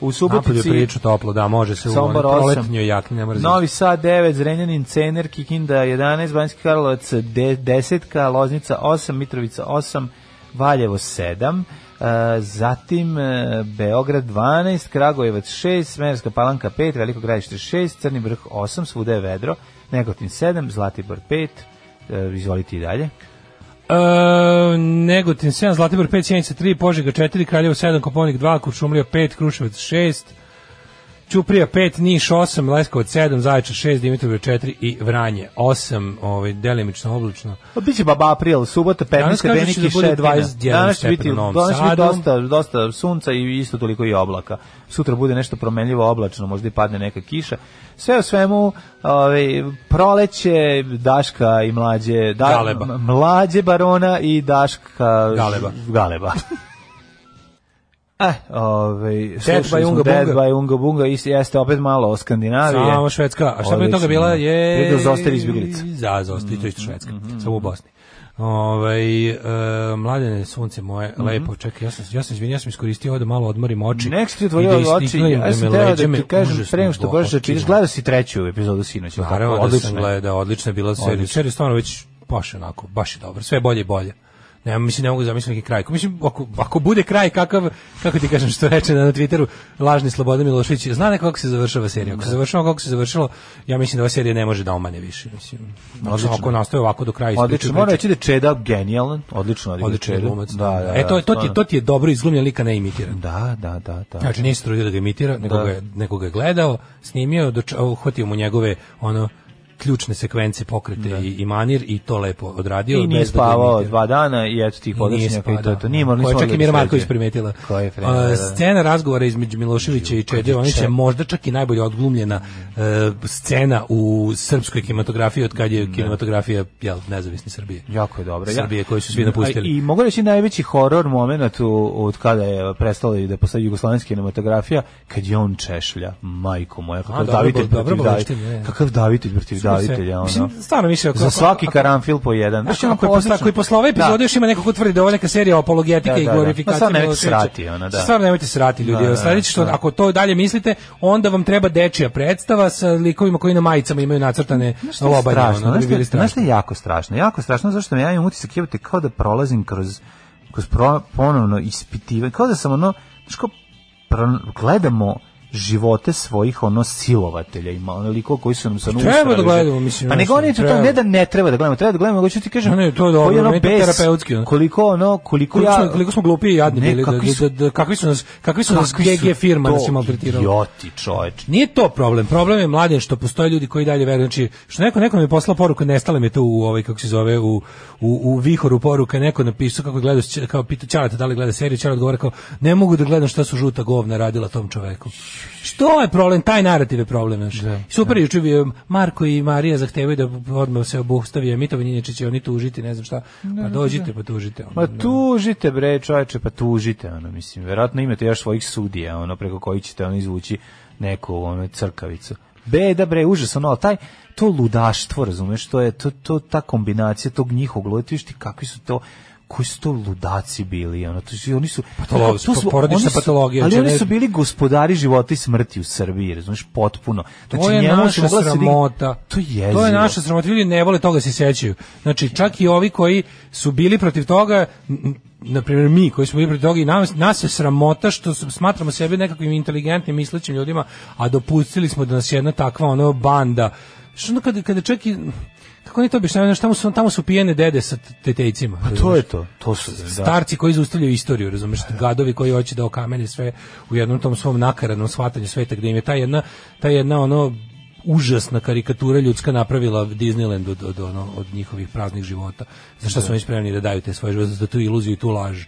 u
Napolju je
Subotici,
prilično toplo, da, može se u onoj
Sombor 8,
proletnjoj jakni, ne mrzim.
Novi Sad 9, Zrenjanin, Cener, Kikinda 11, Banjski Karlovac 10, Loznica 8, Mitrovica 8, Valjevo 7, e, zatim e, Beograd 12, Kragujevac 6, Smerska palanka 5, Veliko gradište 6, Crni vrh 8, svuda je vedro, Negotin 7, Zlatibor 5, e, izvolite i dalje.
E, Negotin 7, Zlatibor 5, Sjenica 3, Požega 4, Kraljevo 7, Koponik 2, Kuršumlija 5, Kruševac 6, Ćuprija 5, Niš 8, Leskovac 7, Zaječar 6, Dimitrovgrad 4 i Vranje 8, ovaj, delimično oblačno.
Pa Biće baba april, subota, 15
Danas kažu
stepeni
da će da bude
kišetina.
21
Danas će
stepen
biti,
u Novom
danas će biti
Sadu.
dosta, dosta sunca i isto toliko i oblaka. Sutra bude nešto promenljivo oblačno, možda i padne neka kiša. Sve u svemu, ovaj, proleće, Daška i mlađe... Da,
Galeba.
m- Mlađe barona i Daška...
Galeba.
Galeba. Eh, ovaj, slušali
by
smo
Unga
Dead
Bunga.
by Unga Bunga, is- jeste opet malo o Skandinavije.
Samo Švedska, a šta pre toga
Odlično.
bila je...
Prije da zaostali izbjeglice. Mhm,
Da, zaostali, to je isto Švedska, samo u Bosni. Ovaj e, mladene sunce moje
Mhm.
lepo čekaj ja sam ja sam izvinio ja sam iskoristio ovo da malo odmorim oči
Nek si ti
i da
otvorio oči,
istignem
ja sam
me
teo
leđe
da ti
me
kažem,
užasno
pre nego što
boli.
počneš da čitaš, gledao si treću epizodu sinoć, je li tako?
Naravno da
Pa, Odlično
sam
je.
gledao, odlična je bila serija.
Odlično.
Serija stvarno već baš onako, baš je dobro, sve bolje i bolje. Ne, mislim, ne mogu zamisliti neki kraj. Mislim, ako, ako bude kraj kakav, kako ti kažem što reče na Twitteru, lažni Slobodan Milošević, zna neko kako se završava serija. Ako se završava kako se završilo, ja mislim da ova serija ne može da omane više. Mislim,
Odlično.
odlično. Ako nastaje ovako do kraja
Odlično, moram reći da je Čeda genijalan, odlično odigra
odlično je
Čedu.
glumac.
Da, da,
e, to, je- to, ti,
stvarno.
je- to ti je dobro izglumljen lika ne imitiran.
Da, da, da, da.
Znači nije se trudio da ga imitira, nego,
Da.
ga, je- nego ga je gledao, snimio, doč, uhvatio mu njegove ono ključne sekvence pokrete i, i manir i to lepo odradio.
I nije
bez da ga
spavao
imitira.
dva dana i eto ti
I nije
podačnjaka i to,
spavao,
to. Nije morali
koje
smo
je čak i
odgledati
Mira
sve
Marković
te-
primetila.
Koje je
A,
vreme, da, da.
Scena razgovora između Miloševića i Čede Jovanića je možda čak i najbolje odglumljena e, scena u srpskoj kinematografiji od kad je kinematografija jel, nezavisni Srbije.
Jako je dobro.
Srbije koju su svi napustili.
I, i mogu reći najveći horor moment u, od kada je prestala i da postoji jugoslovenska kinematografija, kad je on češlja, majko moja, kakav
A, dobro,
davitelj
dobro,
protiv
dobro,
davitelja.
baš ti, ne.
Kakav davitelj protiv davitelja, ono.
Mislim, stvarno više. ako-
Za
ako-
svaki
ako-
karanfil po jedan.
Znaš,
Ono,
ono koji posle,
odlično.
koji posle ove epizode
Da.
još ima neko ko tvrdi da je ovo neka serija apologetike
Da,
i
da, da.
glorifikacije.
Pa stvarno nemojte
Miloševića.
srati, ono, da.
Stvarno nemojte srati, ljudi.
Da, da,
Sledeće što,
da.
ako to dalje mislite, onda vam treba dečija predstava sa likovima koji na majicama imaju nacrtane
Znaš šta je
lobanje.
strašno?
ono, da
Znaš
bi
šta-
bili
Znaš šta
strašni.
je jako strašno? Jako strašno zašto ja imam utisak jebote kao da prolazim kroz kroz pro, ponovno ispitivanje, kao da sam ono, znaš kao pro- gledamo živote svojih ono silovatelja ima onoliko koji su nam ono sa
Pa Treba da gledamo, mislim,
pa nego
mislim,
oni to ne
treba.
da ne treba da gledamo treba da gledamo hoću ti kažem
Ne, ne, to je dobro,
koji ono
meni to
bes,
terapeutski, ono.
koliko ono koliko
Koliko,
ja
smo, koliko smo glupi i jadni
Ne,
bili, da,
kakvi su-
da, da, kakvi su nas, kakvi su nas
kakvi su
GG firma nas
to
je maltretirala.
Idioti, čoveče.
Znači, Nije to problem. Problem je mladen što postoje ljudi koji dalje veruju. Znači, što neko neko mi je poslao poruku, nestala mi je to u ovaj kako se zove u u, u vihoru poruka, neko je napisao kako gleda kao pita Ćarata da li gleda seriju, Ćarat odgovara kao ne mogu da gledam šta su žuta govna radila tom čoveku. Što je problem? Taj narativ je problem, znači. Super juče bio Marko i Marija zahtevaju da odmah se obustavi, a Mitovi Njenječić će oni tužiti, ne znam šta. Pa dođite, pa tužite. ono,
Ma
da.
tužite bre, čoveče, pa tužite, ono mislim, verovatno imate još svojih sudija, ono preko koji ćete ono izvući neku ono crkavicu. Beda bre, užas, ono, ali taj to ludaštvo, razumeš, to je to, to ta kombinacija tog njihovog luda, ti vidiš ti kakvi su to koji su to ludaci bili, ono, to su, oni su...
Patolo- porodična
oni su-
patologija,
Ali
znači,
oni
ne-
su bili gospodari života i smrti u Srbiji, razumeš, potpuno.
To
Znači,
je
njemu
naša
se mogla se dig-
sramota.
To je
To je
jezivo.
naša sramota. Ljudi ne vole toga da se sećaju. Znači, čak i ovi koji su bili protiv toga, n- n- na primjer mi koji smo bili protiv toga i nas, nas je sramota što s- smatramo sebe nekakvim inteligentnim mislećim ljudima, a dopustili smo da nas jedna takva ono banda. Što onda kada, kada čak i kako oni to objašnjavaju, znaš, tamo su, tamo su pijene dede sa t- tetejcima.
Pa To je
razumeš?
to, to su, da.
starci koji zaustavljaju istoriju, razumeš, gadovi koji hoće da okamenje sve u jednom tom svom nakaradnom shvatanju sveta gde im je ta jedna, ta jedna ono užasna karikatura ljudska napravila Disneyland od, od, ono, od njihovih praznih života. Za šta su oni spremni da daju te svoje živote, za tu iluziju i tu laž.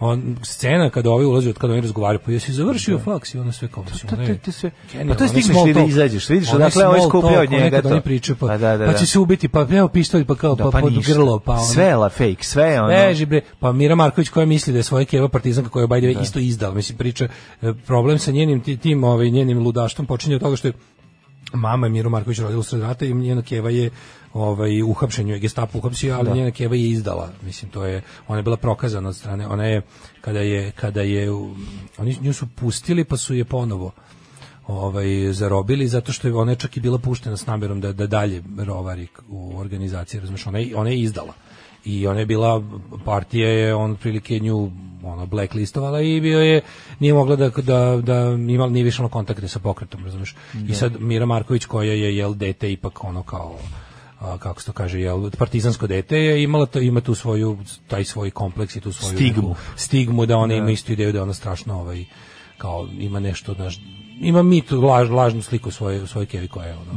On, scena kada ovi ulaze, od kada oni razgovaraju, pa jesi završio faks i ono sve kao mislim,
to-
ne.
to- to sve-
Genijalno,
pa to je
onaj
stigneš
small
li da
talk.
izađeš, vidiš
Onaj
odakle je ovaj
small
skupljao
talk, onaj
njega,
kad
to.
oni pričaju, pa,
Pa da, da,
pa
da.
će se ubiti, pa evo pištolj, pa kao,
Da,
pa, pod
ništa.
grlo, pa ono.
sve je la fake, sve je ono.
Beži bre, pa Mira Marković koja misli da je svoje keva partizanka koja je by the way isto izdala, mislim priča e, problem sa njenim ti- tim, ovaj njenim ludaštvom počinje od toga što je mama je Miru Marković rodila usred rata i njena keva je ovaj uhapšenju je Gestapo uhapsio, ali njena keva je izdala. Mislim to je ona je bila prokazana od strane, ona je kada je kada je u- oni nju su pustili pa su je ponovo ovaj zarobili zato što je ona je čak i bila puštena s namerom da da dalje rovari k- u organizaciji, razumeš, ona je, ona je izdala. I ona je bila partija je on prilike nju ono blacklistovala i bio je nije mogla da da da imala nije više imala kontakte sa pokretom, razumeš. I sad Mira Marković koja je jel dete ipak ono kao a, kako se to kaže, jel, partizansko dete je imala to, ima tu svoju, taj svoj kompleks i tu svoju
Stigmu.
neku stigmu da ona ima istu ideju da je ona strašno ovaj, kao ima nešto znaš, ima mit laž, lažnu sliku svoje svoje kevi koja je ono.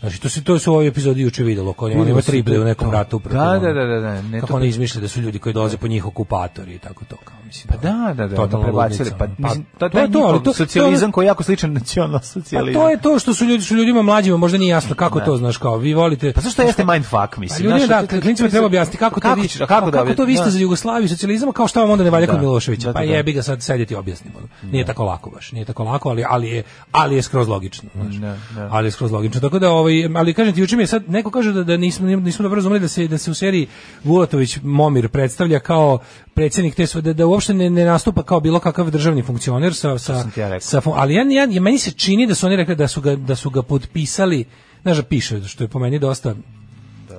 Znači to se to se u ovoj epizodi juče videlo, kao ona
Videlo
ima
se
triple
to,
u nekom
to.
ratu protiv
Da,
ono,
da, da, da, da, ne,
kako
to-
oni izmišlja da pa- su ljudi koji dolaze po njih okupatori i tako to kao mislim.
Pa da, da, da, ono,
totalna
prebacili.
ludnica,
Pa,
ono.
mislim,
Pa
to, to je to, ali to,
to je
socijalizam
ono-
koji je jako sličan nacional
Pa
socijalizam.
to je to što su ljudi su ljudima mlađima možda nije jasno kako to znaš kao vi volite
Pa zašto jeste mindfuck, mislim?
Pa Ljudi,
znaš,
da,
to- to-
klincima
to-
treba objasniti kako to vi,
će- kako, da,
to vi ste
da.
za Jugoslaviju socijalizam, kao šta vam onda ne valja kod
Da.
Miloševića.
Da, da,
pa
da.
jebi ga sad sedjeti objasnimo. Nije tako lako baš, nije tako lako, ali ali je ali je skroz logično, znaš.
Da, da.
Ali je skroz logično. Tako da ovaj ali kažem ti juče mi je sad neko kaže da da nismo nismo dobro razumeli da se da se u seriji Vulatović Momir predstavlja kao predsjednik te sve da, da uopšte ne, ne nastupa kao bilo kakav državni funkcioner sa sa
sam ti ja rekao.
sa fun- ali ja, ja, meni se čini da su oni rekli da su ga da su ga potpisali znaš da piše što je po meni dosta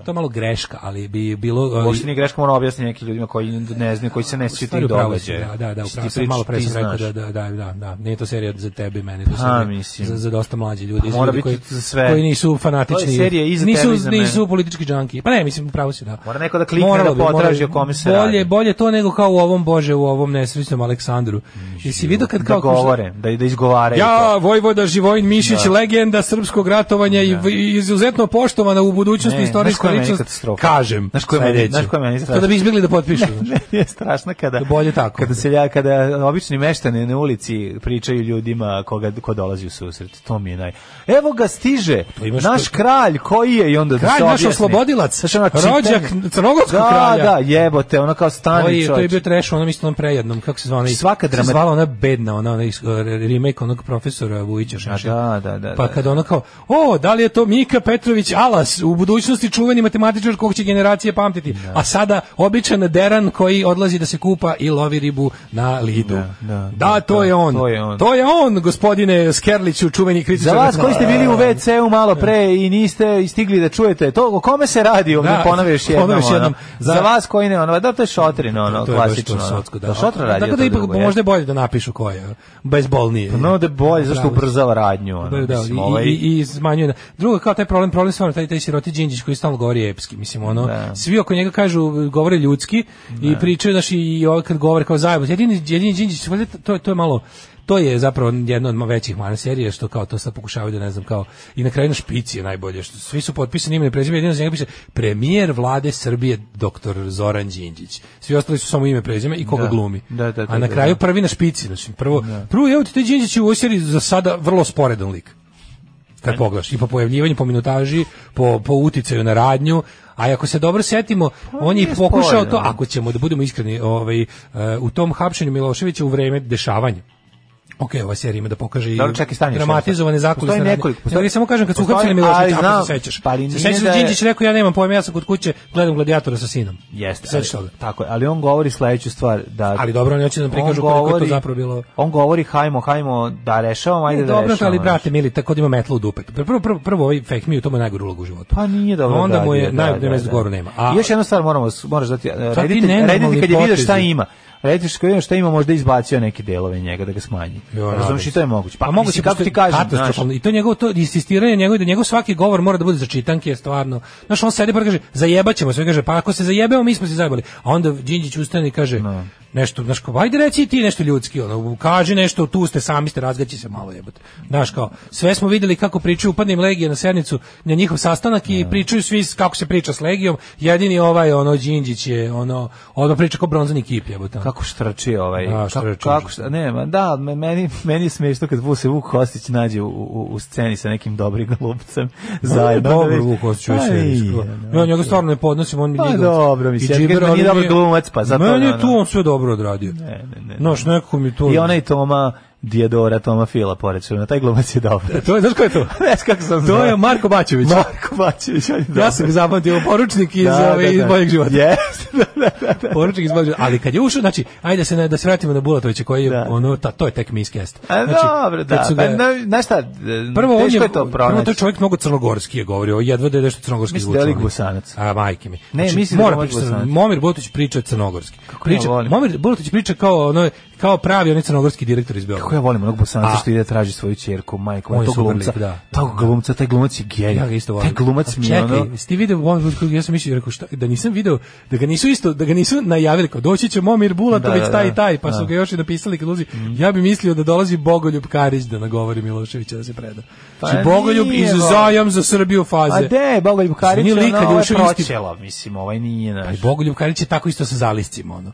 to je malo greška, ali bi bilo... ali-
Uopšte nije greška, moram objasniti nekim ljudima koji ne znaju, koji se ne sjećaju
Stvari
tih
u pravu si,
događaja.
Da, da, da,
Ti
upravo sam
pričaš,
malo pre
ti
sam rekao da,
znaš.
da, da, da, da, nije to serija za tebe i mene, to je
Pa,
serija
mislim. Pa
za, za dosta mlađe ljudi, za
mora
ljudi
biti
koji,
za sve.
koji nisu fanatični,
To je serija i za
nisu,
tebe i za mene.
nisu politički džanki, pa ne, mislim, upravo si da.
Mora neko da klikne
Moralo
da
bi, moralo
potraži
bi.
o kome se
bolje,
radi.
Bolje to nego kao u ovom, bože, u ovom nesrećnom Aleksandru. Jesi vidio kad
Da
kao...
govore, da, da izgovaraju
Ja,
to.
Vojvoda Živojin Mišić, legenda srpskog ratovanja i i izuzetno poštovana u budućnosti
Ne, znaš
istorijskoj
koja je meni
ličnost.
katastrofa?
Kažem.
Znaš koja je meni-
sledeće.
znaš koja je meni
To da bi izbjegli da potpišu.
je strašno kada
Da bolje tako.
kada selja kada obični meštani na ulici pričaju ljudima koga ko dolazi u susret to mi je naj evo ga stiže
Pa imaš
naš
to-
kralj koji je i onda da
Kralj
se
naš
objasni.
oslobodilac,
Znaš, ono, čitanje-
rođak crnogorskog
da,
kralja.
da jebote ono kao
To
stani
je, to je
čovječe.
bio trash, onom isto onom prejednom, kako se zvala? ona-
Svaka
kako se
dramat-
zvala ona bedna, ona, ona iz- e, remake onog profesora Vujića.
A
Šešelja.
da da da
Pa
da.
kad ono kao, o, da li je to Mika Petrović Alas u budućnosti čuveni matematičar kog će generacije pamtiti. A sada običan deran koji odlazi da se kupa i lovi ribu na lidu. Da,
da,
to, je on.
to je on.
To je on, gospodine Skerliću, čuveni kritičar.
Za vas koji ste bili u WC-u malo pre i niste stigli da čujete to, o kome se radi, ovdje
Da,
ponovi još jednom.
ponovi još
ono.
jednom.
Za
Da.
vas koji ne, ono, da to je šotrin, ono,
To je baš
klasično.
to
ono.
sotsko, da.
Da, šotra
A,
radi.
Tako da ipak možda je bolje da napišu ko je. Bezbolnije.
Pa No da je bolje, zašto
Pravo si.
ubrzava radnju. Ono,
Da, da,
mislim,
i,
ovaj-
i, i smanjuje. na- Drugo, kao taj problem, problem stvarno, taj, taj siroti Đinđić koji stalno govori epski, mislim, ono,
Da.
svi oko njega kažu, govore ljudski i pričaju, znaš, i ovo kad govore kao zajedno, jedini, jedini Đinđić, valjda to, je- to je malo, to je zapravo jedna od većih mana serije, što kao to sad pokušavaju da ne znam kao, i na kraju na špici je najbolje, što svi su potpisani ime i prezime, jedino za njega piše premijer vlade Srbije, doktor Zoran Đinđić. Svi ostali su samo ime i prezime i koga
Da.
glumi.
Da, da, da,
A
da,
na
da.
kraju prvi na špici, znači prvo, prvo evo ti taj Đinđić je u ovoj seriji za sada vrlo sporedan lik kad pogledaš i po pojavljivanju, po minutaži, po, po uticaju na radnju, a ako se dobro setimo, on je i
Pa, nije
pokušao
sporedno.
to, ako ćemo da budemo iskreni, ovaj, e, u tom hapšenju Miloševića u vreme dešavanja. Ok, ova serija ima da pokaže i
Dobro, čekaj, stani još
dramatizovane
nešto.
zakulisne
Postoji
radnje.
nekoliko,
Nego
postoji-
ja samo kažem, kad su
postoji,
uhapšeni Miloševića,
ali
ako
znam,
se sećaš.
pa ali
se
nije
sećaš da
da
je...
je-
Đinđić rekao, ja nemam pojma, ja sam kod kuće, gledam gladijatora sa sinom.
Jeste.
Sećaš
ali-
toga?
Tako je, ali on govori sledeću stvar. Da,
Ali dobro, oni hoće da nam prikažu
On
koliko je to
govori-
zapravo bilo...
On govori, hajmo, hajmo, da rešavamo, ajde
Ne,
da ono.
dobro,
rešavamo.
ali brate mili, tako da ima metla u dupe. Prvo prvo prvo ovaj fake mi je to mu je najgora uloga u životu.
Pa nije dobro.
Onda mu je
odradio, da,
najbolje
da,
mesto
da.
goru nema. A
I još jedna stvar moramo moraš dati e,
ti
reditelj,
nenormalni
reditelj kad je vidio šta
potezi.
ima. Reditelj kad je vidio šta ima, možda je izbacio neke delove njega da ga smanji.
Jo,
Razumeš
naravno.
i to je moguće. Pa,
A
moguće
moguće
kako
postoji
ti kažem,
katastrofalno.
znaš,
I to njegovo to insistiranje njegovo da njegov svaki govor mora da bude za čitanke je stvarno. Znaš, on sedi pa kaže zajebaćemo sve kaže pa ako se zajebemo mi smo se zajebali. A onda Đinđić ustane i kaže nešto znaš kao ajde reci i ti nešto ljudski ono kaži nešto tu ste sami ste razgaći se malo jebote. Znaš kao sve smo videli kako pričaju upadnim legije na sednicu na njihov sastanak i pričaju svi s- kako se priča s legijom. Jedini ovaj ono Đinđić je ono odmah priča kao bronzani kip jebote.
kako štrči ovaj
Da,
kako,
štrči.
kako šta- ne ma, da me- meni meni je smešno kad Vuk se Vuk Kostić nađe u, u, u sceni sa nekim dobrim glupcem zajedno znači, da
Dobro,
vidiš-
Vuk Osjeću je
Pa
sve.
je, da.
Ja njega stvarno ne podnosim, on mi
Pa
nije
dobro, mislim, ja ti kažem da nije dobar glumac, pa zato
Meni
ono.
je tu on sve dobro odradio. Ne,
ne, ne.
Znaš, nekako mi to...
I onaj Toma Dijadora, Toma Fila, pored na taj glumac je dobar.
E, To je, znaš ko je to?
Ne znam kako sam
To
zvao.
je Marko Bačević.
Marko Bačević, on je dobar.
Ja sam ga zapamtio, poručnik iz, ove, iz boljeg života.
Jeste, da, da, da.
Poručnik iz boljeg života. Ali kad je ušao, znači, ajde da se, ne, da se vratimo na Bulatovića, koji je,
Da.
ono, ta, to je tek miskest.
A,
Znači,
dobro, da.
kad su
Pa,
ga-
na, znaš šta,
Prvo on je,
teško je to
prvo to je
pronaći.
čovjek mnogo crnogorski je govorio, jedva da je nešto crnogorski ono.
Mislim da je
zvučalo.
lik Bosanac.
A majke mi. Znači,
Ne, mislim da je
mora
Momir
pričati crno-
Bosanac.
Momir Bulatović priča crnogorski. Kako
ja
priča,
volim.
Momir Bulatović priča kao ono kao pravi onaj crnogorski direktor iz Beograda.
Kako ja volim onog bosanca
A.
što ide da traži svoju čerku, majku,
On je
tog
super
glumca,
lik, da.
tog glumca, taj glumac je gej.
E, Ja ga isto volim. Pa
Taj glumac mi je
Čekaj,
ono...
jesi ti video Momir Bulatović, ja sam mislio, rekao, šta, da nisam video, da ga nisu isto, da ga nisu najavili, kao doći će Momir Bulatović,
Da, da,
taj
da.
i taj, pa su
Da. Mhm.
ga još i napisali kad ulazi. Ja bi mislio da dolazi Bogoljub Karić da nagovori Miloševića da se preda.
Pa
Znači, Bogoljub
nije,
iz
Bogoljub.
zajam za Srbiju faze.
A de, Boga Bukarić,
Nije
ono,
lik kad je
ovo je
ušao isti-
pročelo, mislim, ovaj nije
Pa i
naš.
Bogoljub Karić je tako isto sa zaliscima, ono.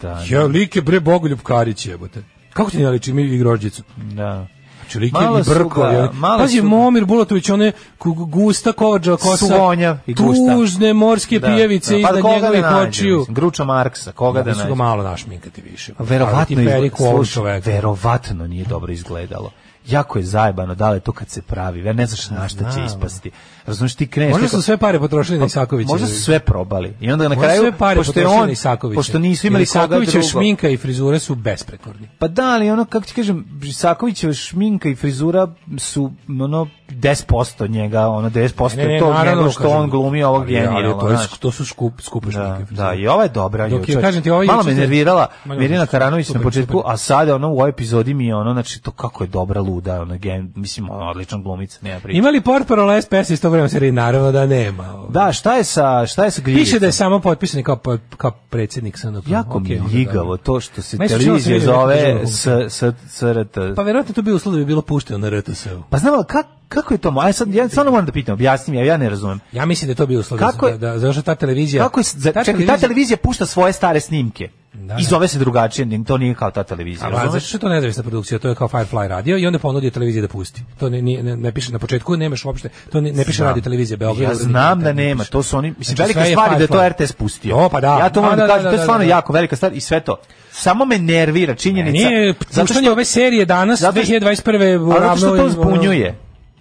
Da,
Ja, lik je bre Bogoljub Karić, jebote. Kako ti ne liči mi igrođicu?
da.
Znači, lik je
Malo
i
su
brko.
ga,
je.
malo
Pazi,
su-
Momir Bulatović, one ku- gusta kovađa kosa.
Suvonja i gusta.
Tužne morske
Da.
pijevice
da, pa
iznad
koga da
njegovih
nađe,
očiju.
mislim, Gruča Marksa, koga da
Da su ga
nađe?
malo našminkati više.
A Verovatno,
Ali ti
izgleda-
periku ovog
slušaj,
čoveka.
verovatno nije dobro izgledalo. Jako je zajebano, da li je to kad se pravi, ja ne znaš na šta će ispasti. Razumeš, ti kreneš...
Možda
neko-
su sve pare potrošili na Isakovića.
Pa Možda su sve probali. I onda na
Možda su
kraju,
sve pare
pošto, je
potrošili
on,
na Isakovića.
pošto nisu imali
Jer
koga
Isakovićeva
drugo.
šminka i frizure su besprekorni.
Pa da, ali ono, kako ti kažem, Isakovićeva šminka i frizura su ono 10% njega, ono 10%
Ne, ne,
tog
naravno,
njegovog što
kažem.
on glumi ovog
Ali- ali
genijalno.
to, je,
znaš.
to su skup, skupe
Da,
šminke.
da, i ova je dobra.
Dok
juče.
je, kažem ti, ova
Malo
juče
me
se-
nervirala
Ma ne,
Mirina Karanović na
super,
početku,
super.
a sada ono u ovoj epizodi mi je ono, znači to kako je dobra luda, ono, gen, mislim, ono, odlična glumica, nema priče.
Ima li portparol SPS iz tog vremena serije? Naravno da nema. Ovaj.
Da, šta je sa, šta je sa Griljicom?
Piše da je samo potpisan kao, pa- kao predsjednik SNP.
Jako mi
Okej,
je
onda
ljigavo
da.
to što se
Ma, isključivo sam
televizija
vidio
zove
neku
s,
državu.
s, SRT.
Pa verovatno to bi uslov da bi bilo pušteno na RTS-u.
Pa znam, ali kak, kako je to? mo- Aj sad, ja stvarno moram da pitam, objasni mi, ja, ja ne razumem.
Ja mislim da je to bio uslov
Kako je-
da, da, zato što ta televizija...
Kako je, s- za, čekaj, ta televizija pušta svoje stare snimke.
Da,
I
da.
zove se drugačije, ni- to nije kao ta televizija.
A pa,
razumeš?
zašto je to nezavisna produkcija? To je kao Firefly radio i onda ponudio televiziji da pusti. To ne, nije- ne, ne piše na početku, nemaš uopšte. To ne, ne piše
Znam.
radio televizija Beograd.
Ja znam da nema, to su oni, mislim,
Znači,
velika
sve je
stvar je da je to
Firefly.
RTS pustio.
O, pa da.
Ja to
A,
moram
da,
da
da,
kažem, to
da,
je
da,
stvarno
da.
jako velika stvar i sve to. Samo me nervira činjenica.
Nije,
zato što
puštanje ove serije danas,
zato što-
2021.
Ali zato što to zbunjuje.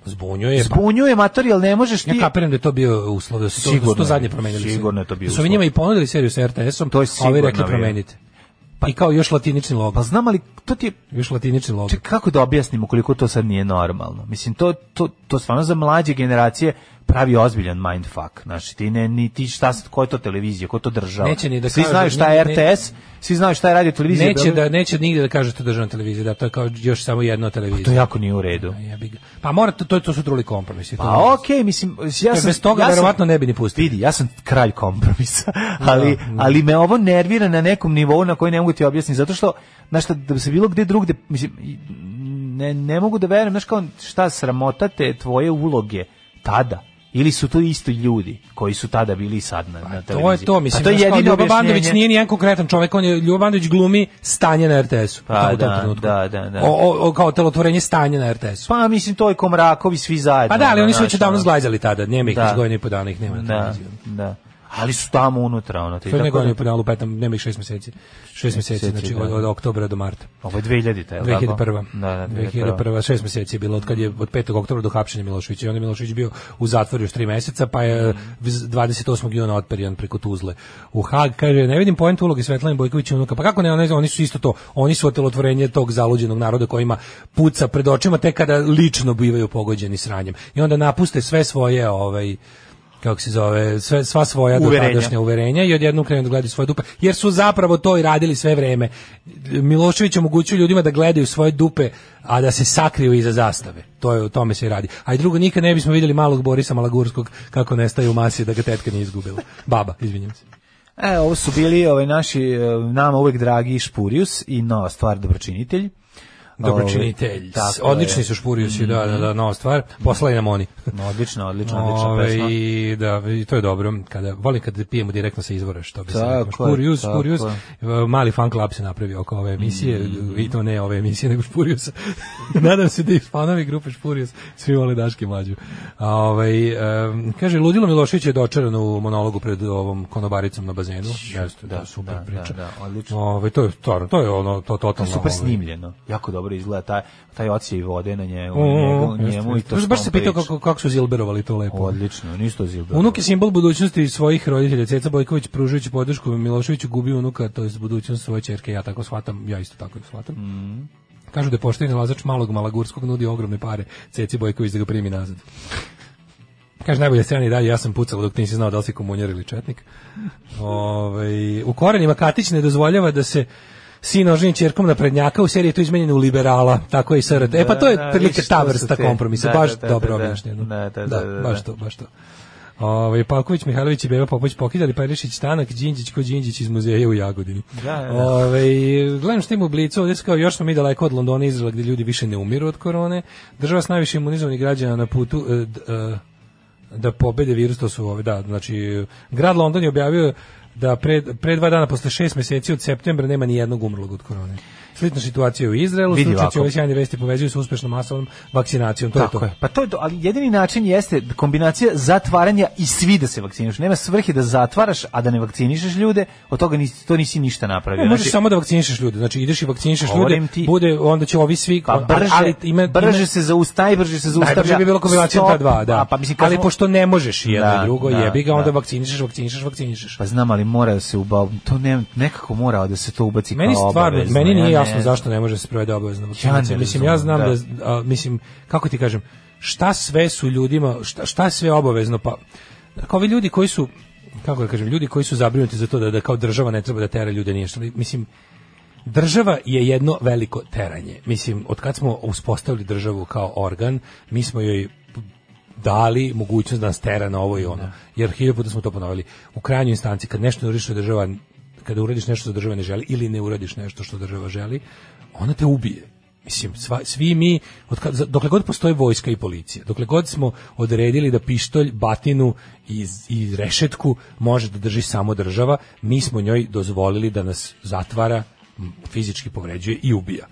Zbunjuje. pa-
Zbunjuje materijal, ne možeš ti...
Ja kapiram da je to bio uslov, da su to, da
Sigurno
su to
je,
zadnje promenili.
sigurno je to bio
Da su
uslov.
mi njima i ponudili seriju sa RTS-om,
To je
a ovi
sigurno
rekli
bio.
promenite. Pa, I kao još latinični logo.
Pa znam, ali to ti je...
još latinični logo.
Ček, kako da objasnimo koliko to sad nije normalno? Mislim, to, to, to stvarno za mlađe generacije pravi ozbiljan mindfuck. Znači, ti ne, ni ti šta, sad, ko je to televizija, ko je to država?
Neće ni da
svi
kažu,
znaju šta
ne-
je
ne-
RTS, svi znaju šta je radio televizija.
Neće da neće nigde da kaže to državna televizija, da to je kao još samo jedna televizija.
Pa To jako nije u redu.
Jebi ga. Pa mora to, to, to su drugi kompromisi. to
Pa
nema.
okej, mislim, ja
E,
sam...
bez toga
ja sam-
verovatno ne bi ni pustili.
Vidi, ja sam kralj kompromisa, ali, ali me ovo nervira na nekom nivou na koji ne mogu ti objasniti, zato što, znaš, šta, da bi se bilo gde drugde, mislim, i- ne, ne mogu da verujem, znaš kao, šta, sramota te tvoje uloge tada, ili su to isto ljudi koji su tada bili i sad na, na televiziji.
Pa To je to, mislim.
A to je
znaš kao,
jedino
Ljubo Bandović
objašnjenje.
nije nijedan konkretan čovjek, on je Ljubo Bandović glumi stanje na RTS-u.
Pa,
u tom
da,
trenutku.
da, da, da.
O, o, o, kao telotvorenje stanja na RTS-u.
Pa mislim, to je Komrakovi svi zajedno.
Pa da, ali
ono,
oni su već
znaš,
odavno
ono.
zglajzali tada, nema ih
Da.
iz godine i po dana ih nema na
Da,
televiziji.
da. Ali su tamo unutra, ono. To je
To je
tako da-
nego po dana lupetam, nema ih šest meseci. Šest meseci,
meseci,
znači
da.
od, od oktobra do marta.
Ovo je 2000-ta, je li tako?
2001.
Da, da,
2001. Šest meseci je bilo od kad je od 5. oktobra do hapšenja Miloševića. I onda je Milošević bio u zatvoru još tri meseca, pa
Mhm.
je vz- 28. juna otperijan preko Tuzle. U Hag kaže, ne vidim poentu uloge Svetlane Bojković i unuka. Pa kako ne, one- oni su isto to. Oni su otelotvorenje tog zaluđenog naroda kojima puca pred očima te kada lično bivaju pogođeni sranjem. I onda napuste sve svoje ovaj kako se zove, sve, sva svoja
Uverenja.
dotadašnja uverenja i odjednom krenu da gledaju svoje dupe, jer su zapravo to i radili sve vreme. Milošević omogućuje ljudima da gledaju svoje dupe, a da se sakriju iza zastave. To je o tome se i radi. A i drugo, nikad ne bismo vidjeli malog Borisa Malagurskog kako nestaje u masi da ga tetka nije izgubila. Baba, izvinjam se.
E, ovo su bili ovaj, naši, e, nama uvek dragi Špurius i nova stvar Dobročinitelj.
Dobročinitelj.
Ovaj, tako
Odlični
je.
su špurijusi, da, da, da, nova stvar. Poslali nam oni.
Odlično, odlično, odlična
Ove,
pesma.
i Ovaj, da, i to je dobro. Kada, volim kada pijemo direktno sa izvora, što bi se
Tako
rekao.
je,
Špurius,
tako
Špurius.
je. Mm.
E, Mali fan club se napravio oko ove emisije, i to ne ove emisije, nego Špuriusa. Nadam se da i fanovi grupe Špurius svi vole Daške mlađu. A, ovaj, em, kaže, Ludilo Milošević je dočaran u monologu pred ovom konobaricom na bazenu. Jeste, da, super
da, da,
priča.
da, odlično.
Ovaj, to je stvarno, to je ono, to
To je
totalno.
super
ovaj,
snimljeno. Jako dobro izgleda taj, taj ocije i vode na njemu,
Mm,
njegu-
jeste,
njemu i
jeste.
to što
Baš
on
se pitao
priča.
kako, kako su zilberovali to lepo.
Odlično, nisto zilbe.
Unuk je simbol budućnosti svojih roditelja. Ceca Bojković pružujući podršku Miloševiću gubi unuka, to je budućnost svoje ćerke. Ja tako shvatam, ja isto tako shvatam.
Mhm.
Kažu da je pošteni lazač malog Malagurskog nudi ogromne pare Ceci Bojković da ga primi nazad. Kaže, najbolje strane i dalje, ja sam pucao dok nisi znao da li si komunjar ili četnik. Ovaj, u korenima Katić ne dozvoljava da se sin oženi čerkom na prednjaka, u seriji je to izmenjeno u liberala, tako je i SRT. E pa to je
Da, da,
prilike
vidiš,
ta
to su
vrsta
te.
kompromisa,
Da,
baš
da, da,
dobro
da, da.
objašnjeno.
Da, da, da, da,
baš
da.
to, baš to. Ove, Palković, Ovaj, Mihajlović i Beba Popović pokidali Perišić Tanak, Đinđić ko Đinđić iz muzeja u Jagodini.
Da, da, da.
Ove, gledam što ima u blicu, ovdje se kao još smo mi daleko od Londona i Izraela gdje ljudi više ne umiru od korone. Država s najviše imunizovanih građana na putu e, d- e, da pobede virus, to su ove, da, znači grad London je objavio da pre, pre dva dana, posle šest meseci od septembra nema ni jednog umrlog od korone. Slična situacija je u Izraelu,
Vidi
stručnjaci
ovako.
ove sjajne vesti povezuju sa uspešnom masovnom vakcinacijom, to je
Tako
to.
je. Pa to je to, ali jedini način jeste kombinacija zatvaranja i svi da se vakcinišu. Nema svrhe da zatvaraš, a da ne vakcinišeš ljude, od toga nisi, to nisi ništa napravio.
Ne, možeš
Znači,
samo da vakcinišeš ljude. Znači ideš i vakcinišeš
Govorim
ljude,
ti-
bude onda će ovi svi
Pa brže,
ali ima
brže
ima-
se zaustavi, brže se zaustavlja.
Najbrže bi bilo kombinacija ta
Stop.
dva, da.
A, pa, mislim, kad
ali
smo-
pošto ne možeš i jedno
Da,
i drugo,
da,
jebi ga, onda
da.
vakcinišeš, vakcinišeš, vakcinišeš.
Pa znam, ali mora da se uba... To ne, nekako mora da se to ubaci
meni
kao
stvarno,
obavezno.
meni nije
Ja
jasno
ne-
zašto ne može da se provede obavezna vakcinacija.
ne
mislim,
razumem,
ja znam da,
da.
a, mislim, kako ti kažem, šta sve su ljudima, šta, šta je sve obavezno, pa, kao ovi ljudi koji su, kako da kažem, ljudi koji su zabrinuti za to da, da kao država ne treba da tera ljude ništa, ali, mislim, Država je jedno veliko teranje. Mislim, od kad smo uspostavili državu kao organ, mi smo joj dali mogućnost da nas tera na ovo i ono. Jer hiljoputa puta smo to ponovili. U krajnjoj instanci, kad nešto uradiš što država, kada uradiš nešto što država ne želi ili ne uradiš nešto što država želi, ona te ubije. Mislim, sva, svi mi, od kad, za- dokle god postoje vojska i policija, dokle god smo odredili da pištolj, batinu i, i rešetku može da drži samo država, mi smo njoj dozvolili da nas zatvara, m, fizički povređuje i ubija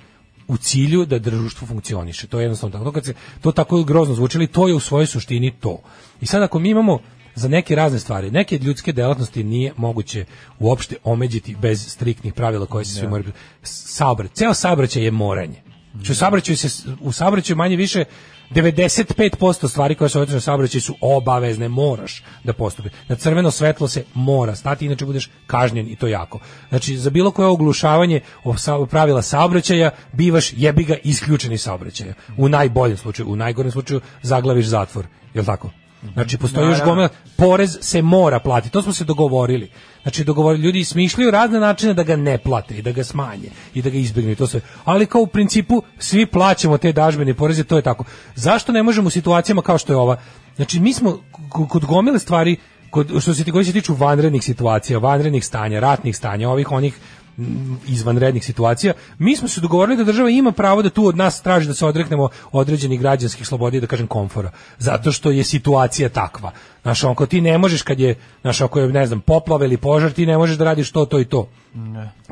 u cilju da društvo funkcioniše. To je jednostavno tako. To, kad se, to tako grozno zvučili, to je u svojoj suštini to. I sad ako mi imamo za neke razne stvari, neke ljudske delatnosti nije moguće uopšte omeđiti bez striktnih pravila koje se svi moraju... Saobraćaj, ceo saobraćaj je moranje. Znači, u saobraćaju se, u saobraćaju manje više 95% stvari koje se odnose na saobraćaj su obavezne, moraš da postupi. Na crveno svetlo se mora stati, inače budeš kažnjen i to jako. Znači, za bilo koje oglušavanje o sa- pravila saobraćaja, bivaš jebiga isključeni iz saobraćaja. U najboljem slučaju, u najgorem slučaju, zaglaviš zatvor. Jel tako? Znači, postoji još
Naravno.
gomila, porez se mora platiti. To smo se dogovorili. Znači, dogovorili, ljudi smišljaju razne načine da ga ne plate i da ga smanje i da ga izbjegnu i to sve. Ali kao u principu svi plaćamo te dažbene i poreze, to je tako. Zašto ne možemo u situacijama kao što je ova? Znači, mi smo k- kod gomile stvari, kod, što se, ti- koji se tiču vanrednih situacija, vanrednih stanja, ratnih stanja, ovih onih m, izvanrednih situacija. Mi smo se dogovorili da država ima pravo da tu od nas traži da se odreknemo određenih građanskih sloboda i da kažem komfora, zato što je situacija takva. Znaš, onko ti ne možeš kad je, znaš, ako je, ne znam, poplave ili požar, ti ne možeš da radiš to, to i to.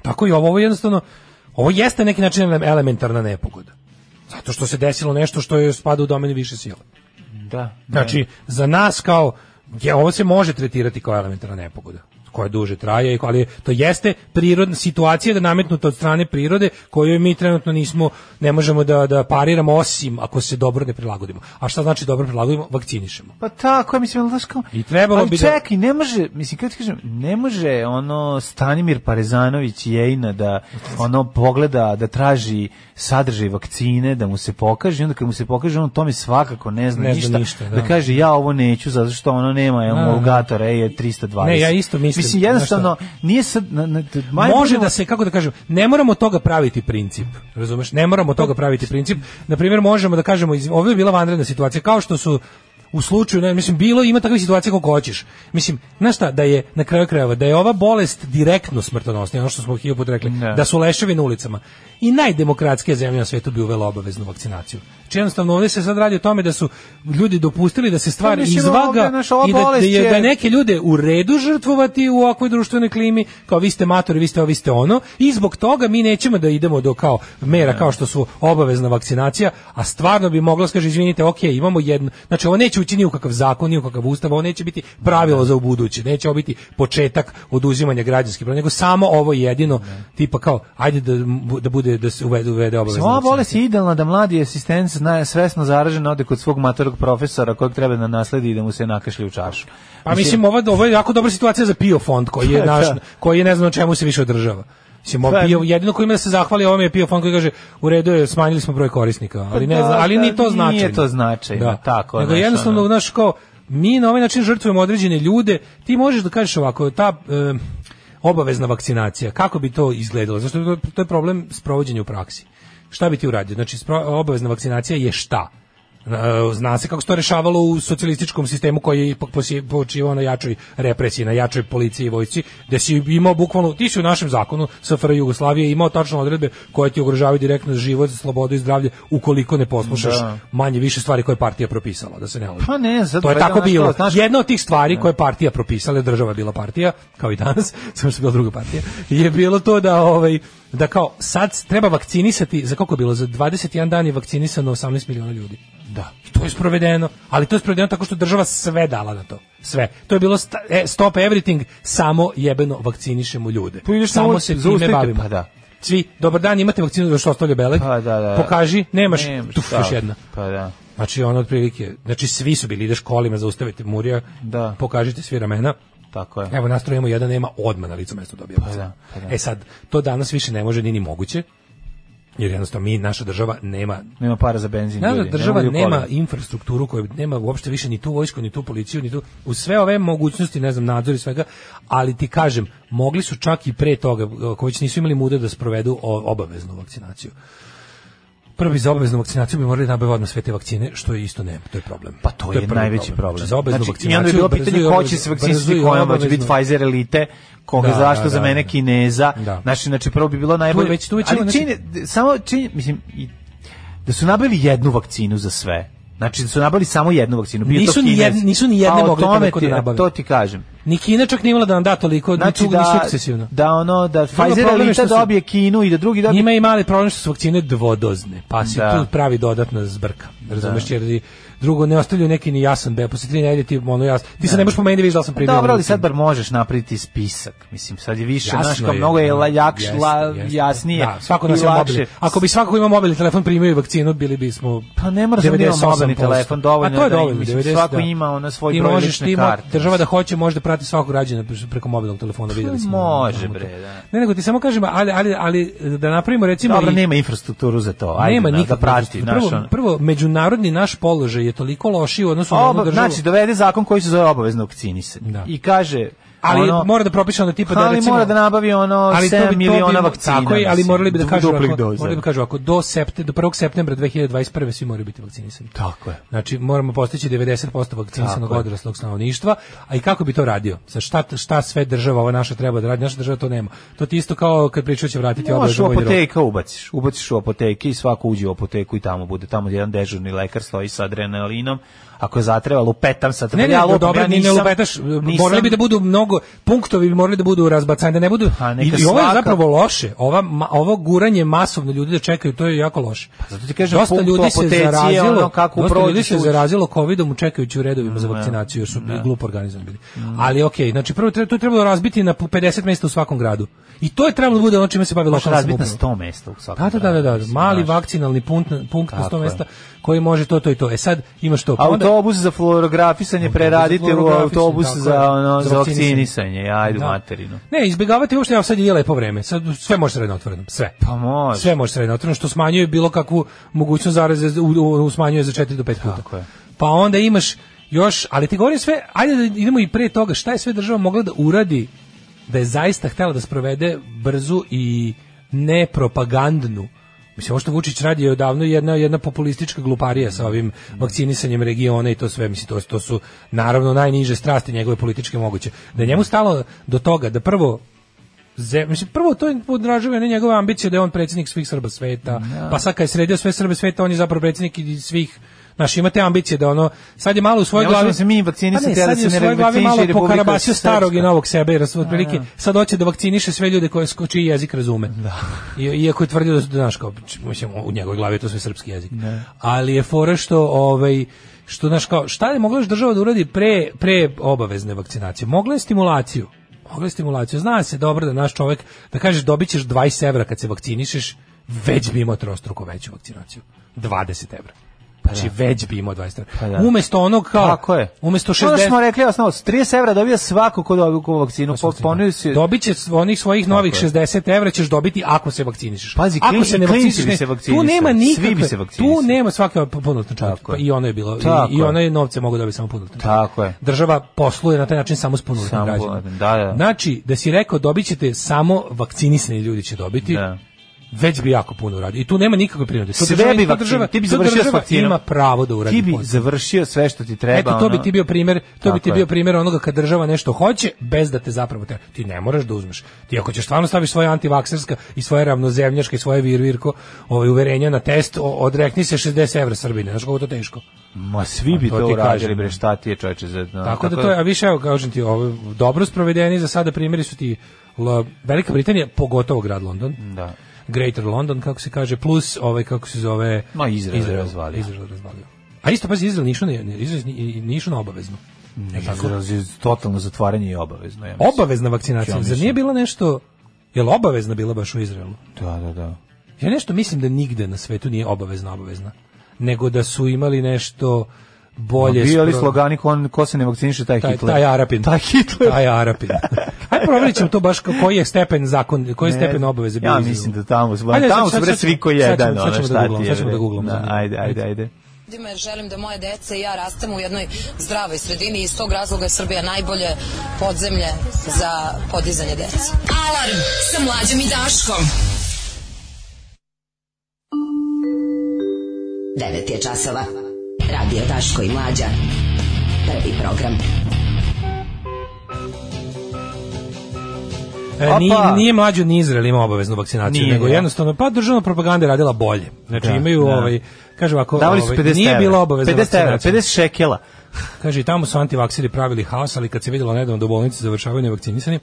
Tako i ovo, ovo je jednostavno, ovo jeste na neki način ele- elementarna nepogoda. Zato što se desilo nešto što je spada u domenu više sile.
Da.
Znači, za nas kao, je, ovo se može tretirati kao elementarna nepogoda koja duže traje, i ko- ali to jeste prirodna situacija da nametnuta od strane prirode koju mi trenutno nismo, ne možemo da, da pariramo osim ako se dobro ne prilagodimo. A šta znači dobro prilagodimo? Vakcinišemo.
Pa tako, ja mislim, ali znaš kao...
I trebalo
ali
bi da-
čekaj, ne može, mislim, kako ti kažem, ne može ono Stanimir Parezanović i Jejna da ono pogleda, da traži sadržaj vakcine, da mu se pokaže, i onda kad mu se pokaže, on o tome svakako ne zna,
Ne zna
ništa,
ništa, da.
da. kaže ja ovo neću, zato što ono nema e, emulgatora E320.
Ne, ja isto mislim,
Mislim, jednostavno, nije sad... Na, na,
može da se kako da kažem, ne moramo od toga praviti princip. Razumeš? Ne moramo od toga
Pa-
praviti princip. Na primjer, možemo da kažemo iz ovo je bila vanredna situacija kao što su u slučaju, ne, mislim, bilo ima takve situacije kako hoćeš. Mislim, znaš šta, da je na kraju krajeva, da je ova bolest direktno smrtonosna, ono što smo hiljadu puta rekli,
Da.
da su leševi na ulicama. I najdemokratske zemlje na svetu bi uvela obaveznu vakcinaciju. Znači jednostavno ovdje se sad radi o tome da su ljudi dopustili da se stvar
Pa mislim,
izvaga
ovdje, znaš, ova
i da, da,
bolest
je,
je-
da je neke ljude u redu žrtvovati u ovakvoj društvenoj klimi, kao vi ste matori, vi ste ovo, vi ste ono, i zbog toga mi nećemo da idemo do kao mera, kao što su obavezna vakcinacija, a stvarno bi mogla skaže, izvinite, ok, imamo jednu, znači ovo neće ući ni u kakav zakon, ni u kakav ustav, ovo neće biti pravilo za ubuduće, neće ovo biti početak oduzimanja građanskih prava, nego samo ovo jedino, tipa kao, ajde da, da bude, da se uvede, uvede obavezna
Ova
vakcinacija.
bolest je idealna da mladi asistent zna, svesno zaražen ode kod svog matorog profesora kojeg treba da nasledi i da mu se nakašlje u čašu.
Pa mislim, ovo, ovo je jako dobra situacija za PIO fond koji je
Da,
naš,
da.
koji je ne znam o čemu se više održava. Mislim, ovo
Pa-
PIO, jedino koji ima da se zahvali ovome je PIO fond koji kaže u redu je, smanjili smo broj korisnika, ali ne
da,
zna- ali
Pa da,
ni to
nije
znači.
to značajno, tako,
Nego
znaš,
jednostavno,
ono.
znaš, kao, mi na ovaj način žrtvujemo određene ljude, ti možeš da kažeš ovako, ta e, obavezna vakcinacija, kako bi to izgledalo? Zašto to, to je problem sprovođenja u praksi. Šta bi ti uradio? Znači, spro- obavezna vakcinacija je šta? E, Zna se kako se to rešavalo u socijalističkom sistemu koji je ipak posi- počivao na jačoj represiji, na jačoj policiji i vojci, gde si imao bukvalno, ti si u našem zakonu SFRJ Jugoslavije imao tačno odredbe koje ti ugrožavaju direktno život, slobodu i zdravlje ukoliko ne poslušaš
Da.
manje više stvari koje je partija propisala, da se ne lažemo.
Pa ne, zato
to je
valjda
tako
ono što,
bilo.
znaš-
Jedna od tih stvari koje je partija propisala, jer država je bila partija, kao i danas, samo što je bila druga partija, je bilo to da ovaj da kao sad treba vakcinisati, za koliko je bilo? Za 21 dan je vakcinisano 18 miliona ljudi. Da. To je sprovedeno, ali to je sprovedeno tako što je država sve dala na to. Sve. To je bilo sta- e, stop everything, samo jebeno vakcinišemo ljude.
Pa ideš na
samo
ulicu,
se time
zaustavite,
bavimo.
pa da.
Svi, dobar dan, imate vakcinu za što ostavlja belek?
Pa da, da.
Pokaži, nemaš,
Nemaš,
tuf,
da.
još jedna.
Pa da.
Znači ono otprilike, znači svi su bili, ideš kolima, zaustavite Murija,
Da.
pokažite svi ramena.
Tako je.
Evo nastrojimo jedan, nema odmah na licu mesto dobija. vakcinu.
da, pa da.
E sad, to danas više ne može, ni ni moguće, jer jednostavno mi, naša država nema
Nema para za benzin.
Naša
ljudi,
država
ne mogu
nema
kolima.
infrastrukturu koju nema uopšte više ni tu vojsku, ni tu policiju, ni tu u sve ove mogućnosti, ne znam, nadzor i svega, ali ti kažem, mogli su čak i pre toga, ako već nisu imali muda da sprovedu o- obaveznu vakcinaciju. Prvi za obaveznu vakcinaciju bi morali nabaviti odmah sve te vakcine, što je isto nema, to je problem.
Pa to, je,
prvi
najveći problem.
Znači, za obaveznu
I onda je
vakcinaciju
bilo
brzo i
pitanje ko će
obavezno-
se
brzo i
vakcinisati kojom, hoće biti
obavezno.
Pfizer elite, koga
Da,
zašto
da,
za
da,
mene
da.
Kineza.
Da.
Znači, znači prvo bi bilo najbolje.
već- tu već ima,
Ali
znači-
čini, d- samo čini, mislim, i, da su nabavili jednu vakcinu za sve. Znači da su nabavili samo jednu vakcinu. bio to
Nisu ni
Kinez.
jedne- nisu ni jedne
Pa o
mogli
tome
toliko da
ti-
nabave.
To ti kažem.
Ni Kina čak nije imala da nam da toliko, znači, ni, tu, ni sukcesivno.
da ono da Pfizer
problem je
elita
što su-
dobije Kinu i da drugi dobije
Njima je mali problem što su vakcine dvodozne, pa se
Da.
tu pravi dodatna zbrka. Razumeš, jer i drugo ne ostavljaju neki ni jasan bep, posle tri nedelje ti ono jas. Ti se ne možeš po meni da vidiš da li sam primio.
Dobro, ali sad bar možeš napraviti spisak. Mislim, sad je više,
Jasno
znaš, kao
je,
mnogo je
da,
la, jakš,
jeste,
la,
jeste.
jasnije.
Da, svako nas
i
ima
lakše.
mobilni. Ako bi svako ko ima mobilni telefon primio i vakcinu, bili bismo
Pa ne mora da ima
98%.
mobilni telefon, dovoljno
A to je
da im,
dovoljno,
mislim,
90,
svako
da.
ima ono svoj
Ti
broj
možeš,
lične
ti ima-
karte.
Država da hoće može da prati svakog građana pre- preko mobilnog telefona, videli smo.
Pa Može, bre, da.
Ne, nego ti samo kažem, ali, ali, ali da napravimo recimo...
Dobro,
i-
nema infrastrukturu za to. Pa Ajde,
nema
da,
nikakve
da prati. ono. Prvo,
mogućnosti. prvo, prvo, međunarodni naš položaj je toliko lošiji u odnosu na onu
Oba,
državu.
znači, dovede zakon koji se zove obavezno vakcinisanje.
Da.
I kaže...
ali
ono,
mora da propiše onda tipa da
ali
recimo
mora da nabavi ono
ali to bi-
7
to bi-
miliona vakcina.
Tako je, ali
mislim,
morali bi da
du-
kažu
duplih
ako,
doza.
morali bi da kažu ako do septe, do 1. septembra 2021 svi moraju biti vakcinisani.
Tako je.
Znači moramo postići 90% vakcinisanog
Tako je.
odraslog stanovništva, a i kako bi to radio? Sa šta šta sve država ova naša treba da radi? Naša država to nema. To ti isto kao kad pričaju će vratiti
Možeš
obavezno
u
vojni rok.
apoteka ubaciš, ubaciš u apoteke i svako uđe u apoteku i tamo bude, tamo jedan dežurni lekar stoji sa adrenalinom, ako je zatreba, lupetam sa
Ne, ne,
Pa ja
ja,
lupam,
dobro,
ja
ni ne
nisam-
lupetaš, morali
nisam-
bi da budu mnogo, punktovi bi morali da budu razbacani, da ne budu,
Pa,
i,
neka
i ovo je
svaka-
zapravo loše, ova, ma- ovo guranje masovno ljudi da čekaju, to je jako loše.
Pa zato ti kažem,
dosta
punkt u
ljudi se
apoteci je
zarazilo,
ono kako Mm,
dosta ljudi
prođeš
se
uđeš.
zarazilo covidom čekajući u redovima za vakcinaciju, jer su bili glupo organizovani bili.
Mm.
Ali okej, znači prvo treba, to je trebalo razbiti na po 50 mesta u svakom gradu. I to je trebalo da bude ono čime se bavi
Možeš
lokalna
razbiti na
samouprava.
100 mesta u svakom
Da, da, da, da, da,
gradu,
mali
mislim, znaš.
vakcinalni punkt, punkt na
Tako
100
je.
mesta koji može to, to i to. E sad imaš to. Pa onda-
Autobus za fluorografisanje preradite u
fluorografisanje,
autobus
tako je,
za, ono,
za
za
vakcinisanje.
vakcinisanje, ajde
Da.
da. materinu.
Ne, izbjegavati uopšte, evo sad je lepo vreme. Sad sve može sredno otvoreno, sve.
Pa može.
Sve može sredno otvoreno, što smanjuje bilo kakvu mogućnost zaraze, u, u, u- smanjuje za 4 do 5 puta.
Tako je.
Pa onda imaš još, ali ti govorim sve, ajde da idemo i pre toga, šta je sve država mogla da uradi da je zaista htela da sprovede brzu i nepropagandnu Mislim, ovo što Vučić radi je odavno jedna, jedna populistička gluparija sa ovim vakcinisanjem regiona i to sve. Mislim, to, to su naravno najniže strasti njegove političke moguće. Da je njemu stalo do toga da prvo Zem, mislim, prvo to podražuje ne njegove ambicije da je on predsjednik svih Srba sveta, pa sad kad je sredio sve Srbe sveta, on je zapravo predsjednik i svih Znaš, imate ambicije da ono, sad je malo u svojoj
Ne
glavi...
možemo se mi vakcinisati,
Pa
a da
sad je
se
u
ne
svojoj glavi
vakciniše
malo
i Republika
pokarabasio
Srpska.
starog i novog sebe, jer su otprilike, sad hoće da vakciniše sve ljude koje, ko- čiji jezik razume. I, iako je tvrdio da, su, znaš, kao, č- mislim, u njegovoj glavi je to sve srpski jezik. Ali je fora što, ovaj, što, znaš, kao, šta je mogla još država da uradi pre, pre obavezne vakcinacije? Mogla je stimulaciju. Mogla je stimulaciju. Zna se dobro da naš čovjek, da kažeš dobit ćeš 20 evra kad se vakcinišeš, već bi imao trostruko veću vakcinaciju. 20 evra. Znači, već bi imao 20 evra.
Pa da.
Umesto onog kao...
Tako je.
Umesto 60...
Ono što smo rekli, osnovno, s 30 evra dobija svako ko dobija ovu vakcinu. Po, ponudio Pa si...
Pa Dobit će onih svojih novih 60 evra ćeš dobiti ako se vakcinišeš.
Pazi,
ako
klin- i klinci
vakcinišeš,
bi
ne-
se
tu
vakcinisali,
nema
svi
nikakve,
bi se
tu
vakcinisali.
nema svake punoljetno čovjek.
Tako je.
I ono je bilo, i,
Tako
i
je.
ono je novce mogu dobiti samo punoljetno
Tako je.
Država posluje na taj način samo s punoljetnim
Samo
građanima.
punoljetnim, da, da.
Znači, da si rekao dobit ćete samo vakcinisani ljudi će dobiti,
Da.
već bi jako puno uradio. I tu nema nikakve prinode. To
Sve
država-
bi
to
vakcin-
država-
ti bi
to
završio s
država
vakcinom.
ima pravo da uradi
Ti bi
posao.
završio sve što ti treba.
Eto, to bi
ono.
ti bio primjer, to
Tako
bi ti
je.
bio primjer onoga kad država nešto hoće bez da te zapravo te, ti ne moraš da uzmeš. Ti ako ćeš stvarno staviš svoje antivakserska i svoje ravnozemljaške i svoje virvirko, ovaj uverenja na test, o- odrekni se 60 evra Srbine, znaš koliko je to teško.
Ma svi bi
Pa
to,
to ti
uradili,
kažem.
bre, šta ti je čoveče za... ono, no,
Tako, da to je, a više evo kažem ti, ovo, dobro sprovedeni za sada primjeri su ti La- Velika Britanija, pogotovo grad London.
Da.
Greater London, kako se kaže, plus ovaj, kako se zove...
Ma, Izrael je razvalio.
Izrael razvalio. A isto, pazi, Izrael nišu na, Izrael ni- nišu na obavezno. Ne,
Izraz- Totalno zatvaranje je obavezno. Ja mislim.
Obavezna vakcinacija.
Ja
Zar
mislim.
nije bila nešto je li obavezna bila baš u Izraelu?
Da, da, da.
Ja nešto mislim da nigde na svetu nije obavezna obavezna, nego da su imali nešto bolje
Bio li
spro-
slogani ko, ko se ne vakciniše, taj,
taj,
Hitler.
taj Arapin.
Taj Hitler. E,
Taj Arapin. Ajde proverit ćemo to baš koji je stepen zakon, koji je
Ne
stepen
znam.
obaveze bio
Ja
u Izraelu.
mislim da tamo,
Ajde,
tamo su
sad- sad-
bre
sad-
svi ko
sad ćemo-
jedan,
sad
ono,
ćemo da
šta ti
googlamo,
je,
sad ćemo
bre.
da googlamo,
Da,
zanima me.
Ajde, ajde, ajde.
ljudima jer želim da moje dece i ja rastemo u jednoj zdravoj sredini i iz tog razloga je Srbija najbolje podzemlje za podizanje dece.
Alarm sa mlađom i Daškom.
9 je časova. Radio Daško i Mlađa. Prvi program.
E, nije,
Opa!
nije mlađo ni Izrael ima obaveznu vakcinaciju,
Nije,
nego
da.
jednostavno, pa državna propaganda je radila bolje. Znači
Da,
imaju,
da.
ovaj, kaže ovako,
Davali su
ovaj,
50
nije
evra.
bila obavezna
50 evra,
vakcinacija.
50 šekela.
Kaže, i tamo su antivakseri pravili haos, ali kad se vidjelo nedavno da u bolnici završavaju nevakcinisani,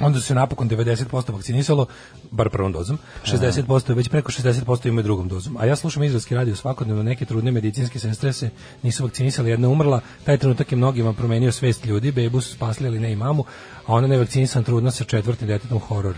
onda se napokon 90% vakcinisalo, bar prvom dozom, 60% već preko 60% imaju drugom dozom. A ja slušam izraelski radio svakodnevno, neke trudne medicinske sestre se nisu vakcinisali, jedna umrla, taj trenutak je mnogima promenio svest ljudi, bebu su spasli ali ne i mamu, a ona nevakcinisan trudna sa četvrtim detetom horor.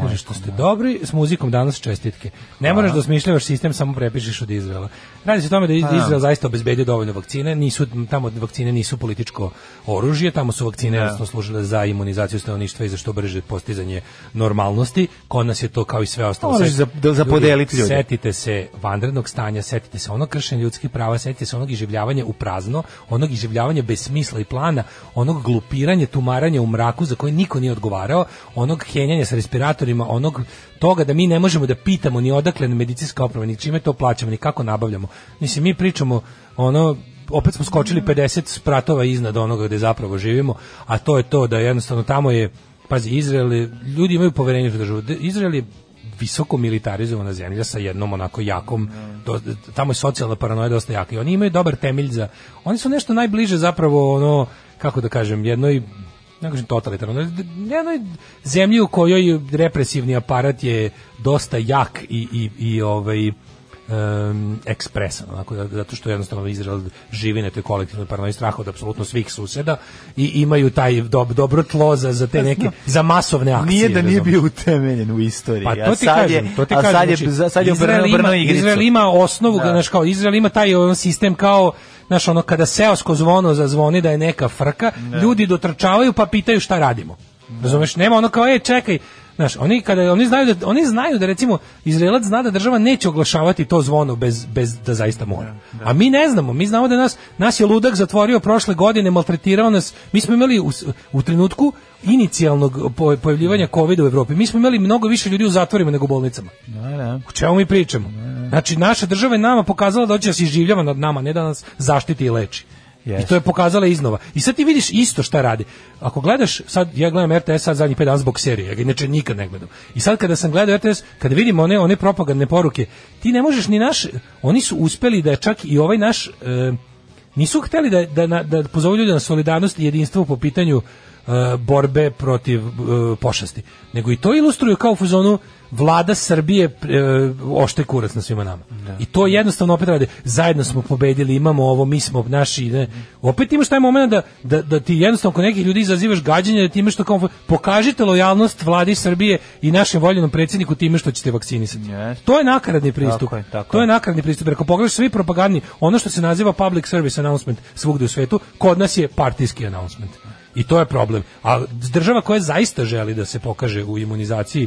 Kaže što ste dobri, s muzikom danas čestitke. Ne moraš da osmišljavaš sistem, samo prepišeš od Izraela. Radi se o tome da
Pa da.
Izrael zaista obezbedio dovoljno vakcine, nisu tamo vakcine nisu političko oružje, tamo su vakcine
Da.
jednostavno služile za imunizaciju stanovništva i za što brže postizanje normalnosti. Kod nas je to kao i sve ostalo.
Moraš
Set-
za- da- za podeliti ljude.
Setite se vanrednog stanja, setite se onog kršenja ljudskih prava, setite se onog iživljavanja u prazno, onog iživljavanja bez smisla i plana, onog glupiranja, tumaranja u mraku za koje niko nije odgovarao, onog henjanja sa respiratorima, onog toga da mi ne možemo da pitamo ni odakle nam medicinska oprema, ni čime to plaćamo, ni kako nabavljamo. Mislim, mi pričamo ono opet smo skočili 50 spratova iznad onoga gde zapravo živimo, a to je to da jednostavno tamo je, pazi, Izrael, je- ljudi imaju poverenje u državu. De- Izrael je visoko militarizovana zemlja sa jednom onako jakom do- tamo je socijalna paranoja dosta jaka i oni imaju dobar temelj za oni su nešto najbliže zapravo ono kako da kažem jednoj ne kažem totalitarno, ali d- jednoj zemlji u kojoj represivni aparat je dosta jak i, i, i ovaj em, ekspresan, onako, da- zato što jednostavno Izrael živi na toj kolektivnoj paranoji straha od apsolutno svih suseda i imaju taj dob, dobro tlo za, za te neke, za masovne akcije.
Pa Nije da nije
razumeš?
bio utemeljen u istoriji.
Pa
a
to ti
sad
kažem,
je-
to ti
a
kažem.
sad je,
znači,
za- sad je
Izrael
obrnuo
ima-
obrnuo igricu.
Izrael ima osnovu,
Da.
znaš, kao, Izrael ima taj on sistem kao Znaš, ono, kada seosko zvono zazvoni da je neka frka, ljudi dotrčavaju pa pitaju šta radimo. Razumeš, nema ono kao, e, čekaj, znaš, oni, kada, oni, znaju da, oni znaju da, recimo, Izraelac zna da država neće oglašavati to zvono bez, bez da zaista mora. A mi ne znamo, mi znamo da nas, nas je ludak zatvorio prošle godine, maltretirao nas, mi smo imali u, s- u trenutku inicijalnog po- pojavljivanja COVID u Evropi, mi smo imali mnogo više ljudi u zatvorima nego u bolnicama.
Da, da.
O čemu mi pričamo? Znači, naša država je nama pokazala da hoće da se iživljava nad nama, ne da nas zaštiti i leči. I
Jeste.
to je pokazala iznova. I sad ti vidiš isto šta radi. Ako gledaš, sad ja gledam RTS sad zadnjih 5 dana zbog serije, ja ga inače nikad ne gledam. I sad kada sam gledao RTS, kada vidim one, one propagandne poruke, ti ne možeš ni naš, oni su uspeli da je čak i ovaj naš, e, nisu hteli da, da, na- da pozovu ljude na solidarnost i jedinstvo po pitanju e, borbe protiv e, pošasti. Nego i to ilustruju kao u fuzonu vlada Srbije e, ošte kurac na svima nama. I to jednostavno opet radi. Zajedno smo pobedili, imamo ovo, mi smo naši. Ne. Opet imaš taj moment da, da, da ti jednostavno kod nekih ljudi izazivaš gađanje, da ti imaš to kao, pokažite lojalnost vladi Srbije i našem voljenom predsjedniku time što ćete vakcinisati. To je nakaradni pristup.
Tako je, tako
to je
je.
nakaradni pristup. Jer Ako pogledaš svi propagandni, ono što se naziva public service announcement svugde u svetu, kod nas je partijski announcement. I to je problem. A država koja zaista želi da se pokaže u imunizaciji,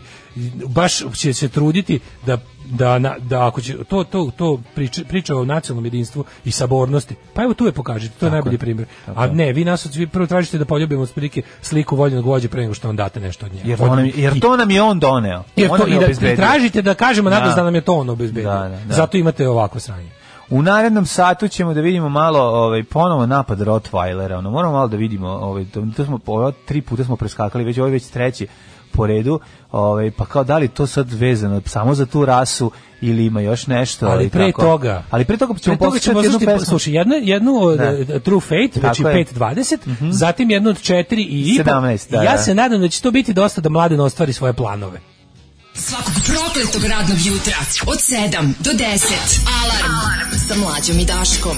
baš će se truditi da da, na- da ako će to to to priča, priča o nacionalnom jedinstvu i sabornosti. Pa evo tu je pokažite, to je najbolji primjer. A ne, vi nas vi prvo tražite da poljubimo otprilike sliku voljenog vođe pre nego što vam date nešto od njega.
Jer, to nam, jer to nam je on doneo.
Jer
On
to,
nam je
i da
obezbedio.
tražite da kažemo nadam
Da.
da nam je to ono obezbedio.
Da, da, da.
Zato imate ovako sranje.
U narednom satu ćemo da vidimo malo ovaj ponovo napad Rottweilera. Ono moramo malo da vidimo, ovaj to, to smo ovo tri puta smo preskakali, već ovaj već treći po redu. Ovaj pa kao da li to sad vezano samo za tu rasu ili ima još nešto
Ali
i
pre
tako.
toga-
Ali pre toga ćemo
Pre toga ćemo
poslušati jednu
poslušati,
pesmu.
slušaj, jednu, jednu od
Da.
eh, True Fate, znači
Tako je.
5.20, zatim jednu od 4 i ipo.
17, da,
ja
da.
se nadam da će to biti dosta da mladen ostvari svoje planove.
Svakog prokletog radnog jutra od 7 do 10. Alarm, sa mlađom i Daškom.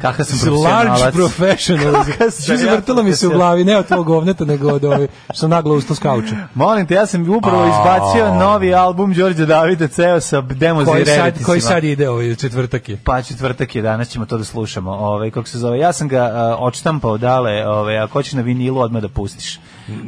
Kakav sam
Large
profesionalac.
professional.
Kakav sam
Što
ja
izvrtalo mi se u
profesionalac.
glavi, ne od tvog ovneta, nego od ove, što sam naglo ustao s kauča.
Molim te, ja sam upravo izbacio novi album Đorđe Davida ceo sa
Koji sad,
demozireritisima.
koji sad ide ovaj četvrtak je?
Pa četvrtak je, danas ćemo to da slušamo. Ovaj kako se zove? Ja sam ga a, odštampao dale, ovaj ako hoćeš na vinilu odmah da pustiš.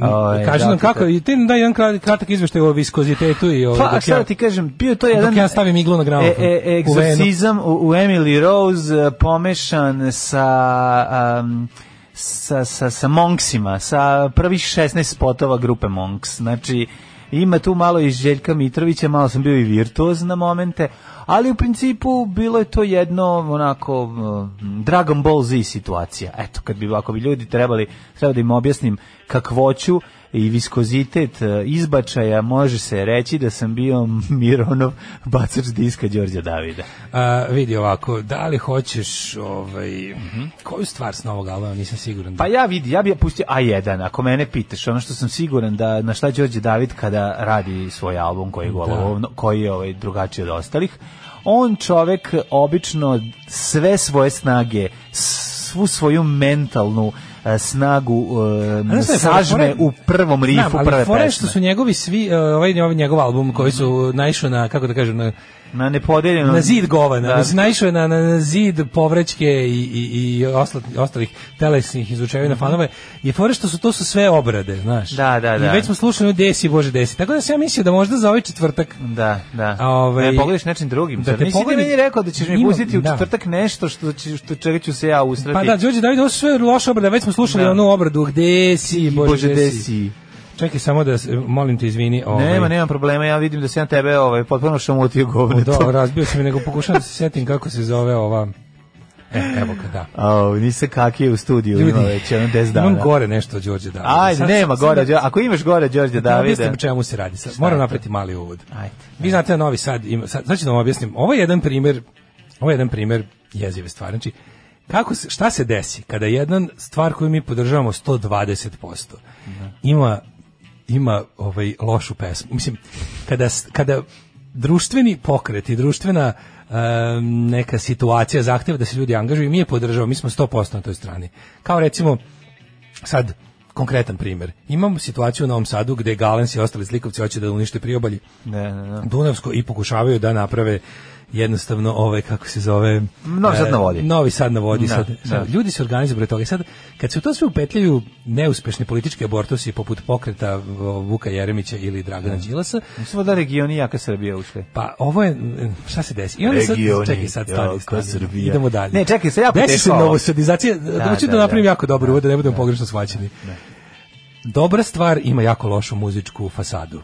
Ovaj,
Kaži nam
dakle,
kako, i ti daj jedan krat- kratak izveštaj o viskozitetu i ovaj,
Pa,
dok
sad
ja-
ti kažem, bio je to
dok
jedan
ja stavim iglu na gramofon,
E, e,
u venu.
egzorcizam u, u Emily Rose e, pomešan sa am, sa, sa, sa Monksima, sa prvih 16 spotova grupe Monks. Znači, ima tu malo i Željka Mitrovića, malo sam bio i virtuoz na momente, ali u principu bilo je to jedno onako mm, Dragon Ball Z situacija. Eto, kad bi, ako bi ljudi trebali, treba da im objasnim kakvoću i viskozitet e, izbačaja može se reći da sam bio Mironov bacač diska Đorđa Davida.
A, vidi ovako, da li hoćeš ovaj, koju stvar s novog albuma, nisam siguran.
Pa ja vidi, ja bih pustio A1, ako mene pitaš, ono što sam siguran da na šta Đorđe David kada radi svoj album koji je, golo- koji je ovaj, drugačiji od ostalih, on čovek obično sve svoje snage, svu svoju mentalnu e, snagu e,
A znaš šta je fora?
sažme
Fora-
u prvom rifu
Znam, ali
prve
fora je što
pesme.
su njegovi svi, e, ovaj, ovaj njegov album koji su naišao na, kako da kažem, na,
na nepodeljeno
na zid govana.
Da.
Mislim, naišao je na, na, na zid povrećke i, i, i osla- ostalih telesnih izučevina fanova. Je fora što su to su sve obrade, znaš.
Mhm. Da, da, da.
I već smo slušali desi, bože desi. Tako da sam ja mislio da možda za ovaj četvrtak
Da, da.
A, ovaj,
da me pogodiš nečim drugim.
da
Da
te
Nisi ti
pogodi-
meni rekao da ćeš mi
Imam-
pustiti u
da.
četvrtak nešto što, će, što čega ću se ja usrati.
Pa da, Đorđe David, ovo su sve loše obrade, već smo slušali
Da.
onu obradu, gde si, bože,
Bože,
gde
gde
si.
si?
Čekaj samo da, se- molim te, izvini. Ovaj.
Nema, nema problema, ja vidim da se ja tebe ovaj, potpuno šamutio govne.
Da, razbio sam je, nego pokušavam da se setim kako se zove ova... E, evo ga, da.
A, ovaj, nisam kaki je u studiju,
Ljudi,
ima već jedno 10 dana.
Imam gore nešto od Đorđe Davida.
Ajde,
Sad-
nema
sad
gore,
da-
Đor- ako imaš gore Đorđe
Da
Davide.
objasnim čemu se radi. Sad, moram napraviti mali uvod.
Ajde.
Vi znate da Novi Sad ima, sad, sad ću da vam objasnim. Ovo je jedan primer, ovo je jedan primer jezive stvari. Znači, kako se, šta se desi kada jedna stvar koju mi podržavamo 120% ima ima ovaj lošu pesmu. Mislim, kada, s- kada društveni pokret i društvena em, neka situacija zahteva da se ljudi angažuju, mi je podržavamo, mi smo 100% na toj strani. Kao recimo, sad konkretan primer. Imamo situaciju u Novom Sadu gde Galens i ostali slikovci hoće da unište priobalje
Ne, ne, ne.
Dunavsko i pokušavaju da naprave jednostavno ovaj kako se zove
Novi Sad na vodi.
e, Novi Sad na vodi
Da,
sad, sad
da.
ljudi se organizuju protiv toga I sad kad se u to sve upetljaju neuspešni politički abortusi poput pokreta o, Vuka Jeremića ili Dragana Đilasa
Mislim da regioni jaka Srbija ušli.
pa ovo je šta se desi i onda sad
Regioni,
čekaj sad stani,
jaka
stani.
Srbija.
idemo dalje
Ne, čekaj, sad jako
desi se
teško ovo.
novosadizacija da, hoću da,
da,
napravim
da.
jako dobro uvod da ne budemo pogrešno shvaćeni dobra stvar ima jako lošu muzičku fasadu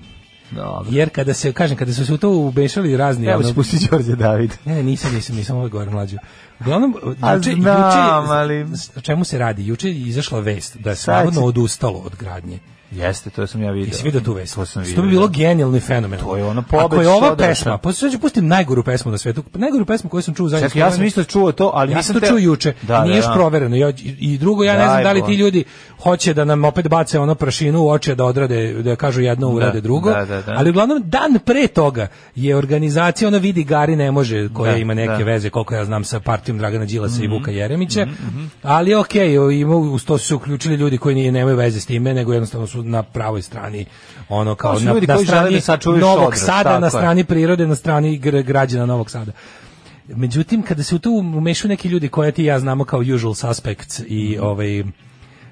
Dobro.
jer kada se kažem kada su se u to ubešali razni
Evo
ono-
ću pustiti Đorđe Davide.
ne, ne, nisam, nisam, nisam ovaj gore mlađu. Uglavnom, znači,
A
juče,
znam,
juče,
ali-
s- o čemu se radi? Juče je izašla vest da je
Sad će-
Slavno odustalo od gradnje.
Jeste, to sam ja vidio.
Jesi vidio tu vest?
To sam vidio.
Što bi bilo
da.
genijalno i fenomenalno.
To je ono pobeđ
Ako je ova
Šodroša.
pesma, pa sad ću pustim najgoru pesmu na svetu, najgoru pesmu koju sam čuo zadnjih
Čekaj, ja sam
godina.
isto čuo to, ali
ja sam
nisam
to
te-
čuo juče,
Da, da,
nije još
da.
provereno. Ja, I drugo, ja ne
Daj
znam da li
Bože.
ti ljudi hoće da nam opet bace ono prašinu u oče da odrade, da kažu jedno urade drugo.
da, da, da.
Ali uglavnom, dan pre toga je organizacija, ono vidi Gari ne može, koja
Da,
ima neke
da. Mhm.
veze, koliko ja znam, sa partijom Dragana Đilasa i Vuka Jeremića. Ali okej, okay, ima, uz to su se uključili ljudi koji nije, nemaju veze s time, nego jednostavno su na pravoj strani ono kao
To su
na,
ljudi
na
koji žele
strani
da sačuvaju
Novog
Šodroš,
Sada,
tako
na
je.
strani prirode, na strani gr- građana Novog Sada. Međutim, kada se u to umešaju neki ljudi koje ti i ja znamo kao usual suspects i
Mhm.
ovaj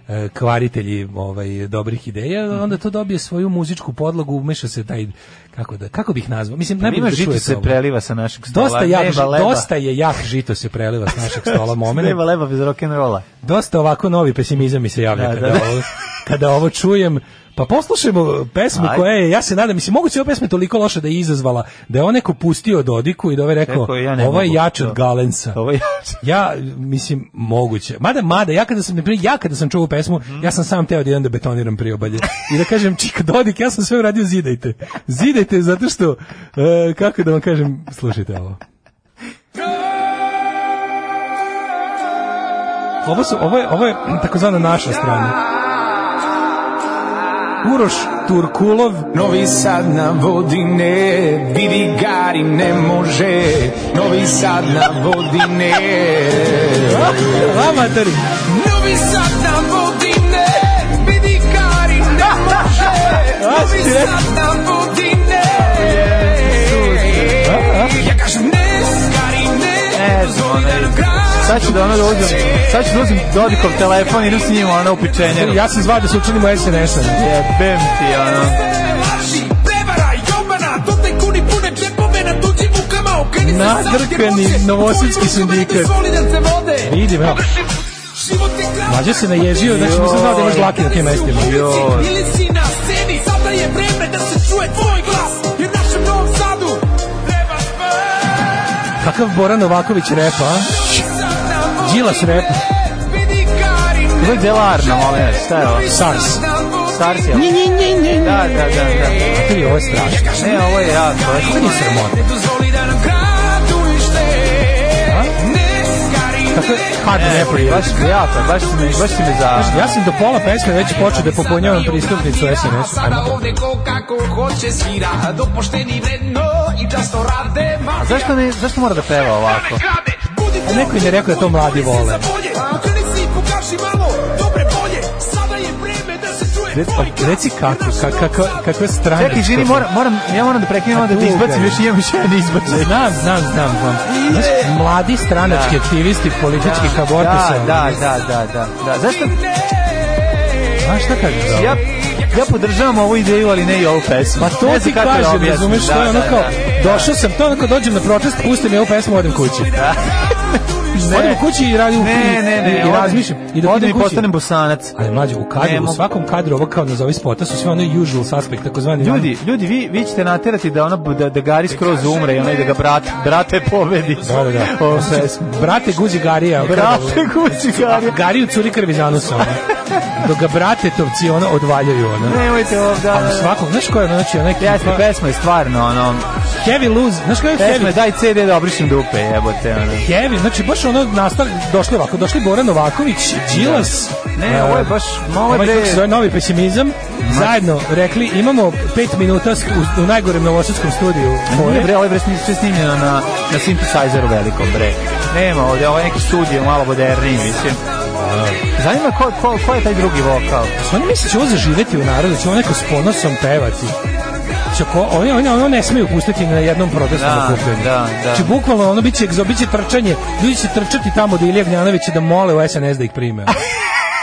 e, kvaritelji ovaj dobrih
Mhm.
ideja, onda to dobije svoju muzičku podlogu, umeša se taj kako da kako bih nazvao. Mislim ne
Pa Imaš žito se preliva sa našeg stola.
Dosta jak,
Nema leba.
dosta je jak žito se preliva s našeg stola momenat.
Nema leba bez rock'n'rolla.
Dosta ovako novi pesimizam mi se javlja
Da,
kada,
da.
Ovo, kada ovo čujem. Pa poslušajmo pesmu
Ajde.
koja je, ja se nadam, mislim, moguće je ova pesma toliko loša da je izazvala, da je on neko pustio Dodiku i da ovaj rekao,
Rekao je, ja ne
ovo je
mogu
jače
to.
od Galensa.
Ovo je
Ja, mislim, moguće. Mada, mada, ja kada sam, na primjer, ja kada sam čuo ovu pesmu, ja sam sam teo da jedan da betoniram priobalje. I da kažem, čika Dodik, ja sam sve uradio, zidajte. Zidajte, zato što, e, kako da vam kažem, slušajte ovo. Ovo, su, ovo je, ovo je takozvana naša strana. Uroš Turkulov,
Novi Sad na vodi ne, vidi gari ne može, Novi Sad na vodi ne.
amatori.
Novi Sad na vodi ne, vidi gari ne može, Novi Sad na vodi ne. Ja kažem ne, stari
E.
ne, dozvoli da nam grad
Sad ću da ono da uzmem, sad ću da uzmem Dodikov telefon i idem s njim ono u pičenjeru.
Ja sam zvao da se učinimo SNS-a.
Jebem ti, ono.
laži, prevara, jobana, to te kuni pune džepove na tuđim rukama, okreni se sad gdje
Nadrkani
može.
novosadski
Tvoj instrument
sindikat.
izvoli da te vode.
Vidi, bravo.
Život je kratak.
Mlađe se naježio, znači nisam znao da imaš dlake na tim mestima.
Joj. Ili si na sceni, sada je vreme da se čuje tvoj glas, jer našem Novom Sadu treba
Kakav Bora Novaković repa, a? Đilas rep.
Vidi Karin,
Ovo je Delarna, molim vas, šta je ovo?
SARS.
na vodi
Starsi. ali- Da, da, da, da.
A to je ovo je strašno.
Ne, ovo je jako.
To je sramota. Kako je hard
E, baš jako, baš si me, baš si me za...
Ja sam do pola pesme već počeo da popunjavam pristupnicu SNS.
Sada ovde ko kako hoće svira Do pošteni vredno i často rade
A zašto, ne, zašto mora da peva ovako?
E, Neko im je rekao da to mladi vole. Re- pa, Reci kako, kako, kako, kako je strano.
Čekaj, izvini, moram, moram, ja moram da prekinem, onda ti izbacim, još imam još jedan izbacim. E.
Znam, znam, znam, znam. Znaš, mladi stranački
Da.
aktivisti političkih
Da,
abortusa.
Da, da, da, da, da. Zašto?
Znaš šta kažeš za ovo?
Ja, ja podržavam ovu ideju, ali ne i ovu pesmu.
Pa to
Ne
ti
znam kako da
kažem,
objasnim.
razumeš,
Da,
to je ono
da,
kao,
da.
došao sam, to je ono kao dođem na protest, pustim je ovu pesmu, odem kući.
Ne.
Odem kući i radim,
Ne, ne, ne,
i, i
odem-
razmišljam. I dok
odem
idem
i
kući-
postanem bosanac.
Ali mlađe, u
Ne,
kadru, u
mogu.
svakom kadru, ovo kao nazovi spota, su sve ono usual suspect, takozvani
Ljudi, ljudi, vi, vi ćete naterati da ona da, da Gari skroz umre i onaj da ga brat, brate pobedi.
ono. Da, da, da.
Ovo pesmu.
Brate Guzi Garija. ono,
Brate kući Gari.
Gariju curi krvi za nosom. Dok ga bratetovci ono odvaljuju ono.
Nemojte ovdje.
A u svakom, znaš koja je ono, znači onaj
Jasne, pesma je stvarno, ono,
Heavy Lose, znaš koja je
pesma je
Heavy?
daj CD da obrišem dupe, jebote, ono.
Heavy, znači baš ono nastav, došli ovako, došli Bora Novaković, Đilas,
Ne, ovo je baš, ma ovo je
ovaj
bre-
kako se zove, novi pesimizam, zajedno rekli imamo pet minuta sk- u, u najgorem novosadskom studiju.
Nije
fore.
bre, ovo je bre snim- sve snimljeno na, na synthesizeru velikom, bre. Nema ovdje, ovo je neki studio, malo moderniji, mislim. Zanima ko, ko, ko je taj drugi vokal?
Oni misle će ovo zaživeti u narodu, će ovo neko s ponosom pevati. Će ko, oni, oni, ono ne smiju pustiti na jednom protestnom
Da,
okupljanju.
da, da.
Će bukvalno ono biće, egzo- biće trčanje, ljudi će trčati tamo do Ilija Gnjanovića da mole u SNS da ih prime.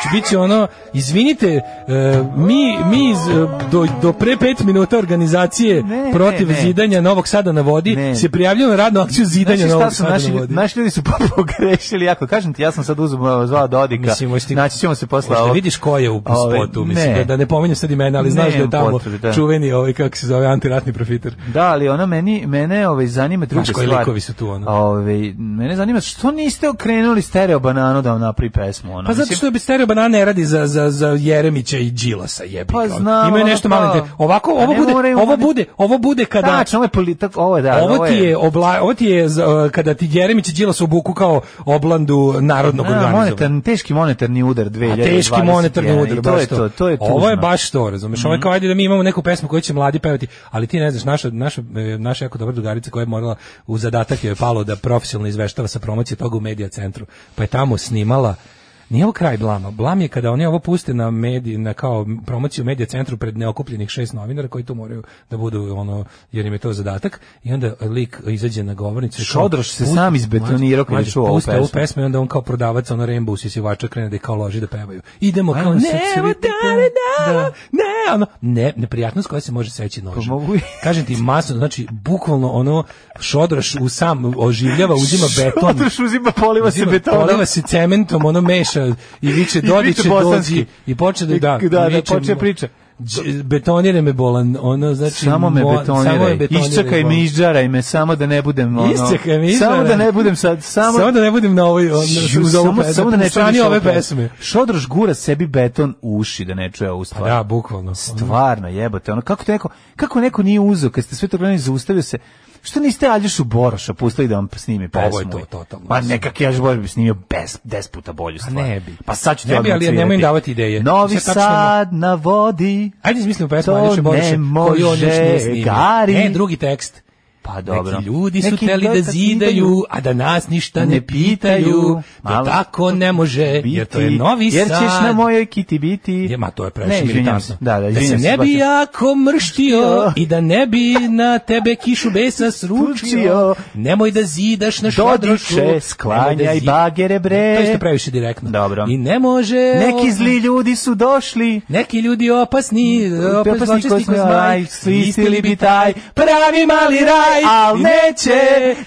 Će biti ono, izvinite, e, mi, mi iz, e, do, do pre pet minuta organizacije
Ne,
protiv
ne, ne.
zidanja Novog Sada na vodi
Ne.
se prijavljaju na radnu akciju
Znaš
zidanja
Znači, šta
Novog
su
Sada
naši,
na vodi.
naši ljudi su pa pogrešili jako. Kažem ti, ja sam sad uzmao zvao Dodika.
Mislim, hoćeš ti-
Naći ćemo se posle
Možda
ovog.
vidiš ko je u
Ovaj,
spotu, mislim,
ne.
da, da ne pominjem sad imena, ali znaš da je
Nemam
tamo
potrebe, da.
čuveni ovaj, kako se zove, antiratni profiter.
Da, ali ona meni, mene ovaj, zanima druga
Znaš koji
stvar.
likovi su tu, ono?
Ovaj, mene zanima što niste okrenuli stereo bananu da vam napravi pesmu. Ono.
Pa zato
Mislim,
što bi stereo banana ne radi za, za, za Jeremića i Đilasa jebi
Pa
ga.
znam,
Imaju
ono
nešto
kao-
malo. inter- Ovako,
Pa
ovo
ne
bude,
moraju
ovo
oni-
bude, ovo bude kada...
Tačno, ovo je politak, ovo je da.
Ovo ti je, obla, ovo ti je za- kada ti Jeremić i Đilas obuku kao oblandu narodnog
Na,
organizovanja.
monetarni, teški monetarni udar 2020.
A teški monetarni udar,
I to
baš
je to, to je tužno. Mhm.
Ovo je baš to, razumeš? Ovo je kao ajde da mi imamo neku pesmu koju će mladi pevati, ali ti ne znaš, naša, naša, e, naša jako dobra drugarica koja je morala, u zadatak joj je palo da profesionalno izveštava sa promocije toga u medija centru, pa je tamo snimala Nije ovo kraj blama. Blam je kada oni ovo puste na mediji, na kao promociju u medija centru pred neokupljenih šest novinara koji tu moraju da budu ono jer im je to zadatak i onda lik izađe na govornicu i kao-
Šodroš se sam izbetonirao kad je
Mlađe,
čuo ovu
puste
pesmu.
pesmu i onda on kao prodavac ono Rainbow usisivača krene da ih kao loži da pevaju. Idemo kao
Ajmo
ne,
se cvjetati. Da.
da,
Pa
ne, ono, ne, neprijatnost koja se može seći nožem.
mogu i-
Kažem ti, masno, znači, bukvalno ono, šodraš u sam, oživljava, uzima beton.
Odraš uzima, poliva se
Uzima-
betonom.
Poliva se cementom, ono meša i viče,
I
dodiće,
viče bosanski.
dođi. I počne da,
I-
da,
da, da,
i
počne priča.
"Đ- Betonire me bolan, ono, znači...
Samo me
mo- samo
betoniraj.
me betoniraj,
Iščekaj
bolan.
me, izđaraj me, samo da ne budem ono.
Isčekaj mi,
Samo
izvara.
da ne budem sad, samo
samo da ne budem na ovoj on,
Šu,
uz ovu
samo,
pesmu,
samo da ne
strani
čuješ
ove
pesmu.
pesme. Pa
Šodroš gura sebi beton u uši da ne čuje ovu stvar.
Da, bukvalno. ono.
Stvarno, jebote, ono, kako, te neko, kako neko nije uzeo, kad ste sve to gledali, zaustavio se, što niste Aljošu Boroša pustili da vam snimi
Pa
pesmu?
ovo je to, totalno.
Ma nekak Aljoš Boroš bi snimio bez, des puta bolju stvar.
ne bi.
Pa sad ću ti
Ne bi,
odmah
ali ja nemoj
svirati.
im davati ideje.
Novi
Sad tačno-
Sad na vodi.
Ajde izmislimo pesmu
To
Aljoše Boriše
ne
koju on još nije
može,
snimio.
Gari.
Ne, drugi tekst.
Pa dobro.
Neki ljudi su
Neki
teli da
ljudi
zidaju, a da nas ništa ne
Ne
pitaju.
pitaju.
To
Malo
tako ne može,
biti,
jer to je novi sad.
Jer ćeš na mojoj kiti biti.
Je, ma to je
Ne,
previše
izvinjam
militantno.
se. Da, da,
da se
izvinjam se,
ne bi
shvatio.
jako mrštio i da ne bi na tebe kišu besa sručio.
Sručio.
Nemoj da zidaš na šodrošu.
Dodiče, sklanjaj bagere bre.
To isto previše direktno.
Dobro.
I ne može...
Neki zli ljudi su došli.
Neki ljudi opasni, opasni zločesti ko zmaj,
svistili bi taj pravi mali raj, al neće,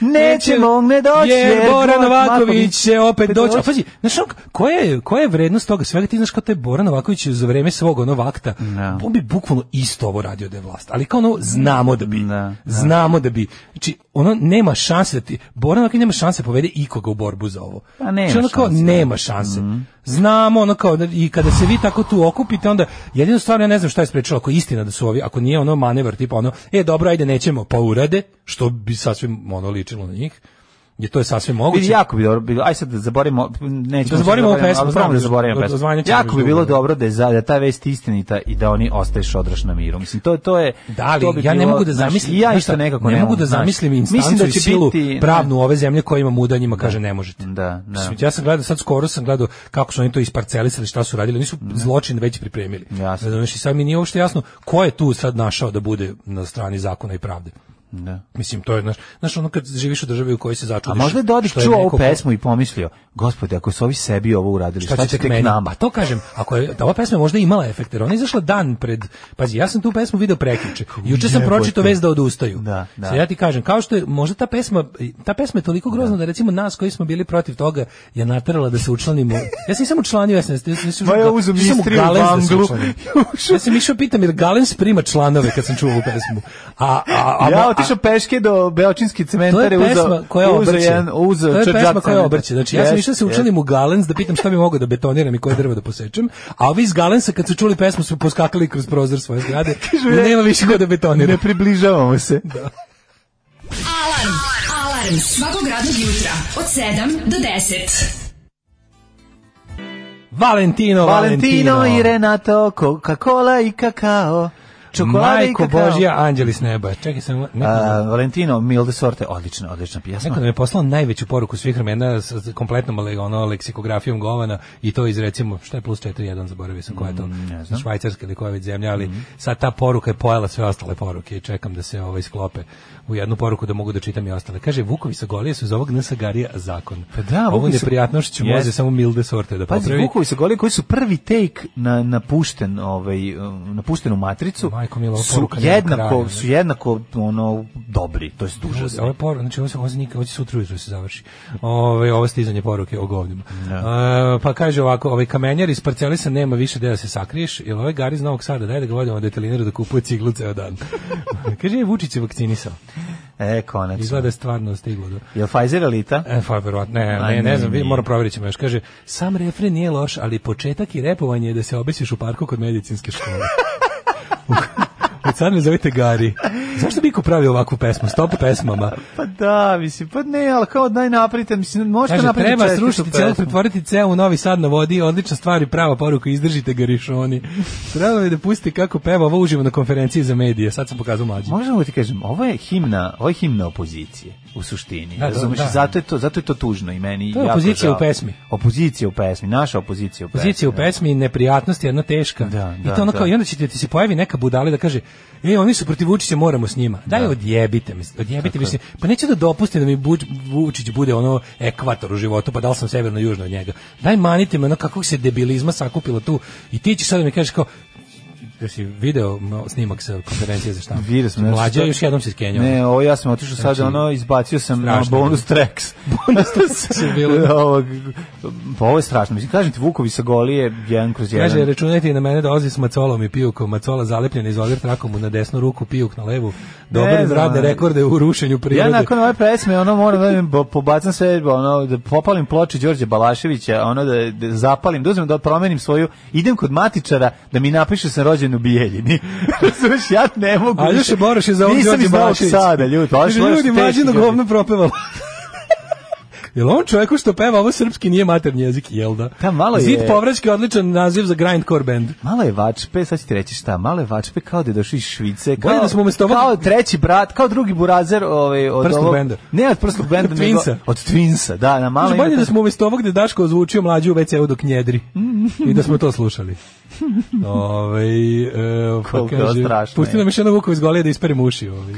neće mog ne doći,
jer Bora
Goran
Novaković će opet
opet
doći.
doći.
A pazi, znaš, on, koja je, koja je vrednost toga svega, ti znaš kao taj Bora Novaković za vreme svog onog vakta,
Da.
on bi bukvalno isto ovo radio da je vlast, ali kao ono, znamo da bi,
Da, da.
znamo da bi, znači, ono, nema šanse da ti, Bora Novaković nema šanse da povede ikoga u borbu za ovo.
Pa nema
Znači, ono kao,
šanse.
nema šanse. znamo ono kao i kada se vi tako tu okupite onda jedino stvarno ja ne znam šta je sprečilo ako je istina da su ovi ako nije ono manevar tipa ono e dobro ajde nećemo pa urade što bi sasvim ono ličilo na njih je to je sasvim moguće
Bi jako bi dobro bilo. Aj sad da zaboravimo, nećemo
Da zaboravimo ovu pesmu,
ali znamo da
pravda,
zaboravimo
da- da
pesmu.
zvanjačimo
Jako bi
još
bilo
dugo.
dobro da je za, da je ta vest istinita i da oni ostaju šodraš na miru. Mislim to to je
Da li,
to bi
ja ne
bilo,
mogu da
znaš,
zamislim,
i ja
znaš
isto
šta,
nekako
ne,
ne
mogu da
znaš.
zamislim
Mislim
instancu
da
i
će
silu
biti-
pravnu ove zemlje koja ima mudanjima, kaže ne možete.
Da, da.
Mislim, Ja sam gledao, sad skoro sam gledao kako su oni to isparcelisali, šta su radili, oni su zločin već pripremili.
Mhm. Jasno.
Razumeš, i sad mi nije uopšte jasno ko je tu sad našao da bude na strani zakona i pravde.
Da.
Mislim, to je, znaš, znaš ono kad živiš u državi u kojoj se
A
začudiš.
možda je Dodik
što je
čuo
neko
ovu
ko-
pesmu i pomislio, gospode, ako su ovi sebi ovo uradili, šta, će
tek
tek
meni? Pa
nama?
A to kažem, ako je da ova pesma je možda imala efekt, jer ona je izašla dan pred. Pazi, ja sam tu pesmu video prekjuče. Juče sam
Jebote.
pročitao vez da odustaju.
Da, da.
Sad ja ti kažem, kao što je možda ta pesma, ta pesma je toliko grozna da, recimo nas koji smo bili protiv toga je naterala da se učlanimo. Ja sam samo članio, ja sam ja sam- sam-
Ma ja uzem
sam u
Istriju,
Galens da se
Banglu.
učlanim. Ja sam išao pitam jer Galens prima članove kad sam čuo ovu pesmu. A a a,
ja
a-
otišao peške do Beočinski
to je
cementar i
pesma
uzeo
koja
i uzeo
obrće.
jedan uzeo
to je
čačak
pesma koja
cementar.
obrće. Znači, ja sam
Jest,
išao da se
jest.
učlanim u Galens da pitam šta bi mogao da betoniram i koje drvo da posečem, a ovi iz Galensa kad su čuli pesmu su poskakali kroz prozor svoje zgrade.
ne,
nema više ko da betonira.
Ne približavamo se.
Alarm. Alarm svakog radnog jutra od 7 do 10.
Valentino, Valentino.
Valentino i Renato, Coca-Cola i kakao. Čokolada i
Majko
kakao.
Božja, anđeli s neba. Čekaj sam...
A, Valentino, milde sorte, odlična, odlična pjesma.
Neko nam je poslao najveću poruku svih vremena sa sa kompletnom ale- ono, leksikografijom Govana i to iz recimo, šta je plus 4.1, zaboravio sam koja je to,
Mm,
švajcarska ili koja je već zemlja, ali
Mm-hmm.
sad ta poruka je pojela sve ostale poruke i čekam da se ovaj sklope u jednu poruku da mogu da čitam i ostale. Kaže, Vukovi sa Golije su iz ovog Nasagarija zakon.
Pa da,
Ovu
Vukovi sa-
neprijatnošću
Jest.
može samo milde sorte da
Pazi,
popravi.
Vukovi se goli koji su prvi take na napušten ovaj um, napuštenu matricu.
Majko mila, ova
su
poruka nema
jednako
kraja, ne?
su jednako ono dobri, to jest
Ovo
užasno.
je por, znači ovo se ovo se nikad, ovo će sutra ujutro se završi. Ove, ovo stizanje poruke o govnima. E, pa kaže ovako, ovaj kamenjar iz parcelisa nema više gde da se sakriješ, jer ovaj gari iz Novog Sada, daj da ga vodimo detalinaru da kupuje ciglu ceo dan. kaže, je Vučić je vakcinisao.
E, konačno.
Izgleda je stvarno stiglo. Do...
Jel Pfizer elita?
E, pa, verovatno, ne,
A,
ne, ne
ne,
znam, vi-
nije.
moram provjerit ćemo još. Kaže, sam refren nije loš, ali početak i repovanje je da se obesiš u parku kod medicinske škole. Od sad me zovete Gari. Zašto Biko pravi ovakvu pesmu? Stop pesmama.
Pa da, mislim, pa ne, ali kao daj napravite, mislim, možete
Kaže,
napraviti
treba
čestitu
srušiti
pesmu.
celu, pretvoriti ceo u Novi Sad na vodi, odlična stvar i prava poruka, izdržite ga rišoni. Trebalo je da pusti kako peva ovo uživo na konferenciji za medije, sad sam pokazao mlađi.
Možemo ti kažem, ovo je himna, ovo je himna opozicije u suštini.
Da,
Da,
da,
Razumeš,
da.
zato je to, zato je to tužno i meni.
To je
jako
opozicija
žao.
u pesmi.
Opozicija u pesmi, naša opozicija u pesmi.
Pozicija u
da.
pesmi, neprijatnost je jedna teška.
Da,
I to
da,
ono kao,
da.
i onda će ti, ti se pojavi neka budala da kaže, e, oni su protiv Vučića, moramo s njima. Daj, odjebite, mislim, odjebite, mislim, pa neću da dopustim da mi Buč- Vučić bude ono ekvator u životu, pa da li sam severno-južno od njega. Daj, manite me ono kakvog se debilizma sakupilo tu i ti ćeš sad da mi kažeš kao, Jesi video no, snimak sa konferencije za šta?
Vidio sam, znači,
Mlađa
to-
još jednom se skenjao.
Ne, ovo ja sam otišao sad,
Znači,
ono, izbacio sam na
strašno je
bonus tracks. bonus tracks
je bilo.
Ovog, pa ovo je strašno. Mislim, kažem ti, Vukovi sa golije, jedan kroz jedan.
Kaže, računajte i na mene dolazi s macolom i pijukom. Macola zalepljena iz odr trakom na desnu ruku, pijuk na levu. Dobar
znam,
radne
ali-
rekorde u rušenju
Ja
prirode.
nakon ove pesme ono moram da im bo- pobacam sve ono da popalim ploče Đorđe Balaševića, ono da, da zapalim, da uzmem da promenim svoju, idem kod matičara da mi napiše sam rođen u Bijeljini. Razumeš, ja ne mogu.
A
više.
još je Boroš je za ovog
Nisam
Đorđe
iz Novog
Balaševića.
Sada, ljudi, pa
Kaže,
baš
ljudi,
teški
mlađino
ljudi.
govno propevalo. Jel on čovjeku što peva ovo srpski nije maternji jezik, jel da?
Da, Pa malo je-
Zid povraćke je odličan naziv za grindcore band.
Malo je vačpe, sad ću ti reći šta, malo je vačpe kao da je došao iz Švice, kao,
Bolje da smo umjesto ovog-
kao treći brat, kao drugi burazer ovaj, od
Prstnog
ovog-
benda.
Ne od prstnog benda,
Od
nego
Twinsa.
od Twinsa, da, na malo
Kaže,
ima
bolje da
taj-
smo umjesto ovog gde Daško ozvučio mlađu u WC-u dok njedri. I da smo to slušali. Ove, e, pa
Koliko je
kaže,
strašno
pusti
je.
nam još jedno Vukov iz golije da isperim uši. Ovaj.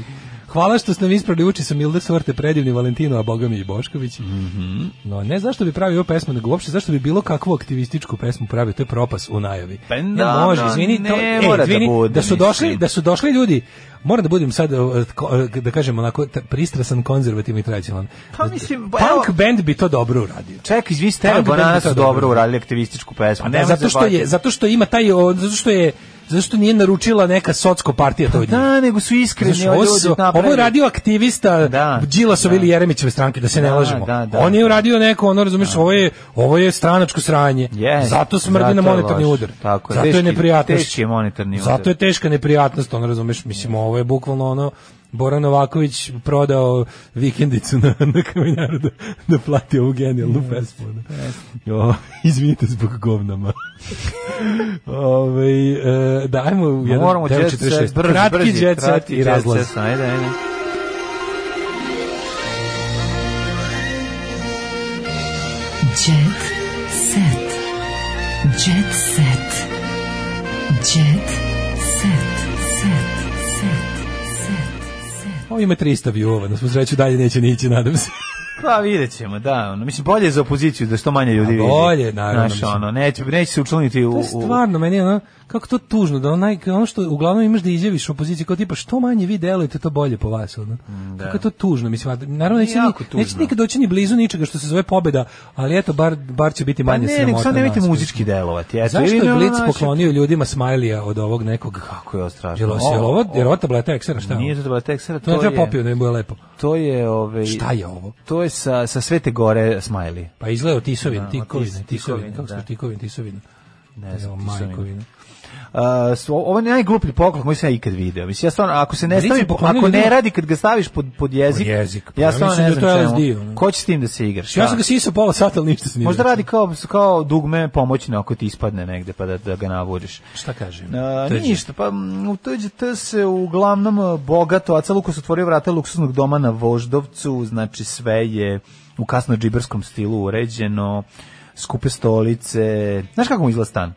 Hvala što ste nam ispravili uči sa Milde Sorte, predivni Valentino, a boga mi i Bošković.
Mhm.
No, ne zašto bi pravio ovu pesmu, nego uopšte zašto bi bilo kakvu aktivističku pesmu pravio, to je propas u najavi.
Pa
ne
da,
može,
da,
izvini,
ne
to, ej,
mora da
izvini,
bude,
su došli,
mislim.
da su došli ljudi moram da budem sad, uh, ko- uh, da kažem, onako t- pristrasan, konzervativni i tradicionalan.
Pa, mislim,
Punk
evo-
band bi to dobro uradio.
Čekaj, izvi Stereo
Punk band
Banana
bi to
su dobro uradili aktivističku pesmu.
Pa da,
nemoj
zato što
zabaviti.
je zato što ima taj o, zato što je zato što nije naručila neka socko partija to. od njih.
Pa Da, nego su iskreni
Znaš,
ovi
ovo,
ljudi
su- ovo je
napravili.
radio aktivista da, Đilasov ili Jeremićeve stranke, da se ne
Da,
lažemo.
da, da.
On je uradio neko, ono, razumiješ, ovo, je, ovo je stranačko sranje.
Yes,
zato smrdi
zato
na
je
monetarni
loš.
udar.
Tako je,
zato je
teški-
neprijatnost.
teški je monetarni udar.
Zato je teška neprijatnost, ono, razumiješ, mislim, ovo je bukvalno ono, Bora Novaković prodao vikendicu na, na kamenjaru da, da plati ovu genijalnu pesmu. da. O, izvinite zbog govnama. Ove, e, dajmo u jedan
Moramo jet set,
9.46.
brzi,
kratki
brzi,
jet set
kratki
i
jet
razlaz.
set, ajde, ajde.
Jet set. Jet set. Jet set. Set. Set.
Ovo ima 300 view-ova, na svu sreću dalje neće ni ići, nadam se.
Pa vidjet ćemo, da. Ono. Mislim, bolje je za opoziciju da što manje ljudi vidi.
bolje, naravno,
Znaš,
mislim.
ono, neće, neće se učlaniti u...
To je
u-
stvarno, meni je ono, kako to tužno, da onaj, ono što uglavnom imaš da izjaviš opoziciji, kao tipa što manje vi delujete, to bolje po vas, ono. Kako je to tužno, mislim, a naravno neće,
Jako
ni, neće
tužno.
nikad doći ni blizu ničega što se zove pobeda, ali eto, bar, bar će biti
Pa
manje
ne, nego
sramota
sad nemojte
nas.
muzički delovati. Eto,
Zašto
ili
je
ono,
Blitz
znaš,
poklonio ljudima smajlija od ovog nekog?
Kako je ovo strašno?
Jel ovo, jel ovo, jel ovo tableta eksera, šta je
Šta?
ovo?
Nije to bila teksera,
To
to,
ne treba
je...
popio, da im bude lepo.
To je, ove...
Šta je ovo?
To je sa, sa Svete Gore Smajli.
Pa izgleda Tisovin,
Da,
Tikovina,
Tis-
Tisovin,
Tikovina,
kako se
da.
to Tikovin, Tisovin.
Ne znam,
Evo,
Tisovin.
majkovina.
Uh, su- ovo je najgluplji poklon koji sam ja ikad video. Mislim, ja stvarno, ako se ne
Blic je
stavi,
poklonio
ako ne
ljudima-
radi kad ga staviš pod, pod jezik,
Pod jezik, pa
ja
ja
stvarno
mislim
ne
da je
znam
to LSD,
čemu.
ono.
Ko će s tim da se igraš?
Ja
a?
sam ga sisao pola sata, ali ništa se nije
Možda
desilo.
radi kao, kao dugme pomoćno ako ti ispadne negde pa da, da ga navodiš.
Šta kažem?
A,
Tuđe.
ništa, pa mm, u TGT se uglavnom e, bogato, Aca Lukas otvorio vrata luksuznog doma na Voždovcu, znači sve je u kasno džiberskom stilu uređeno, skupe stolice, znaš kako mu izgleda stan?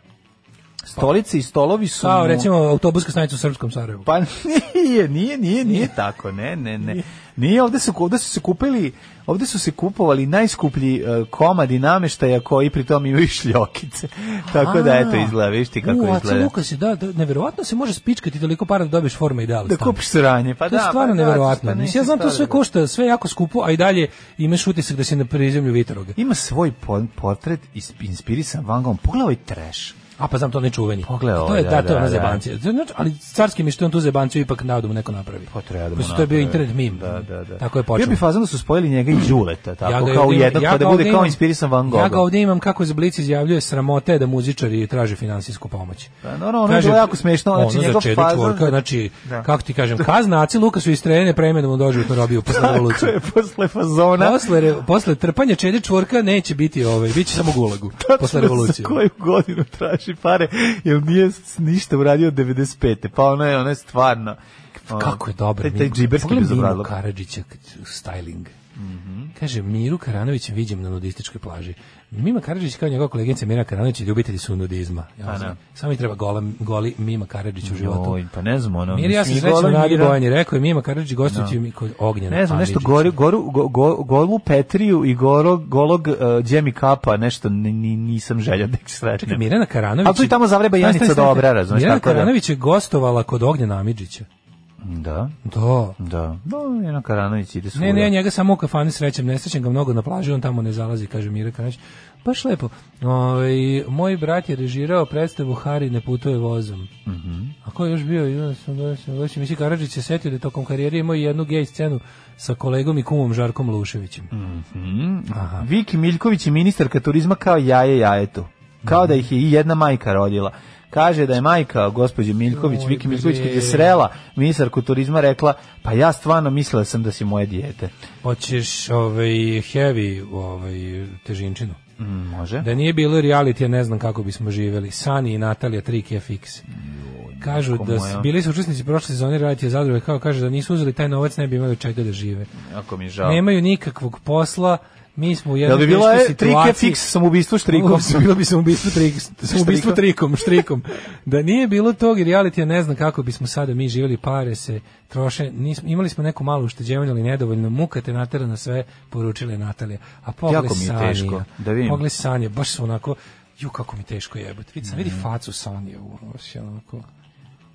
Stolice i stolovi su
Kao
mu-
Pa, recimo autobuska stanica u Srpskom Sarajevu.
Pa nije, nije, nije, nije tako, ne, ne, ne. Nije, ovde su, ovde su se kupili, ovde su se kupovali najskuplji e, komadi nameštaja koji pritom imaju šljokice. Tako da, eto, izgleda, viš ti kako
U, a
izgleda.
Luka se, da, da, neverovatno se može spičkati toliko para da dobiješ forme idealne.
Da
stane.
kupiš sranje, pa
to
da.
je stvarno
pa da,
neverovatno.
pa ne,
Mislim, ja znam to sve
stvarno.
košta, sve je jako skupo, a i dalje imaš utisak da si na prizemlju Vitoroga.
Ima svoj po- portret is- inspirisan Van Gogh. Pogledaj ovaj trash.
A pa znam to nečuveni.
Pogledaj ovo,
to je
da,
da, to je
da,
ona
da.
zebancija. Znači, ali carski mi što on tu zebanciju ipak nadu mu neko napravi.
Pa treba da mu
Mislim, to je bio
naprave.
internet mim.
Da, da, da.
Tako je
Bio
počelo.
bi fazan da su spojili njega i Đuleta, tako
ga
kao u
ovdje imam-
jednog, pa
ga
da
ovdje
bude kao
imam-
inspirisan Van
Ja ga
Gogh.
ovdje imam kako za Blic izjavljuje sramote je da muzičari traže finansijsku pomoć.
Pa, naravno, ono je bilo jako smešno, znači,
ono za
njegov
čedu
fazon-
čvorka, znači,
Da.
kako ti kažem, kazna Aci Luka su istrejene premenom u doživotnu robiju pa posle
Tako
revolucije.
je, posle fazona.
Posle, re- posle trpanja čedi čvorka neće biti ovaj, bit će samo gulagu posle revolucije.
Za koju godinu traži pare, jer nije s- ništa uradio od 95. Pa ono je, ono je stvarno... ono,
Pa Kako je dobro.
Taj, taj
Mirko.
džiberski Mhm.
Pogledaj Miru
bezobrazlog.
Karadžića k- styling. Kaže, Miru Karanovića viđem na nudističkoj plaži. Mima Karadžić kao njegova koleginica Mira Karanović ljubitelji su nudizma.
Pa
Ja
da.
znam. Samo mi treba gola, goli Mima Karadžić u životu.
Joj, pa ne znam, ono...
Mir ja sam
mislim,
srećno
Goran
Nadi
Mira-
Bojan je rekao i Mima Karadžić gostujući mi kod ognjena.
Ne znam, nešto
Paničića.
gori, goru, go, go, golu Petriju i goro, golog uh, Džemi Kapa, nešto ni, ni, nisam želja da ih sretnem.
Čekaj, Dakle, Mirjana Karanović...
A tu i tamo zavreba
Stani,
Janica
stani, stani.
dobra, razumeš,
Mirjana
tako da-
Karanović je gostovala kod Ognjena Amidžića.
Da,
Da.
da. No, Mirjana Karanović ide svuda.
Ne, ne, ja njega samo u kafani srećem, ne srećem ga mnogo na plaži, on tamo ne zalazi, kaže Mira Karanović. Baš lepo. Ovaj, moj brat je režirao predstavu Hari ne putuje vozom. A ko je još bio? Ja sam baš, baš, mislim, Karadžić se setio da je tokom karijere imao jednu gej scenu sa kolegom i kumom Žarkom Luševićem.
Aha. Viki Miljković je ministarka turizma kao jaje jajetu. Kao da ih je i jedna majka rodila. Kaže da je majka gospođe Miljković,
Oj,
Viki Miljković, kad je
bre.
srela ministarku turizma, rekla, pa ja stvarno mislila sam da si moje dijete.
Hoćeš ovaj, heavy ovaj, težinčinu.
Mm, može?
Da nije bilo reality, ja ne znam kako bismo živjeli. Sani i Natalija 3 fix. Kažu
majko
da s-
moja.
bili su učesnici prošle sezone reality zadruge, kao kaže da nisu uzeli taj novac, ne bi imali od čega da žive.
Ako mi je žao.
Nemaju nikakvog posla, mi smo u
Jel
jednoj
bi bilo
teškoj
je trike
situaciji.
fix samoubistvo štrikom?
Uopšte, bilo bi samoubistvo trik, samoubistvo trikom, štrikom. Da nije bilo tog i reality, ne znam kako bismo sada mi živjeli, pare se troše, nismo, imali smo neku malu ušteđevanje, ali nedovoljno, muka te natera na sve, poručila je Natalija. A pogle
Jako mi je
Sanja,
teško, da vidim.
pogle Sanja,
Mm.
baš su onako, ju kako mi teško jebati. Vidi, sam, vidi facu Sanje, ono, baš je onako,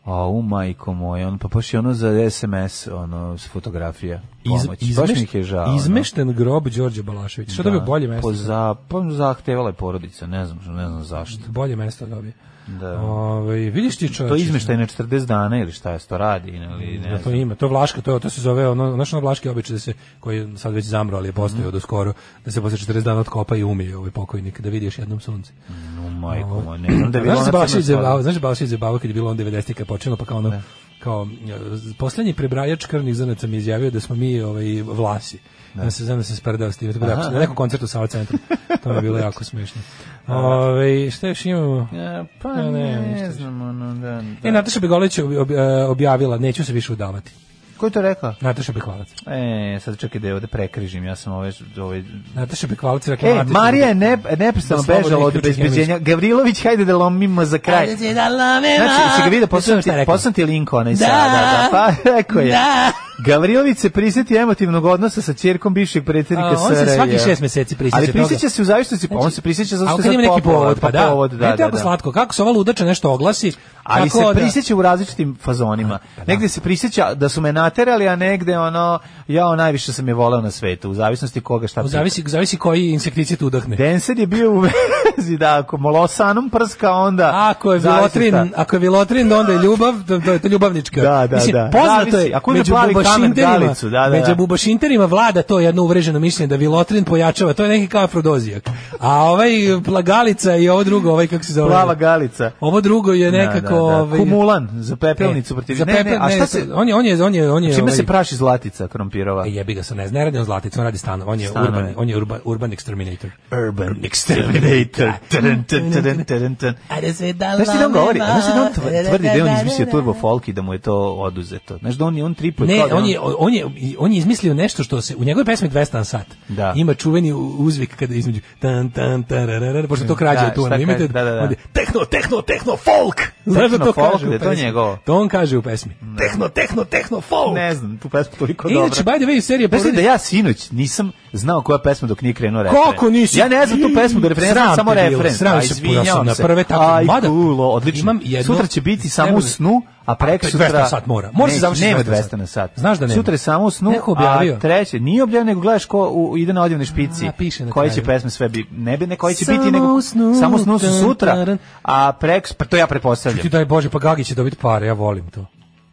A u majko moj, on pa baš je ono za SMS, ono, s fotografija. Pomoć.
Iz,
baš mi
izmeš-
ih je žao. ono.
izmešten grob Đorđe Balašević. Što da, bi bolje mesto?
Po za, pa zahtevala je porodica, ne znam, ne znam zašto.
Bolje mesto dobije.
Da.
Ovaj vidiš ti čovječe.
To izmeštaj na 40 dana ili šta je to radi ili ne
da znači. to
znam.
ima, to je vlaška, to je- to se zove ono naš ono vlaški običaj da se koji je sad već zamro, ali je postojao do skoro, da se posle 40 dana otkopa i umije ovaj pokojnik da vidiš jednom sunce. Ovaj.
No majko moja, ne znam da je
Znaš
bilo ono
da se
ona crna
Balašić
stvar.
zabavao, znaš da Balašić zabavao kad je bilo on 90 kad počelo pa kao ono kao e, poslednji prebrajač krvnih zrnaca mi je izjavio da smo mi ovaj vlasi. Da. se znam da se spredao s tim. Tako da,
Aha.
na nekom koncertu sa centru. To mi je bilo jako smešno. Ove, šta još imamo?
E, pa
Ja
ne,
nemam ništa.
znam, ono, da, da.
E, Nataša Begolić je ob- ob- e, objavila, neću se više udavati.
Ko je to rekla?
Nataša Bekvalac.
E, sad čekaj da je ovde prekrižim, ja sam ovaj, ove... ove...
Nataša Bekvalac rekla...
E,
Matić-
Marija je ne, neprestano
Da slobodno
bežala od
isključi
obezbeđenja.
hemijsku.
Gavrilović, hajde da lomimo za kraj.
Ajde ti da lome
Znači, si ga vidio,
vas.
poslan
Nisam šta
ti,
rekao.
poslan ti link onaj
Da.
sada. Da, pa rekao je.
Da.
Gavrilović se prisjeti emotivnog odnosa sa ćerkom bivšeg
A,
predsjednika
on se
SRJ.
svakih šest meseci prisjeća
Ali prisjeća
toga.
se u zavisnosti, pa on se prisjeća zato
A
što
kad
je
ima
sad
neki povod, pa da.
povod, da,
Vidite
da,
kako
da.
slatko, kako se ova ludača nešto oglasi,
ali se
kako Pa da-
prisjeća u različitim fazonima. Negde se prisjeća da su me naterali, a negde ono, jao, najviše sam je voleo na svetu, u zavisnosti koga šta
U Zavisi, zavisi koji insekticid udahne.
Denser je bio u vezi, da, ako molosanom prska, onda...
Ako je
zavisi šta.
vilotrin, ako je vilotrin, onda je ljubav, to, to, je- to je ljubavnička.
Da, da,
Mislim,
da.
poznato
Zavisi,
je,
ako uzme
među
plavi kamen
bubašinterima,
galicu, da, da, da.
među bubašinterima vlada to jedno uvreženo mišljenje da vilotrin pojačava, to je neki kao afrodozijak. A ovaj plagalica i ovo drugo, ovaj kako se zove?
Plava galica.
Ovo drugo je nekako...
Da, da, da.
ovaj- E,
Kumulan za pepelnicu protiv...
Za
ne, ne,
pepel-
a šta
ne,
se...
On je, on je, on je, on je...
Čime
ovaj-
se praši zlatica krompirova?
Pa jebi ga se ne, zna, ne radi on zlatica, on radi stanove, on je
Stanove.
urban, on je urban, urban exterminator.
Urban Exterminator. Tadam, tadam, tadam, tadam. Znaš ti da on govori? Znaš ti da on tv- tvrdi da je on izmislio turbo folk i da mu je to oduzeto? Znaš da on, on tripuje
Ne,
kao da
on je, on, je, on je izmislio nešto što se, u njegovoj pesmi 200 na sat,
Da.
ima čuveni u- uzvik kada između tan, tan, tararara, pošto to krađe
Da,
je tu,
šta
ono, imate,
kaže, da, da, da.
onda je tehno, tehno, tehno, folk! Znaš da
Techno
to
folk,
kaže u
da je to
pesmi?
njegovo.
To on kaže u pesmi. Tehno, tehno, tehno, folk!
Ne znam, tu pesmu toliko
Inače,
dobro.
by the way, serija
Znaš li da
porodič-
ja sinoć nisam znao koja pesma dok nije krenuo refren.
Kako nisi?
Ja ne znam tu pesmu do refrena,
Sram
znam
te
samo
bilo,
refren.
sram
Pa,
se,
izvinjavam
purao sam na prve tako,
Aj,
mada-
kulo, odlično.
Imam jedno-
Sutra će biti samo
Nema-
u snu, a prek
A,
sutra...
200 na sat mora. Mora se
Neće,
završiti
Nema
200 na
200
sat.
na sat.
Znaš da nema?
Sutra je samo u snu,
Neko objavio.
a treće, nije objavio, nego gledaš ko u- ide na odjevne špici.
A, piše na
Koje će
kraju.
pesme sve biti, ne bi ne koje će
Samo
biti, nego...
u snu,
Samo u snu su
tan,
sutra,
taran.
a prek, pa to ja prepostavljam.
Ti daj Bože, pa Gagi će dobiti pare, ja volim to.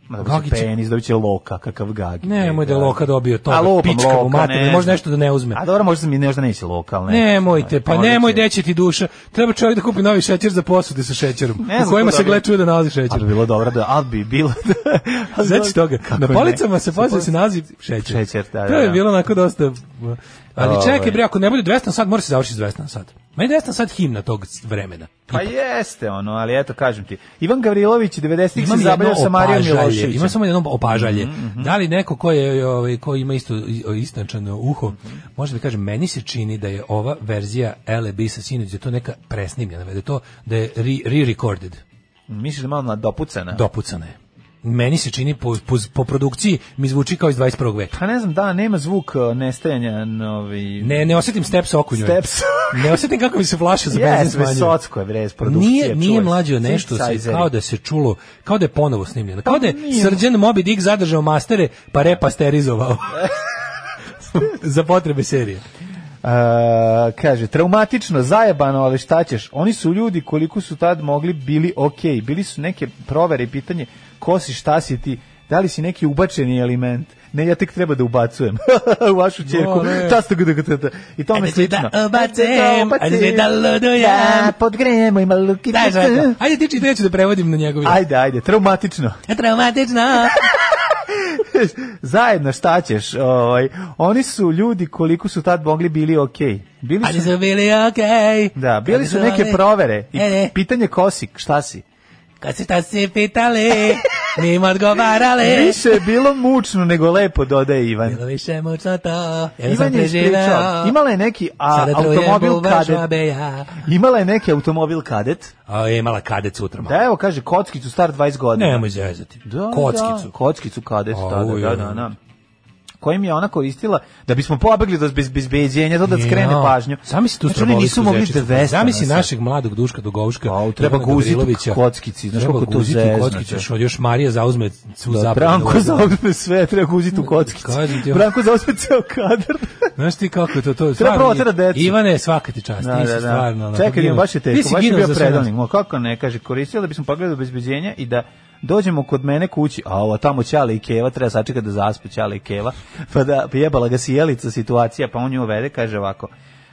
Ma,
Gagi
Dobit će
će-
penis, dobit će loka, kakav gagi.
Ne, moj da je Loka dobio to.
A lupam
pička mu
Loka,
mater,
ne.
može nešto da ne uzme.
A dobro, možda mi možda neće lokalne.
Nemojte, pa
Možda
nemoj
će.
deći ti duša. Treba čovjek da kupi novi šećer za posude sa šećerom.
Ne znam
u kojima
ko
se
dobio.
gle čuje da nalazi
Ali
šećer.
bi bilo dobro da, ali bi bilo da... ali
Znači toga,
Kako
na
ne?
policama se posle se nalazi šećer.
Šećer, da, da,
To je
da.
bilo onako dosta... Ali
Ovaj.
čekaj bre, ako ne bude 200 na sat, mora se završiti 200 na sat. Meni je 200 na sat himna tog vremena.
Pa jeste ono, ali eto kažem ti. Ivan Gavrilović 90-ih se
Imam jedno
zabavio sa Marijom
opažalje,
Miloševićem. Mm-hmm,
imam samo jedno opažalje. Da li neko ko, je, ovaj, ko ima isto istančano uho, može da kaže, meni se čini da je ova verzija LB sa sinoć, da je to neka presnimljena, da je to da je re- re-recorded.
Misliš da je malo na dopucana?
dopucana je. Meni se čini po, po, po produkciji mi zvuči kao iz 21. veka.
Pa ne znam, da, nema zvuk e, nestajanja novi...
Ne, ne osetim steps oko njoj.
Steps.
ne osetim kako mi se flaša za benzin
Jes,
smanjuje.
Vesocko je vrez produkcije.
Nije, nije
čuvaj.
mlađo nešto se,
Synthesizeri.
kao da se čulo, kao da je ponovo snimljeno. Kao da je
Pa nije.
srđan Moby Dick zadržao mastere pa repasterizovao. za potrebe serije.
E, kaže, traumatično, zajebano, ali šta ćeš? Oni su ljudi koliko su tad mogli bili okej. Bili su neke provere i pitanje ko si, šta si ti, da li si neki ubačeni element. Ne, ja tek treba da ubacujem u vašu čerku.
Vole.
Ta stu gudu gudu gudu. I tome
Ajde
slično.
E,
E,
da ubacujem, ajde da ludujam.
Da, podgrejemo i malo luki.
Daj, Žarko, Ajde ti čitaj, ja ću da prevodim na njegovi.
Ajde, ajde, traumatično.
Traumatično.
Zajedno šta ćeš? Ovaj, oni su ljudi koliko su tad mogli bili okej. Bili
Ali
su
su bili okej.
Da, bili
Kad
su neke
bili-
provere i
E, e.
pitanje kosik, šta si?
Kad se tad se pitali, nima odgovarali.
Više je bilo mučno nego lepo, dodaje Ivan.
Bilo više mučno to, jer sam
Ivan je
preživao.
ispričao. Imala je neki a,
Sada truje
automobil
bubar
kadet.
žabe ja.
Imala je neki automobil kadet.
A je imala kadet sutra. malo.
Da evo kaže kockicu star 20 godina.
Nemoj zezati.
Da,
Kockicu.
Da, kockicu kadet, da,
Au,
da, da,
ja.
da, da. kojim je ona koristila da bismo pobegli do bez bezbeđenja, to da skrene
Jo.
pažnju.
Zamisli tu
znači, oni nisu
strabovišku
mogli da
zečicu.
vestu.
Zamisli našeg mladog Duška Dogovuška.
treba
Ivana
guziti
Gavrilovića.
kockici, znaš
Treba
kako to
guziti u
zezno,
kockici,
to.
još- još Marija zauzme svu
Da,
zapadnu
Branko
Evropu.
zauzme sve, treba guziti u kockici.
Kažem ti, ono-
Branko zauzme ceo kadar.
Znaš ti kako je to? to
Treba
je stvarno-
protera decu.
Ivane, svaka ti čast.
Da,
ti si
da, da.
stvarno, ono,
Čekaj,
ginuo-
imam baš je
ti
teško,
si
baš je
ginuo
bio
za sve nas.
predalnik. Ma kako ne, kaže, koristila da bismo pogledali obezbeđenja i da dođemo kod mene kući, a ovo tamo Ćale i Keva, treba sačekati da zaspe Ćale i Keva, pa da pa jebala ga sjelica situacija, pa on nju uvede, kaže ovako,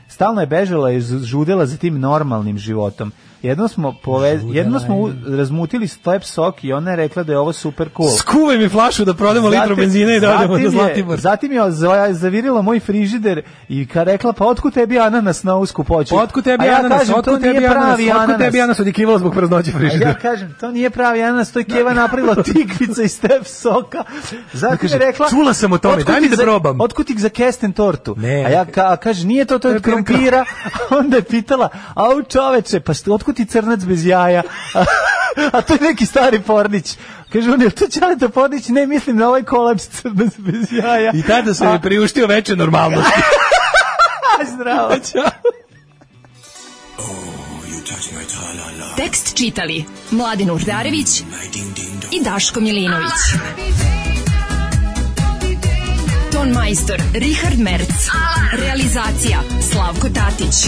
stalno je bežala i ž- žudela za tim normalnim životom. Jedno smo, pove, jedno smo u- razmutili step sok i ona je rekla da je ovo super cool.
Skuvaj mi flašu da prodamo litru
Zatim-
benzina i da odemo do
zatim je-
Zlatibora.
Zatim je za- zavirila moj frižider i ka rekla, pa otkud tebi ananas na usku poću?
Pa Otkud tebi
A ja
ananas?
kažem,
Otkud
to nije
tebi ananas?
pravi
Otkud
ananas.
tebi ananas? Odikrivala zbog praznoće
A
frižidera.
ja kažem, to nije pravi ananas, to je Keva napravila tikvica i stef soka. Zatim
Kaže,
je rekla...
"Čula sam o tome,
"Otkud
daj mi
ti
da
za-
probam."
Otkud ti za kesten tortu?
Ne.
A ja ka, a kaže, nije to, to je od krompira. Onda je pitala, au čoveče, pa st- otkud ti crnac bez jaja? A, to je neki stari pornić. Kaže, on je to Ćaleta Pornić, ne mislim na ovaj kolač crnac bez jaja.
I tada se mi priuštio veće normalnosti.
Zdravo.
Tekst čitali Mladin Urdarević i Daško Milinović. Ton majstor Richard Merc. Realizacija Slavko Tatić.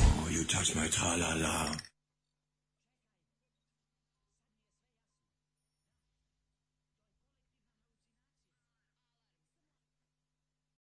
You touch my tra-la-la.